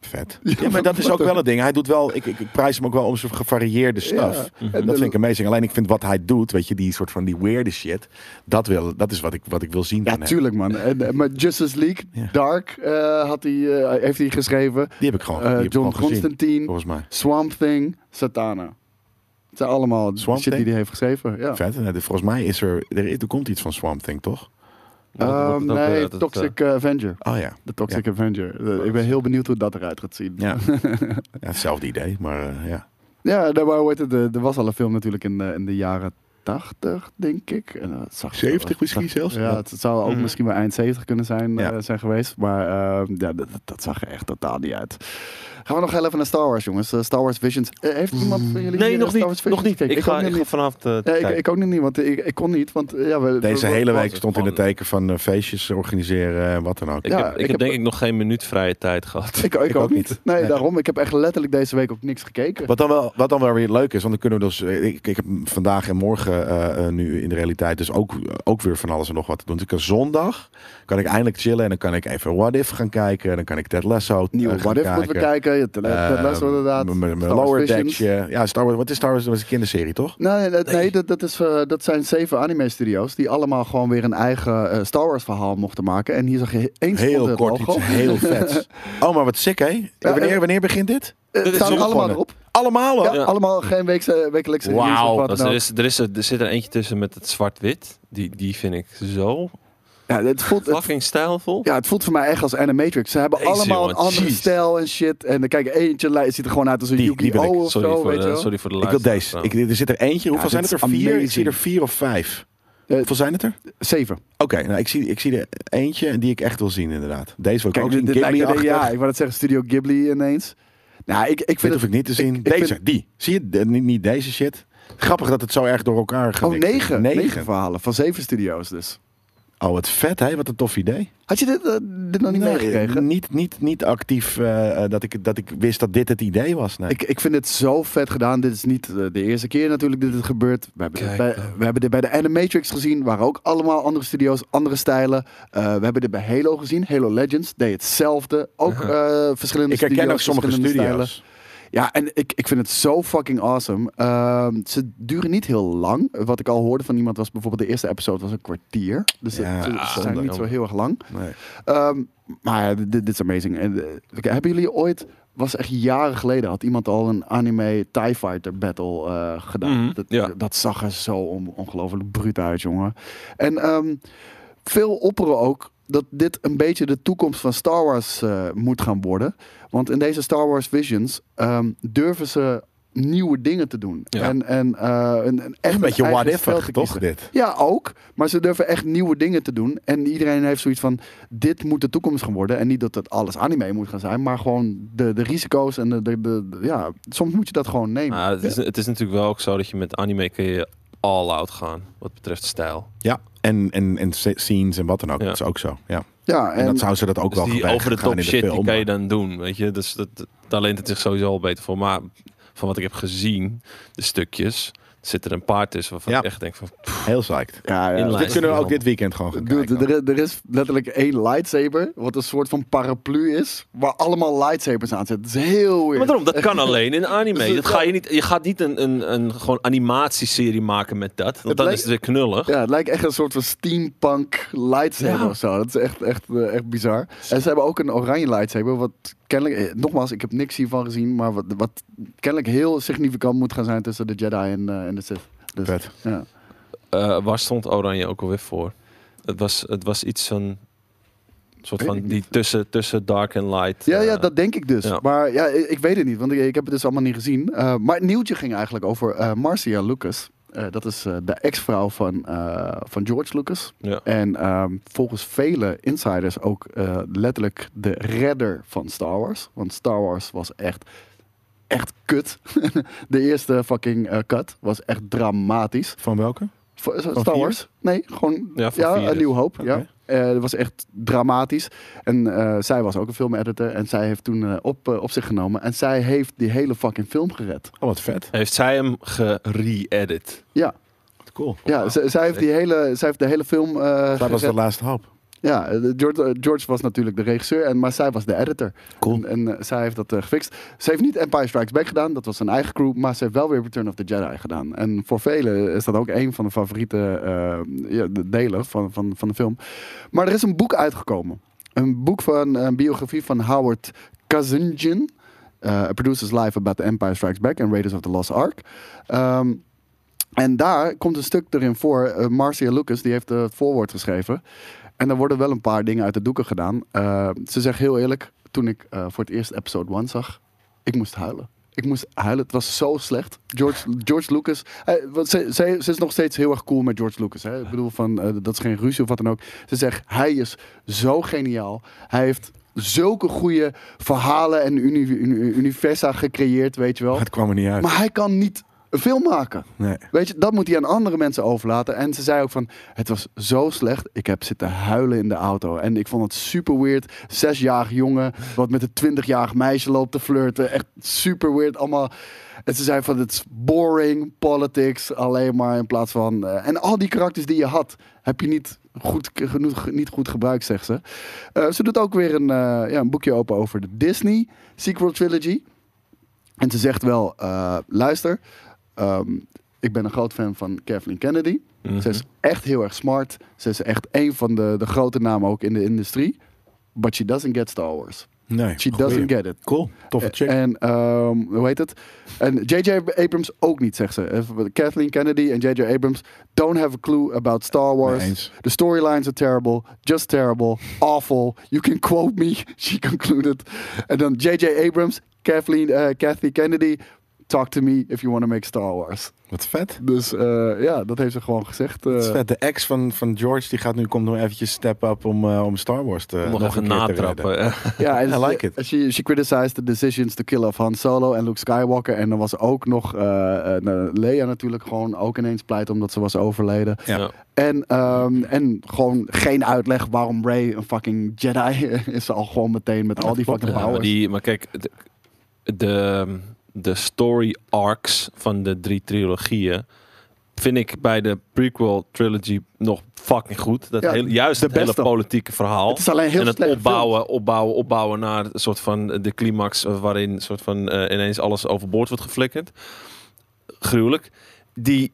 [SPEAKER 2] Vet. Ja, maar dat is ook wel een ding. Hij doet wel, ik, ik, ik prijs hem ook wel om zijn gevarieerde stuff.
[SPEAKER 3] Ja.
[SPEAKER 2] En dat vind ik amazing. Alleen ik vind wat hij doet, weet je, die soort van die weirde shit. Dat, wil, dat is wat ik, wat ik wil zien.
[SPEAKER 3] Ja,
[SPEAKER 2] van hem.
[SPEAKER 3] tuurlijk man. En, eh, maar Justice League,
[SPEAKER 2] Ja.
[SPEAKER 3] Dark, eh, had hij, eh, heeft hij geschreven.
[SPEAKER 2] Die heb ik gewoon,
[SPEAKER 3] Eh,
[SPEAKER 2] die heb ik
[SPEAKER 3] John
[SPEAKER 2] gewoon gezien.
[SPEAKER 3] Constantine,
[SPEAKER 2] Volgens mij.
[SPEAKER 3] Swamp Thing, Satana. Het zijn allemaal de
[SPEAKER 2] Swamp
[SPEAKER 3] shit die
[SPEAKER 2] Thing?
[SPEAKER 3] hij heeft geschreven. Ja.
[SPEAKER 2] Vet. En, eh, Volgens mij is er, er, er komt iets van Swamp Thing, toch?
[SPEAKER 4] Wordt- wordt
[SPEAKER 3] Ehm,
[SPEAKER 4] het ook weer
[SPEAKER 3] nee,
[SPEAKER 4] uit het,
[SPEAKER 3] Toxic eh, Avenger.
[SPEAKER 2] Oh ja.
[SPEAKER 3] De Toxic Avenger. Eh, ik ben heel benieuwd hoe dat eruit gaat zien.
[SPEAKER 2] Ja. ja hetzelfde idee, maar eh, ja.
[SPEAKER 3] Ja, daar waar- hoe heet het, eh, er was al een film natuurlijk in de, in de jaren 80, denk ik. En, eh, het zag er-
[SPEAKER 2] 70 misschien zelfs?
[SPEAKER 3] Ja, het, het zou ook
[SPEAKER 4] Mhm.
[SPEAKER 3] misschien wel eind 70 kunnen zijn,
[SPEAKER 2] Ja.
[SPEAKER 3] eh, zijn geweest. Maar eh, ja, dat, dat- dat zag er echt totaal niet uit. Gaan we nog heel even naar Star Wars, jongens. Eh, Star Wars Visions. Eh, heeft
[SPEAKER 2] Hmm.
[SPEAKER 3] iemand van jullie
[SPEAKER 4] Nee,
[SPEAKER 3] hier
[SPEAKER 4] nog
[SPEAKER 3] Star
[SPEAKER 4] niet.
[SPEAKER 3] Wars
[SPEAKER 4] Nog
[SPEAKER 3] Visions
[SPEAKER 4] niet.
[SPEAKER 3] gekeken?
[SPEAKER 4] Ik ga,
[SPEAKER 3] ook
[SPEAKER 4] ik
[SPEAKER 3] nog
[SPEAKER 4] ga
[SPEAKER 3] niet.
[SPEAKER 4] vanavond. eh,
[SPEAKER 3] Ja, ik,
[SPEAKER 4] kijken.
[SPEAKER 3] ik ook nog niet, want ik, ik kon niet. Want eh, ja, we,
[SPEAKER 2] Deze
[SPEAKER 3] we-
[SPEAKER 2] hele
[SPEAKER 4] wat
[SPEAKER 2] week
[SPEAKER 4] is
[SPEAKER 2] stond in het
[SPEAKER 4] van-
[SPEAKER 2] teken van eh, feestjes organiseren en wat dan ook.
[SPEAKER 4] Ik
[SPEAKER 3] Ja,
[SPEAKER 4] heb, ik
[SPEAKER 3] ik
[SPEAKER 4] heb
[SPEAKER 3] heb-
[SPEAKER 4] denk ik nog geen minuut vrije tijd gehad.
[SPEAKER 3] Ik, ik, ook,
[SPEAKER 2] ook
[SPEAKER 3] niet.
[SPEAKER 2] niet.
[SPEAKER 3] Nee,
[SPEAKER 2] Nee.
[SPEAKER 3] daarom. Ik heb echt letterlijk deze week ook niks gekeken.
[SPEAKER 2] Wat dan, wel, wat dan wel weer leuk is, want dan kunnen we dus. eh, Ik, ik heb vandaag en morgen eh, eh, nu in de realiteit dus ook, ook weer van alles en nog wat te doen. Dus ik kan zondag kan ik eindelijk chillen en dan kan ik even What If gaan kijken. Dan kan ik Ted Lasso eh,
[SPEAKER 3] Nieuwe
[SPEAKER 2] gaan
[SPEAKER 3] What If moeten we kijken. Ja, Ted Ted Lasso
[SPEAKER 2] Eh,
[SPEAKER 3] inderdaad.
[SPEAKER 2] Mijn mijn
[SPEAKER 3] Star Wars
[SPEAKER 2] lower
[SPEAKER 3] Visions.
[SPEAKER 2] deckje. Ja, Star Wars. Wat is Star Wars? Dat was een kinderserie, toch?
[SPEAKER 3] Nee, nee, nee, dat, dat, is, eh, dat zijn zeven anime-studio's die allemaal gewoon weer een eigen eh, Star Wars-verhaal mochten maken. En hier zag je eens
[SPEAKER 2] Heel
[SPEAKER 3] het
[SPEAKER 2] kort
[SPEAKER 3] logo. Eh,
[SPEAKER 2] iets heel vets. Oh, maar wat sick, hè?
[SPEAKER 3] Ja,
[SPEAKER 2] wanneer,
[SPEAKER 3] eh,
[SPEAKER 2] wanneer begint dit?
[SPEAKER 3] Eh,
[SPEAKER 4] Dit
[SPEAKER 3] Het
[SPEAKER 4] is
[SPEAKER 3] staat
[SPEAKER 4] zondag
[SPEAKER 3] allemaal
[SPEAKER 2] gewoon,
[SPEAKER 3] erop.
[SPEAKER 2] Allemaal al?
[SPEAKER 3] Ja,
[SPEAKER 4] Ja.
[SPEAKER 3] allemaal geen weekse, wekelijkse
[SPEAKER 2] Wauw,
[SPEAKER 3] release of wat
[SPEAKER 4] Dat is-
[SPEAKER 3] dan
[SPEAKER 4] er,
[SPEAKER 3] ook.
[SPEAKER 4] is, er, is, er zit er eentje tussen met het zwart-wit. Die, die vind ik zo
[SPEAKER 3] Ja, het, voelt, het,
[SPEAKER 4] fucking stijlvol.
[SPEAKER 3] ja, het voelt voor mij echt als Animatrix. Ze hebben
[SPEAKER 4] Deze
[SPEAKER 3] allemaal een
[SPEAKER 4] jongen,
[SPEAKER 3] andere
[SPEAKER 4] jeez.
[SPEAKER 3] stijl en shit. En dan kijk, eentje li- ziet er gewoon uit als een
[SPEAKER 2] Die- die wil
[SPEAKER 3] Yu-Gi-Oh!
[SPEAKER 2] ik.
[SPEAKER 3] of
[SPEAKER 4] Sorry,
[SPEAKER 3] zo,
[SPEAKER 4] voor,
[SPEAKER 3] weet
[SPEAKER 4] eh,
[SPEAKER 3] je wel.
[SPEAKER 4] sorry voor de
[SPEAKER 2] Ik wil
[SPEAKER 4] luisteraars.
[SPEAKER 2] deze. Ik, er zit er eentje. Hoeveel zijn
[SPEAKER 3] dit
[SPEAKER 2] het er?
[SPEAKER 3] is
[SPEAKER 2] Vier? Ik
[SPEAKER 3] amazing.
[SPEAKER 2] zie er vier of vijf.
[SPEAKER 3] Eh,
[SPEAKER 2] Hoeveel zijn het er?
[SPEAKER 3] Zeven.
[SPEAKER 2] Oké, nou ik zie, ik zie er eentje en die ik echt wil zien inderdaad. Deze wil ik
[SPEAKER 3] Kijk,
[SPEAKER 2] ook
[SPEAKER 3] dit,
[SPEAKER 2] zien.
[SPEAKER 3] dit lijkt-
[SPEAKER 2] Ghibli
[SPEAKER 3] ja,
[SPEAKER 2] ja,
[SPEAKER 3] ik wou dat zeggen, Studio Ghibli ineens. Nou, ik, ik
[SPEAKER 2] Dit
[SPEAKER 3] vind
[SPEAKER 2] hoef
[SPEAKER 3] het...
[SPEAKER 2] ik niet te zien.
[SPEAKER 3] ik
[SPEAKER 2] deze,
[SPEAKER 3] vind-
[SPEAKER 2] die. Zie je? De- niet, niet deze shit. Grappig dat het zo erg door elkaar gaat.
[SPEAKER 3] Oh, negen. Negen verhalen van zeven studio's dus.
[SPEAKER 2] Oh, wat vet hè. Wat een tof idee.
[SPEAKER 3] Had je dit, eh, dit nog niet
[SPEAKER 2] Nee,
[SPEAKER 3] meegekregen?
[SPEAKER 2] Niet, niet, niet actief eh, eh, dat, ik, dat ik wist dat dit het idee was. Nee.
[SPEAKER 3] Ik, ik vind het zo vet gedaan. Dit is niet eh, de eerste keer natuurlijk dat dit gebeurt. We hebben, dit
[SPEAKER 4] Kijk
[SPEAKER 3] bij,
[SPEAKER 2] nou.
[SPEAKER 3] we hebben dit bij de Animatrix gezien. Waren ook allemaal andere studio's, andere stijlen. Eh, we hebben dit bij Halo gezien. Halo Legends deed hetzelfde. Ook eh, verschillende
[SPEAKER 2] ik herken
[SPEAKER 3] studio's,
[SPEAKER 2] ook sommige
[SPEAKER 3] verschillende
[SPEAKER 2] studio's.
[SPEAKER 3] stijlen. Ja, en ik, ik vind het zo fucking awesome. Ehm, ze duren niet heel lang. Wat ik al hoorde van iemand was bijvoorbeeld de eerste episode was een kwartier. Dus
[SPEAKER 2] Ja,
[SPEAKER 3] het- ze- ze zijn
[SPEAKER 4] zonde.
[SPEAKER 3] niet zo heel erg lang.
[SPEAKER 2] Nee.
[SPEAKER 3] Ehm, maar ja, dit, dit is amazing. En, eh, oké, hebben jullie ooit, was echt jaren geleden, had iemand al een anime TIE Fighter battle eh, gedaan?
[SPEAKER 4] Mhm,
[SPEAKER 3] dat,
[SPEAKER 4] ja.
[SPEAKER 3] dat zag er zo on- ongelooflijk bruut uit, jongen. En ehm, veel opperen ook dat dit een beetje de toekomst van Star Wars eh, moet gaan worden. Want in deze Star Wars Visions ehm, durven ze nieuwe dingen te doen.
[SPEAKER 4] Ja.
[SPEAKER 3] En, en, eh, een, een, echt
[SPEAKER 2] Een beetje
[SPEAKER 3] eigen
[SPEAKER 2] what
[SPEAKER 3] stijl
[SPEAKER 2] if
[SPEAKER 3] te
[SPEAKER 2] toch
[SPEAKER 3] kiezen.
[SPEAKER 2] dit?
[SPEAKER 3] Ja, ook. Maar ze durven echt nieuwe dingen te doen. En iedereen heeft zoiets van, dit moet de toekomst gaan worden. En niet dat het alles anime moet gaan zijn, maar gewoon de, de risico's en de, de, de- de- Ja, soms moet je dat gewoon nemen.
[SPEAKER 4] Maar het, is, het is natuurlijk wel ook zo dat je met anime kun je all out gaan. Wat betreft stijl.
[SPEAKER 2] Ja, en, en, en se- scenes en wat dan ook.
[SPEAKER 4] Ja.
[SPEAKER 2] Dat is ook zo. Ja.
[SPEAKER 3] Ja,
[SPEAKER 2] En, dat zou ze dat ook
[SPEAKER 4] Dus
[SPEAKER 2] wel
[SPEAKER 4] die
[SPEAKER 2] gaan
[SPEAKER 4] over de
[SPEAKER 2] gaan
[SPEAKER 4] top
[SPEAKER 2] in de
[SPEAKER 4] shit die
[SPEAKER 2] film,
[SPEAKER 4] kan je
[SPEAKER 2] maar-
[SPEAKER 4] dan doen. Weet je? Dus dat, dat, daar leent het zich sowieso al beter voor. Maar van wat ik heb gezien, de stukjes, zitten er een paar tussen waarvan
[SPEAKER 2] Ja.
[SPEAKER 4] ik echt denk van...
[SPEAKER 2] Heel psyched.
[SPEAKER 3] ja, ja.
[SPEAKER 4] in
[SPEAKER 2] Dus
[SPEAKER 4] lijn.
[SPEAKER 2] dit
[SPEAKER 4] Ja,
[SPEAKER 2] kunnen we
[SPEAKER 4] ja.
[SPEAKER 2] ook dit weekend gewoon gaan
[SPEAKER 3] Dude,
[SPEAKER 2] kijken.
[SPEAKER 3] er, er is letterlijk één lightsaber, wat een soort van paraplu is, waar allemaal lightsabers aan zitten. Dat is heel
[SPEAKER 4] Maar
[SPEAKER 3] weird.
[SPEAKER 4] daarom, dat kan alleen in
[SPEAKER 3] Dus
[SPEAKER 4] anime.
[SPEAKER 3] het-
[SPEAKER 4] Dat ga je, niet, je gaat niet een, een, een gewoon animatieserie maken met dat. Want dan
[SPEAKER 3] lijkt-
[SPEAKER 4] is het weer knullig.
[SPEAKER 3] Ja, het lijkt echt een soort van steampunk lightsaber
[SPEAKER 4] Ja.
[SPEAKER 3] of zo. Dat is echt, echt, eh, echt bizar. En ze hebben ook een oranje lightsaber, wat kennelijk... eh, Nogmaals, ik heb niks hiervan gezien, maar wat, wat kennelijk heel significant moet gaan zijn tussen de Jedi en, eh, en de Sith. Dus,
[SPEAKER 2] Vet.
[SPEAKER 3] ja.
[SPEAKER 4] Eh, waar stond Oranje ook alweer voor? Het was, het was iets van. soort
[SPEAKER 3] Weet
[SPEAKER 4] van
[SPEAKER 3] ik
[SPEAKER 4] die tussen, tussen dark en light.
[SPEAKER 3] Ja, ja,
[SPEAKER 4] eh,
[SPEAKER 3] dat denk ik dus.
[SPEAKER 4] ja.
[SPEAKER 3] Maar ja, ik, ik weet het niet, want ik, ik heb het dus allemaal niet gezien. Eh, maar het nieuwtje ging eigenlijk over eh, Marcia Lucas. Eh, dat is eh, de ex-vrouw van, eh, van George Lucas.
[SPEAKER 4] ja.
[SPEAKER 3] En ehm, volgens vele insiders ook eh, letterlijk de redder van Star Wars. Want Star Wars was echt, echt kut. de eerste fucking eh, cut was echt dramatisch.
[SPEAKER 2] Van welke?
[SPEAKER 3] V- eh,
[SPEAKER 2] vier?
[SPEAKER 3] Star Wars? Nee, gewoon
[SPEAKER 4] Ja,
[SPEAKER 3] ja,
[SPEAKER 4] van vier
[SPEAKER 3] een
[SPEAKER 4] dus.
[SPEAKER 3] nieuw hoop. Ja.
[SPEAKER 2] Oké.
[SPEAKER 3] Eh, dat was echt dramatisch. En eh, zij was ook een filmeditor. En zij heeft toen eh, op, eh, op zich genomen. En zij heeft die hele fucking film gered.
[SPEAKER 2] Oh, wat vet.
[SPEAKER 4] Heeft zij hem gere-edit?
[SPEAKER 3] Ja,
[SPEAKER 2] Wat cool.
[SPEAKER 3] ja z- zij, heeft die hele, zij heeft de hele film eh,
[SPEAKER 2] Dat was
[SPEAKER 3] gered.
[SPEAKER 2] de laatste hap.
[SPEAKER 3] Ja, eh, George, eh, George was natuurlijk de regisseur, en, maar zij was de editor.
[SPEAKER 2] Cool.
[SPEAKER 3] En, en eh, zij heeft dat eh, gefixt. Ze heeft niet Empire Strikes Back gedaan, dat was zijn eigen crew, maar ze heeft wel weer Return of the Jedi gedaan. En voor velen is dat ook een van de favoriete eh, ja, de delen van, van, van de film. Maar er is een boek uitgekomen. Een boek van eh, een biografie van Howard Kazunjian. eh A Producer's Life About the Empire Strikes Back en Raiders of the Lost Ark. Ehm, en daar komt een stuk erin voor. eh, Marcia Lucas die heeft eh, het voorwoord geschreven. En er worden wel een paar dingen uit de doeken gedaan. Eh, ze zegt heel eerlijk, toen ik eh, voor het eerst episode 1 zag, ik moest huilen. Ik moest huilen. Het was zo slecht. George, George Lucas. eh, want ze, ze, ze is nog steeds heel erg cool met George Lucas. Hè? Ik bedoel, van, eh, dat is geen ruzie of wat dan ook. Ze zegt, hij is zo geniaal. Hij heeft zulke goede verhalen en uni- uni- universa gecreëerd, weet je wel.
[SPEAKER 2] Het kwam er niet uit.
[SPEAKER 3] Oh. Maar hij kan niet een film maken.
[SPEAKER 2] nee.
[SPEAKER 3] Weet je, dat moet hij aan andere mensen overlaten. En ze zei ook van, het was zo slecht. Ik heb zitten huilen in de auto. En ik vond het super weird. Zesjarig jongen, wat met een twintigjarig meisje loopt te flirten. Echt super weird allemaal. En ze zei van, het is boring, politics, alleen maar in plaats van... eh, en al die karakters die je had, heb je niet goed, genoeg, niet goed gebruikt, zegt ze. Eh, ze doet ook weer een, eh, ja, een boekje open over de Disney sequel trilogy. En ze zegt wel, eh, luister, ehm, ik ben een groot fan van Kathleen Kennedy.
[SPEAKER 2] Mhm.
[SPEAKER 3] Ze is echt heel erg smart. Ze is echt een van de, de grote namen ook in de industrie. But she doesn't get Star Wars.
[SPEAKER 2] nee.
[SPEAKER 3] She
[SPEAKER 2] Goeie.
[SPEAKER 3] doesn't get it. Eh,
[SPEAKER 2] Cool. Toffe chick.
[SPEAKER 3] En ehm, hoe heet het? En J.J. Abrams ook niet, zegt ze. Even- Kathleen Kennedy en J.J. Abrams don't have a clue about Star Wars.
[SPEAKER 2] Mee eens.
[SPEAKER 3] The storylines are terrible, just terrible, awful. You can quote me, she concluded. En dan J.J. Abrams, Kathleen, eh, Kathy Kennedy, talk to me if you want to make Star Wars.
[SPEAKER 2] Wat vet.
[SPEAKER 3] Dus eh, ja, dat heeft ze gewoon gezegd. eh.
[SPEAKER 2] Dat is vet. De ex van, van George die gaat nu komt nog eventjes step up om, eh, om Star Wars te,
[SPEAKER 4] Om nog,
[SPEAKER 2] nog
[SPEAKER 4] even
[SPEAKER 2] een keer te redden.
[SPEAKER 4] natrappen.
[SPEAKER 3] Ja, en
[SPEAKER 2] I
[SPEAKER 3] ze-
[SPEAKER 2] like it.
[SPEAKER 3] She, she criticized the decisions to kill off Han Solo en Luke Skywalker. En er was ook nog eh eh, nou, Leia natuurlijk gewoon ook ineens pleit omdat ze was overleden.
[SPEAKER 2] Ja.
[SPEAKER 3] En, ehm, en gewoon geen uitleg waarom Rey een fucking Jedi is. Al gewoon meteen met al die
[SPEAKER 2] klopt,
[SPEAKER 3] fucking
[SPEAKER 4] Ja, maar,
[SPEAKER 3] powers.
[SPEAKER 4] die, maar kijk, de, de, de story arcs van de drie trilogieën vind ik bij de prequel trilogy nog fucking goed. Dat
[SPEAKER 3] Ja,
[SPEAKER 4] heel, juist
[SPEAKER 3] de
[SPEAKER 4] het hele
[SPEAKER 3] beste.
[SPEAKER 4] politieke verhaal.
[SPEAKER 3] Het is alleen heel
[SPEAKER 4] en het
[SPEAKER 3] slecht
[SPEAKER 4] opbouwen, opbouwen, opbouwen naar een soort van de climax eh, waarin een soort van eh, ineens alles overboord wordt geflikkerd. Gruwelijk. Die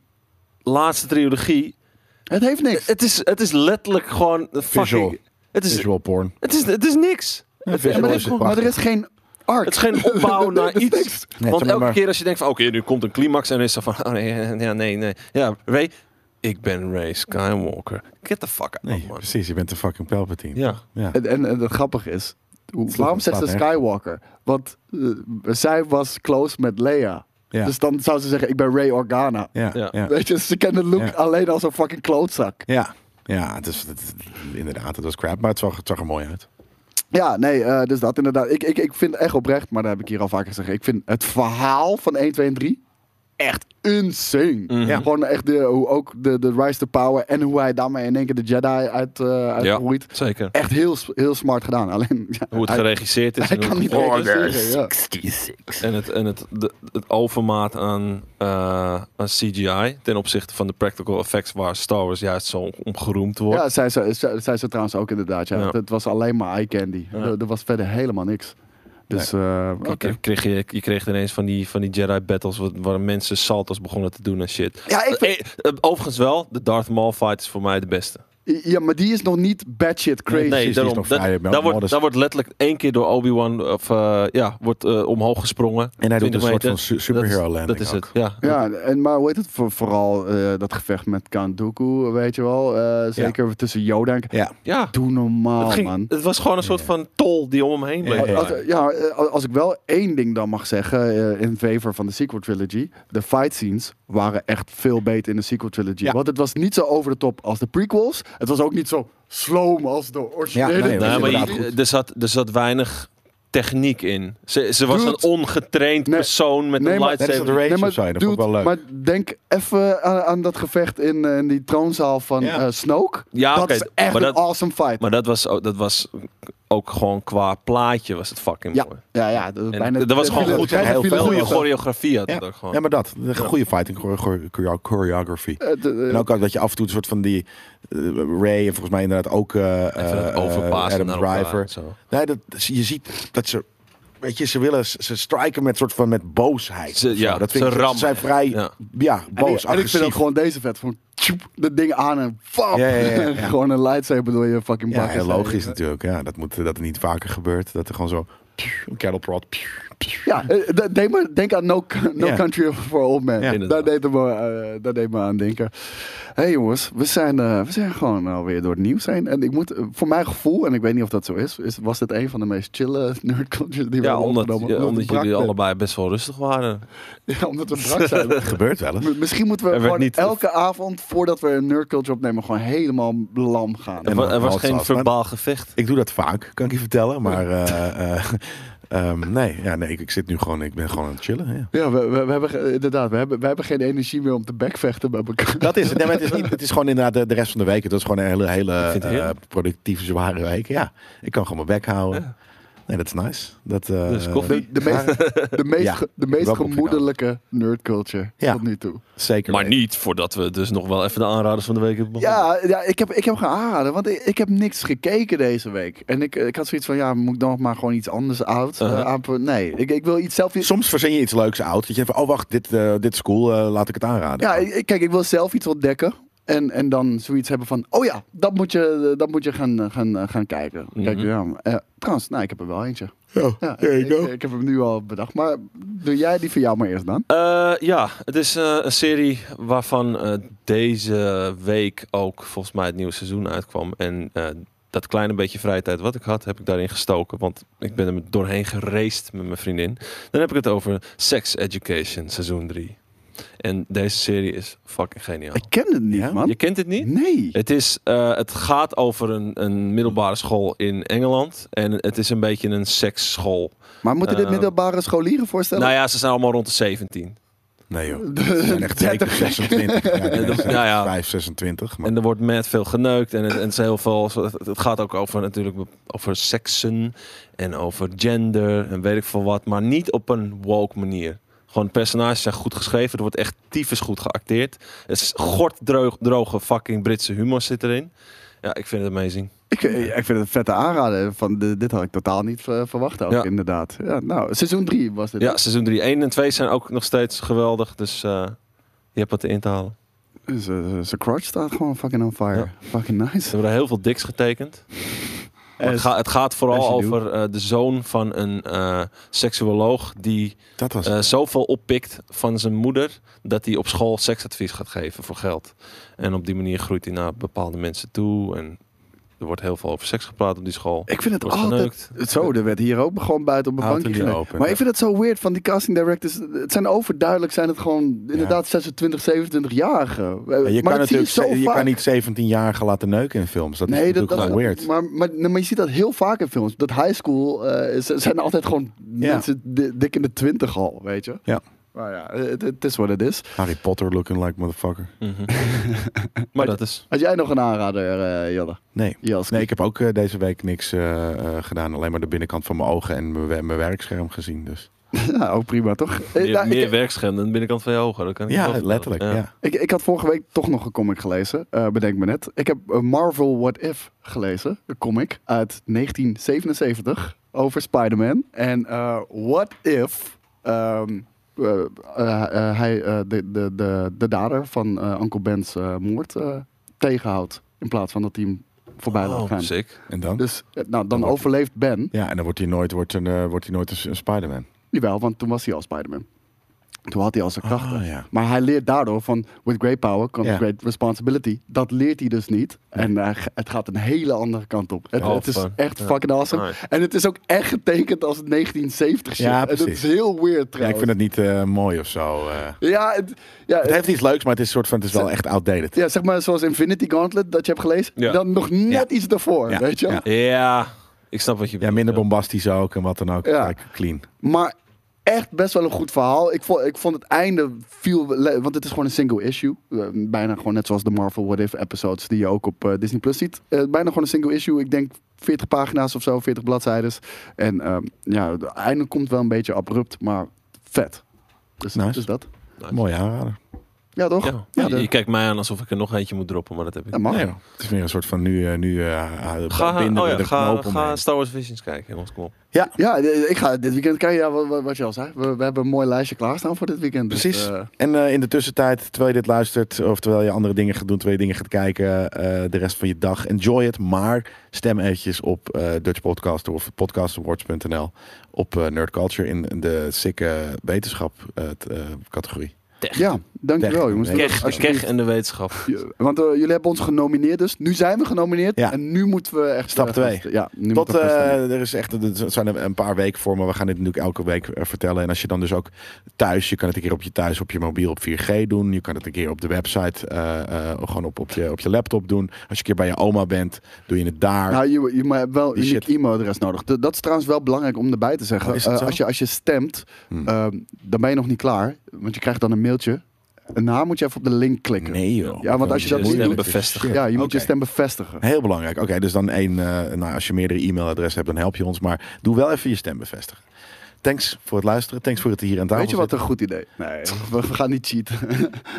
[SPEAKER 4] laatste trilogie,
[SPEAKER 3] Het heeft niks.
[SPEAKER 4] het is, het is letterlijk gewoon
[SPEAKER 2] Visual.
[SPEAKER 4] fucking... Het is, Oh,
[SPEAKER 2] Visual porn.
[SPEAKER 4] het is, het is niks.
[SPEAKER 2] Ja,
[SPEAKER 4] Het-
[SPEAKER 2] visual
[SPEAKER 3] maar, er
[SPEAKER 2] is
[SPEAKER 3] is,
[SPEAKER 2] het
[SPEAKER 3] maar er
[SPEAKER 2] prachtig.
[SPEAKER 3] is geen arc.
[SPEAKER 4] het is geen opbouw
[SPEAKER 3] Er- er-
[SPEAKER 4] naar
[SPEAKER 3] er is
[SPEAKER 4] iets.
[SPEAKER 3] niks.
[SPEAKER 2] Nee,
[SPEAKER 4] Want
[SPEAKER 2] zeg
[SPEAKER 4] elke
[SPEAKER 2] maar-
[SPEAKER 4] keer als je denkt van oké, nu komt een climax en dan is er van oh, nee, eh, ja, nee, nee. Ja, Ray, ik ben Ray Skywalker. Get the fuck out,
[SPEAKER 2] Nee,
[SPEAKER 4] man.
[SPEAKER 2] precies. Je bent de fucking Palpatine.
[SPEAKER 4] Ja.
[SPEAKER 2] Ja.
[SPEAKER 3] En, en, en het grappige is, hoe-
[SPEAKER 2] Slaat-
[SPEAKER 3] waarom zegt ze
[SPEAKER 2] slaat nergens.
[SPEAKER 3] Skywalker? Want eh, zij was close met Leia.
[SPEAKER 2] Ja.
[SPEAKER 3] Dus dan zou ze zeggen, ik ben Ray Organa.
[SPEAKER 2] Ja.
[SPEAKER 4] Ja.
[SPEAKER 2] Ja. Ja.
[SPEAKER 3] Weet je, ze kennen Luke
[SPEAKER 2] Ja.
[SPEAKER 3] alleen als een fucking klootzak.
[SPEAKER 2] ja. het is, het is- inderdaad, het was crap, maar het zag, het zag er mooi uit.
[SPEAKER 3] Ja, nee, eh, dus dat inderdaad. Ik, ik, ik vind echt oprecht, maar dat heb ik hier al vaker gezegd. Ik vind het verhaal van 1, 2 en 3 echt insane.
[SPEAKER 4] Mhm.
[SPEAKER 2] Ja.
[SPEAKER 3] Gewoon echt de, hoe ook de, de rise to power en hoe hij daarmee in één keer de Jedi uit, eh uitroeit.
[SPEAKER 4] zeker.
[SPEAKER 3] Echt heel, s- heel smart gedaan. Alleen, ja,
[SPEAKER 4] Hoe het
[SPEAKER 3] hij-
[SPEAKER 4] geregisseerd is
[SPEAKER 3] hij
[SPEAKER 4] en, hoe
[SPEAKER 3] kan
[SPEAKER 4] het
[SPEAKER 3] niet
[SPEAKER 4] gevolgd is.
[SPEAKER 3] regisseren, ja.
[SPEAKER 4] en het, en het, de- het overmaat aan, eh, aan CGI ten opzichte van de practical effects waar Star Wars juist zo om geroemd wordt.
[SPEAKER 3] Ja, zei ze, ze- zei ze trouwens ook inderdaad. Ja.
[SPEAKER 4] Ja.
[SPEAKER 3] Het was alleen maar eye candy. Er, er was verder helemaal niks. Dus, eh, oké.
[SPEAKER 4] Je Kreeg je, je kreeg ineens van die, van die Jedi battles wat- waar mensen salto's begonnen te doen en shit.
[SPEAKER 3] Ja, ik vind-
[SPEAKER 4] Eh, eh, overigens wel, de Darth Maul fight is voor mij de beste.
[SPEAKER 3] ja, maar die is nog niet bad shit crazy.
[SPEAKER 4] Eh, Nee,
[SPEAKER 2] Precies, die
[SPEAKER 4] daarom.
[SPEAKER 2] is nog
[SPEAKER 4] Dat-
[SPEAKER 2] vrij
[SPEAKER 4] daar, wordt,
[SPEAKER 2] modest.
[SPEAKER 4] daar wordt letterlijk één keer door Obi-Wan of, eh, ja, wordt, eh, omhoog gesprongen.
[SPEAKER 2] En hij doet
[SPEAKER 4] 20
[SPEAKER 2] een soort
[SPEAKER 4] meter.
[SPEAKER 2] van su- superhero
[SPEAKER 4] dat is,
[SPEAKER 2] landing
[SPEAKER 4] Dat is
[SPEAKER 2] ook.
[SPEAKER 4] het, ja.
[SPEAKER 3] Ja, en maar hoe heet het? Voor, vooral eh, dat gevecht met Count Dooku, weet je wel. Eh, zeker tussen Yoda en...
[SPEAKER 2] Ja,
[SPEAKER 4] ja.
[SPEAKER 3] Doe normaal,
[SPEAKER 4] het, ging-
[SPEAKER 3] man.
[SPEAKER 4] het was gewoon een soort van tol die om hem heen bleef.
[SPEAKER 2] Ja.
[SPEAKER 3] Als, ja, eh, als ik wel één ding dan mag zeggen eh, in favor van de sequel trilogy. De fight scenes waren echt veel beter in de sequel trilogy.
[SPEAKER 2] Ja.
[SPEAKER 3] Want het was niet zo over de top als de prequels. Het was ook niet zo sloom als de originele.
[SPEAKER 2] Ja, nee,
[SPEAKER 3] trilogy.
[SPEAKER 2] dat
[SPEAKER 4] Nee,
[SPEAKER 2] is
[SPEAKER 4] maar
[SPEAKER 2] inderdaad
[SPEAKER 4] je- er, zat, er zat weinig techniek in. Ze, ze was
[SPEAKER 3] Dude.
[SPEAKER 4] een ongetraind
[SPEAKER 3] Nee.
[SPEAKER 4] persoon met
[SPEAKER 3] Nee,
[SPEAKER 4] een
[SPEAKER 3] maar-
[SPEAKER 2] Dat is
[SPEAKER 4] lightsaber.
[SPEAKER 2] het race
[SPEAKER 3] Nee,
[SPEAKER 2] of zo. Dat vond ik
[SPEAKER 3] dude,
[SPEAKER 2] wel leuk.
[SPEAKER 3] maar denk even aan, aan dat gevecht in, eh, in die troonzaal van
[SPEAKER 2] Ja.
[SPEAKER 3] eh, Snoke.
[SPEAKER 4] Ja,
[SPEAKER 3] dat
[SPEAKER 4] oké,
[SPEAKER 3] is echt
[SPEAKER 4] maar
[SPEAKER 3] een
[SPEAKER 4] dat-
[SPEAKER 3] awesome fight.
[SPEAKER 4] Maar dat was, ook, dat was ook gewoon qua plaatje was het fucking
[SPEAKER 3] ja,
[SPEAKER 4] mooi.
[SPEAKER 3] ja, ja, dat, was
[SPEAKER 4] En
[SPEAKER 3] bijna,
[SPEAKER 4] dat was gewoon
[SPEAKER 3] bijna-
[SPEAKER 4] goed.
[SPEAKER 3] bijna
[SPEAKER 2] Heel veel
[SPEAKER 3] filo-
[SPEAKER 4] Goede
[SPEAKER 2] was dat.
[SPEAKER 4] choreografie had
[SPEAKER 2] Ja.
[SPEAKER 4] het ook gewoon.
[SPEAKER 2] Ja, maar dat. Een goede fighting chore- chore- choreo- choreography.
[SPEAKER 3] Eh, de- eh,
[SPEAKER 2] En ook, ook dat je af en toe een soort van die eh, Ray en volgens mij inderdaad ook eh
[SPEAKER 4] Even dat
[SPEAKER 2] eh,
[SPEAKER 4] overpassen
[SPEAKER 2] Adam
[SPEAKER 4] naar elkaar en
[SPEAKER 2] Driver.
[SPEAKER 4] zo.
[SPEAKER 2] Nee, dat, je ziet dat ze, weet je, ze willen, ze striken met soort van met boosheid.
[SPEAKER 4] Ze-
[SPEAKER 2] of
[SPEAKER 4] ja,
[SPEAKER 2] zo. dat
[SPEAKER 4] ze
[SPEAKER 2] ik-
[SPEAKER 4] rammen.
[SPEAKER 2] zijn vrij, ja,
[SPEAKER 4] Ja.
[SPEAKER 3] en, ik,
[SPEAKER 2] boos,
[SPEAKER 3] en ik vind ook
[SPEAKER 2] agressief.
[SPEAKER 3] gewoon deze vet. Gewoon tjoep, dat ding aan en fap.
[SPEAKER 2] Ja, ja, ja, ja.
[SPEAKER 3] gewoon een lightsaber door je fucking
[SPEAKER 2] Ja,
[SPEAKER 3] bak.
[SPEAKER 2] heel logisch natuurlijk. Ja, dat moet dat het niet vaker gebeurt. Dat er gewoon zo pff, een cattle prod. pff, pff.
[SPEAKER 3] Ja, eh, d- denk, maar, denk aan No, no
[SPEAKER 2] Ja.
[SPEAKER 3] Country for Old Men.
[SPEAKER 2] Ja.
[SPEAKER 3] Daar,
[SPEAKER 4] Inderdaad.
[SPEAKER 3] deed het me, eh, daar deed me aan denken. Hé hey jongens, we zijn, eh, we zijn gewoon alweer door het nieuws heen. En ik moet, eh, voor mijn gevoel, en ik weet niet of dat zo is, is was dit een van de meest chille nerdcultures die we
[SPEAKER 4] Ja,
[SPEAKER 3] hebben
[SPEAKER 4] omdat,
[SPEAKER 3] opgenomen.
[SPEAKER 4] ja, omdat
[SPEAKER 3] we brak
[SPEAKER 4] jullie
[SPEAKER 3] zijn.
[SPEAKER 4] allebei best wel rustig waren.
[SPEAKER 3] Ja, omdat we brak zijn.
[SPEAKER 2] Gebeurt wel eens.
[SPEAKER 3] M- Misschien moeten we
[SPEAKER 4] Er werd
[SPEAKER 3] gewoon
[SPEAKER 4] niet-
[SPEAKER 3] elke avond, voordat we een nerdculture opnemen, gewoon helemaal lam gaan.
[SPEAKER 4] Er, wa- er
[SPEAKER 2] dan
[SPEAKER 4] was
[SPEAKER 2] houdt ze
[SPEAKER 4] geen
[SPEAKER 2] afstand.
[SPEAKER 4] verbaal gevecht.
[SPEAKER 2] Ik doe dat vaak, kan ik je vertellen. Maar eh, eh, ehm, nee, ja, nee ik, ik zit nu gewoon, ik ben gewoon aan het chillen. Ja.
[SPEAKER 3] Ja, we, we, we hebben ge- inderdaad, we hebben, we hebben geen energie meer om te backvechten bij elkaar.
[SPEAKER 2] Dat is het. Nee, maar het, is niet, het is gewoon inderdaad de, de rest van de week. Het is gewoon een hele, hele
[SPEAKER 4] vind het heerlijk.
[SPEAKER 2] eh, productieve, zware week. Ja, ik kan gewoon mijn bek houden.
[SPEAKER 4] Ja.
[SPEAKER 2] Nee, dat is nice. Dat, eh,
[SPEAKER 4] Dus koffie.
[SPEAKER 3] De, de meest, de meest,
[SPEAKER 2] Ja,
[SPEAKER 3] ge- de meest
[SPEAKER 2] welkom,
[SPEAKER 3] gemoedelijke nerdculture
[SPEAKER 2] Ja.
[SPEAKER 3] tot nu toe.
[SPEAKER 2] Zeker.
[SPEAKER 4] Maar niet voordat we dus nog wel even de aanraders van de week hebben begonnen.
[SPEAKER 3] Ja, ja ik, heb, ik heb gaan aanraden, want ik, ik heb niks gekeken deze week. En ik, eh, ik had zoiets van, ja, moet ik dan maar gewoon iets anders oud eh,
[SPEAKER 4] Uh-huh.
[SPEAKER 3] aanp- Nee, ik, ik wil iets zelf...
[SPEAKER 2] Soms verzin je iets leuks oud. Dat je van, oh wacht, dit, eh, dit is cool. eh, laat ik het aanraden.
[SPEAKER 3] Ja, ik- kijk, ik wil zelf iets ontdekken. En, en dan zoiets hebben van, oh ja, dat moet je, dat moet je gaan, eh, gaan, eh, gaan kijken. Kijk,
[SPEAKER 4] Mhm.
[SPEAKER 3] ja, eh, trouwens, nou, ik heb er wel eentje.
[SPEAKER 2] Oh,
[SPEAKER 3] Ja,
[SPEAKER 2] there you
[SPEAKER 3] ik,
[SPEAKER 2] go.
[SPEAKER 3] ik, heb hem nu al bedacht, maar doe jij die voor jou maar eerst dan?
[SPEAKER 4] Eh, ja, het is eh, een serie waarvan eh, deze week ook volgens mij het nieuwe seizoen uitkwam. En eh, dat kleine beetje vrije tijd wat ik had, heb ik daarin gestoken. Want ik ben er doorheen geraced met mijn vriendin. Dan heb ik het over Sex Education seizoen 3. En deze serie is fucking geniaal.
[SPEAKER 3] Ik ken het niet,
[SPEAKER 2] Ja?
[SPEAKER 3] man.
[SPEAKER 4] Je kent het niet?
[SPEAKER 3] Nee.
[SPEAKER 4] Het, is, eh, het gaat over een, een middelbare school in Engeland. En het is een beetje een seksschool.
[SPEAKER 3] Maar moeten dit
[SPEAKER 2] ehm,
[SPEAKER 4] Eh,
[SPEAKER 3] middelbare scholieren voorstellen?
[SPEAKER 4] Nou ja, ze zijn allemaal rond de 17.
[SPEAKER 2] Nee joh.
[SPEAKER 3] De-
[SPEAKER 2] Het zijn echt zeker 26. Ja, nee,
[SPEAKER 4] dat-
[SPEAKER 2] ze zijn
[SPEAKER 4] ja, ja.
[SPEAKER 2] 5, 26. Maar
[SPEAKER 4] En er wordt met veel geneukt. En het, en het, is heel veel, het, het gaat ook over natuurlijk over seksen en over gender en weet ik veel wat. Maar niet op een woke manier. Gewoon de personages zijn goed geschreven. Er wordt echt tyfus goed geacteerd. Het is gorddroge droge fucking Britse humor zit erin. Ja, ik vind het amazing.
[SPEAKER 3] Ik, ik vind het een vette aanraden. Van de- dit had ik totaal niet eh, verwacht ook,
[SPEAKER 4] Ja.
[SPEAKER 3] inderdaad. Ja, nou, seizoen 3 was dit.
[SPEAKER 4] Ja,
[SPEAKER 3] hè?
[SPEAKER 4] seizoen 3, 1 en 2 zijn ook nog steeds geweldig. Dus eh, je hebt wat in te halen.
[SPEAKER 3] Dus, eh, Zijn crotch staat gewoon fucking on fire.
[SPEAKER 4] Ja.
[SPEAKER 3] Fucking nice. Eh,
[SPEAKER 4] Ze hebben er heel veel diks getekend. Maar het,
[SPEAKER 3] As-
[SPEAKER 4] ga- het gaat vooral
[SPEAKER 3] as you do.
[SPEAKER 4] over eh, de zoon van een eh seksuoloog die
[SPEAKER 2] dat was
[SPEAKER 4] eh, zoveel oppikt van zijn moeder dat hij op school seksadvies gaat geven voor geld. En op die manier groeit hij naar bepaalde mensen toe en er wordt heel veel over seks gepraat op die school.
[SPEAKER 3] Ik vind het
[SPEAKER 4] Wordt
[SPEAKER 3] altijd...
[SPEAKER 4] geneukt.
[SPEAKER 3] Zo, er werd hier ook gewoon buiten op een
[SPEAKER 2] Houdt
[SPEAKER 3] bankje
[SPEAKER 2] het niet
[SPEAKER 3] geneukt.
[SPEAKER 2] open,
[SPEAKER 3] Maar
[SPEAKER 2] ja.
[SPEAKER 3] ik vind het zo weird van die casting directors. Het zijn overduidelijk, zijn het gewoon inderdaad 26, 27-jarigen. Eh,
[SPEAKER 2] Ja, je kan
[SPEAKER 3] maar dat zie
[SPEAKER 2] natuurlijk
[SPEAKER 3] zo
[SPEAKER 2] ze- je
[SPEAKER 3] vaak.
[SPEAKER 2] kan niet 17-jarigen laten neuken in films. Dat is
[SPEAKER 3] Nee, dat,
[SPEAKER 2] natuurlijk
[SPEAKER 3] dat,
[SPEAKER 2] gewoon weird.
[SPEAKER 3] Maar, maar, nee, maar je ziet dat heel vaak in films. Dat high school eh, z- zijn altijd gewoon
[SPEAKER 2] Ja.
[SPEAKER 3] mensen di- dik in de twintig al, weet je.
[SPEAKER 2] Ja.
[SPEAKER 3] Maar ja, het het is wat het is.
[SPEAKER 2] Harry Potter looking like motherfucker.
[SPEAKER 4] Mhm. maar dat is.
[SPEAKER 3] Had jij nog een aanrader, eh Jelle?
[SPEAKER 2] Nee.
[SPEAKER 3] Jelske?
[SPEAKER 2] Nee, ik heb ook eh, deze week niks eh, eh, gedaan. Alleen maar de binnenkant van mijn ogen en mijn we- mijn werkscherm gezien. Dus.
[SPEAKER 3] Ja, ook prima, toch? Eh,
[SPEAKER 4] Je
[SPEAKER 3] nou,
[SPEAKER 4] hebt meer
[SPEAKER 3] ik,
[SPEAKER 4] werkscherm dan de binnenkant van je ogen. Dat kan ik je
[SPEAKER 2] Ja,
[SPEAKER 4] wel vertellen.
[SPEAKER 2] letterlijk. Ja.
[SPEAKER 3] ik, ik had vorige week toch nog een comic gelezen, eh, bedenk me net. Ik heb eh, Marvel What If gelezen, een comic uit 1977 over Spider-Man. En eh, What If... ehm, eh, eh, eh, hij eh, de, de, de, de dader van eh Uncle Ben's eh, moord eh, tegenhoudt. In plaats van dat hij hem voorbij laat
[SPEAKER 4] Oh,
[SPEAKER 3] gaan.
[SPEAKER 4] sick.
[SPEAKER 2] En dan?
[SPEAKER 3] Dus eh, nou, dan
[SPEAKER 2] Dan wordt-
[SPEAKER 3] overleeft Ben.
[SPEAKER 2] Ja, en dan wordt hij nooit, wordt een, eh, wordt hij nooit een, een Spider-Man.
[SPEAKER 3] Jawel, want toen was hij al Spider-Man. Toen had hij al zijn krachten.
[SPEAKER 2] Ah, ja.
[SPEAKER 3] Maar hij leert daardoor van, with great power comes
[SPEAKER 2] Ja.
[SPEAKER 3] great responsibility. Dat leert hij dus niet. En eh, g- het gaat een hele andere kant op. Het,
[SPEAKER 4] Oh,
[SPEAKER 3] het is
[SPEAKER 4] fuck.
[SPEAKER 3] echt
[SPEAKER 4] Ja.
[SPEAKER 3] fucking awesome.
[SPEAKER 4] Nice.
[SPEAKER 3] En het is ook echt getekend als 1970 shit.
[SPEAKER 2] Ja,
[SPEAKER 3] en dat is
[SPEAKER 2] precies.
[SPEAKER 3] heel weird
[SPEAKER 2] Ja, ik
[SPEAKER 3] trouwens.
[SPEAKER 2] vind het niet eh, mooi of zo. eh.
[SPEAKER 3] Ja, het, ja,
[SPEAKER 2] Het heeft iets leuks, maar het is, soort van, het is wel echt outdated.
[SPEAKER 3] ja, zeg maar zoals Infinity Gauntlet dat je hebt gelezen.
[SPEAKER 4] Ja.
[SPEAKER 3] Dan nog net iets daarvoor,
[SPEAKER 2] Ja,
[SPEAKER 3] weet je wel?
[SPEAKER 2] ja.
[SPEAKER 4] Ja, Ik snap wat je
[SPEAKER 2] Ja,
[SPEAKER 4] bedoelt,
[SPEAKER 2] minder bombastisch ook en wat dan ook.
[SPEAKER 3] Ja.
[SPEAKER 2] Kijk, clean.
[SPEAKER 3] Maar echt best wel een goed verhaal. Ik vond, ik vond het einde viel. le- Want het is gewoon een single issue. Eh, bijna gewoon net zoals de Marvel What If episodes die je ook op eh, Disney Plus ziet. Eh, bijna gewoon een single issue. Ik denk 40 pagina's of zo, 40 bladzijdes. En ehm, ja, het einde komt wel een beetje abrupt, maar vet. Dus,
[SPEAKER 2] Nice.
[SPEAKER 3] dus dat.
[SPEAKER 4] Nice.
[SPEAKER 2] Mooi aanrader.
[SPEAKER 3] Ja, toch?
[SPEAKER 4] Ja.
[SPEAKER 3] Ja,
[SPEAKER 4] Je-
[SPEAKER 3] de-
[SPEAKER 4] je, kijkt mij aan alsof ik er nog eentje moet droppen, maar dat heb ik
[SPEAKER 3] Ja,
[SPEAKER 4] niet.
[SPEAKER 3] mag.
[SPEAKER 2] Nee, joh. het is meer een soort van nu, eh, nu eh eh,
[SPEAKER 4] Ga,
[SPEAKER 2] binden
[SPEAKER 4] oh
[SPEAKER 2] we
[SPEAKER 4] ja,
[SPEAKER 2] de
[SPEAKER 4] ga,
[SPEAKER 2] knoop omheen.
[SPEAKER 4] ga Star Wars Visions kijken, jongens. Kom op.
[SPEAKER 3] Ja, ja, eh, ik ga dit weekend kijken. Ja, wat- wat, wat je al zei. We, we hebben een mooi lijstje klaarstaan voor dit weekend. Dus,
[SPEAKER 2] Precies.
[SPEAKER 3] eh,
[SPEAKER 2] En eh, in de tussentijd, terwijl je dit luistert, of terwijl je andere dingen gaat doen, terwijl je dingen gaat kijken, eh, de rest van je dag, enjoy het. Maar stem eventjes op eh, Dutch Podcaster of podcastawards.nl op eh, Nerd Culture in de sikke wetenschap eh, t- eh, categorie.
[SPEAKER 3] ja, dankjewel
[SPEAKER 2] Echt,
[SPEAKER 3] jongens.
[SPEAKER 2] nee.
[SPEAKER 3] Doe
[SPEAKER 4] Kech,
[SPEAKER 3] dat
[SPEAKER 4] de
[SPEAKER 3] alsjeblieft.
[SPEAKER 4] kech en de wetenschap.
[SPEAKER 3] Je- Want eh, jullie hebben ons genomineerd, dus nu zijn we genomineerd.
[SPEAKER 2] Ja.
[SPEAKER 3] En nu moeten we echt.
[SPEAKER 2] Stap
[SPEAKER 3] eh,
[SPEAKER 2] twee.
[SPEAKER 3] gasten- Ja, nu
[SPEAKER 2] Tot,
[SPEAKER 3] moeten we gasten-
[SPEAKER 2] eh, er is echt, er zijn er een paar weken voor, maar we gaan dit natuurlijk elke week eh, vertellen. En als je dan dus ook thuis, je kan het een keer op je thuis, op je mobiel, op 4G doen. Je kan het een keer op de website, eh, eh, gewoon op, op, je, op je laptop doen. Als je een keer bij je oma bent, doe je het daar.
[SPEAKER 3] nou, je, je maar hebt wel
[SPEAKER 2] Die
[SPEAKER 3] een uniek
[SPEAKER 2] shit.
[SPEAKER 3] e-mailadres nodig. D- dat is trouwens wel belangrijk om erbij te zeggen.
[SPEAKER 2] Oh, is dat
[SPEAKER 3] Eh,
[SPEAKER 2] zo?
[SPEAKER 3] als, je, als je stemt,
[SPEAKER 2] Hmm.
[SPEAKER 3] ehm, dan ben je nog niet klaar. Want je krijgt dan een mailtje. En daarna moet je even op de link klikken.
[SPEAKER 2] Nee joh.
[SPEAKER 3] Ja, want als je dat
[SPEAKER 4] Dus
[SPEAKER 3] niet
[SPEAKER 4] stem
[SPEAKER 3] doet-
[SPEAKER 4] bevestigen.
[SPEAKER 3] Ja, je moet
[SPEAKER 2] Oké.
[SPEAKER 3] je stem bevestigen.
[SPEAKER 2] Heel belangrijk. Oké, dus dan één. eh, nou, als je meerdere e-mailadressen hebt, dan help je ons. Maar doe wel even je stem bevestigen. Thanks voor het luisteren. Thanks voor het hier en daar.
[SPEAKER 3] Weet je wat een goed idee? Nee, we, we gaan niet cheaten.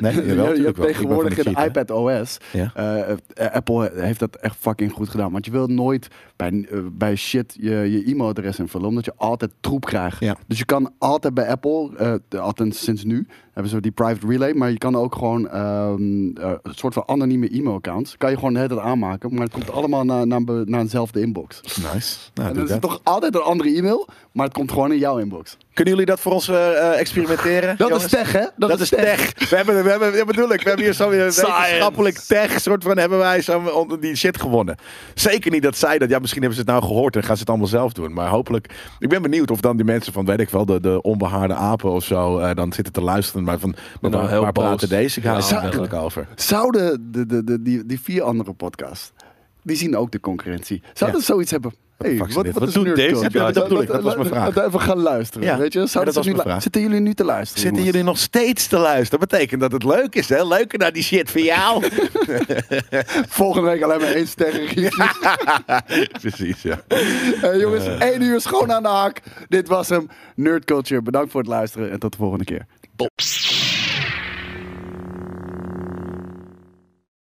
[SPEAKER 2] Nee, jawel,
[SPEAKER 3] Je- je,
[SPEAKER 2] natuurlijk
[SPEAKER 3] hebt
[SPEAKER 2] wel. Ik ben
[SPEAKER 3] tegenwoordig
[SPEAKER 2] van de
[SPEAKER 3] een
[SPEAKER 2] cheat, hè?
[SPEAKER 3] iPad OS.
[SPEAKER 2] Ja.
[SPEAKER 3] Eh, eh, Apple heeft dat echt fucking goed gedaan. Want je wilt nooit bij, eh, bij shit je, je e-mailadres invullen, omdat je altijd troep krijgt.
[SPEAKER 2] Ja.
[SPEAKER 3] Dus je kan altijd bij Apple, eh, de- althans sinds nu, hebben ze die private relay, maar je kan ook gewoon ehm, eh, een soort van anonieme e-mailaccounts. Kan je gewoon het aanmaken, maar het komt allemaal naar, naar, be- naar eenzelfde inbox.
[SPEAKER 2] Nice. Nou, doe
[SPEAKER 3] en dan is
[SPEAKER 2] dat.
[SPEAKER 3] het toch altijd een andere e-mail, maar het komt gewoon in jouw inbox.
[SPEAKER 2] Kunnen jullie dat voor ons eh, eh, experimenteren?
[SPEAKER 3] Dat
[SPEAKER 2] jongens?
[SPEAKER 3] is tech, hè?
[SPEAKER 2] Dat, is tech. We hebben, we hebben, ja, bedoel ik, we hebben hier zo'n eh, wetenschappelijk tech soort van hebben wij zo onder die shit gewonnen. Zeker niet dat zij dat. Ja, misschien hebben ze het nou gehoord en gaan ze het allemaal zelf doen. Maar hopelijk, ik ben benieuwd of dan die mensen van, weet ik wel, de, de onbehaarde apen of zo, eh, dan zitten te luisteren. Maar van, maar
[SPEAKER 4] Nou,
[SPEAKER 2] waar,
[SPEAKER 4] heel
[SPEAKER 2] waar
[SPEAKER 4] boos.
[SPEAKER 2] praten deze guys
[SPEAKER 4] Ja,
[SPEAKER 2] eigenlijk over?
[SPEAKER 3] Zouden de, de, de, die, die vier andere podcasts, die zien ook de concurrentie. Zouden
[SPEAKER 2] Ja.
[SPEAKER 3] ze zoiets hebben?
[SPEAKER 2] Wat
[SPEAKER 3] Hey,
[SPEAKER 2] fuck
[SPEAKER 3] wat,
[SPEAKER 2] is
[SPEAKER 3] wat,
[SPEAKER 2] dit? Wat
[SPEAKER 3] is
[SPEAKER 2] doet
[SPEAKER 3] nerd
[SPEAKER 2] deze?
[SPEAKER 3] culture?
[SPEAKER 2] Ja, dat bedoel ik. Dat
[SPEAKER 3] Laten-
[SPEAKER 2] was mijn
[SPEAKER 3] laten-
[SPEAKER 2] vraag.
[SPEAKER 3] Laten we even gaan luisteren,
[SPEAKER 2] Ja.
[SPEAKER 3] weet je?
[SPEAKER 2] Ja,
[SPEAKER 3] Zouden
[SPEAKER 2] dat was
[SPEAKER 3] ze nu
[SPEAKER 2] mijn
[SPEAKER 3] lu-
[SPEAKER 2] vraag.
[SPEAKER 3] Zitten jullie nu te luisteren?
[SPEAKER 2] Zitten
[SPEAKER 3] jongens?
[SPEAKER 2] jullie nog steeds te luisteren? Dat betekent dat het leuk is, hè? Leuker naar die shit van jou.
[SPEAKER 3] Volgende week alleen maar één sterren.
[SPEAKER 2] Precies, ja.
[SPEAKER 3] Eh, jongens, één uur schoon aan de haak. Dit was hem. Nerd Culture, bedankt voor het luisteren en tot de volgende keer.
[SPEAKER 2] Bops.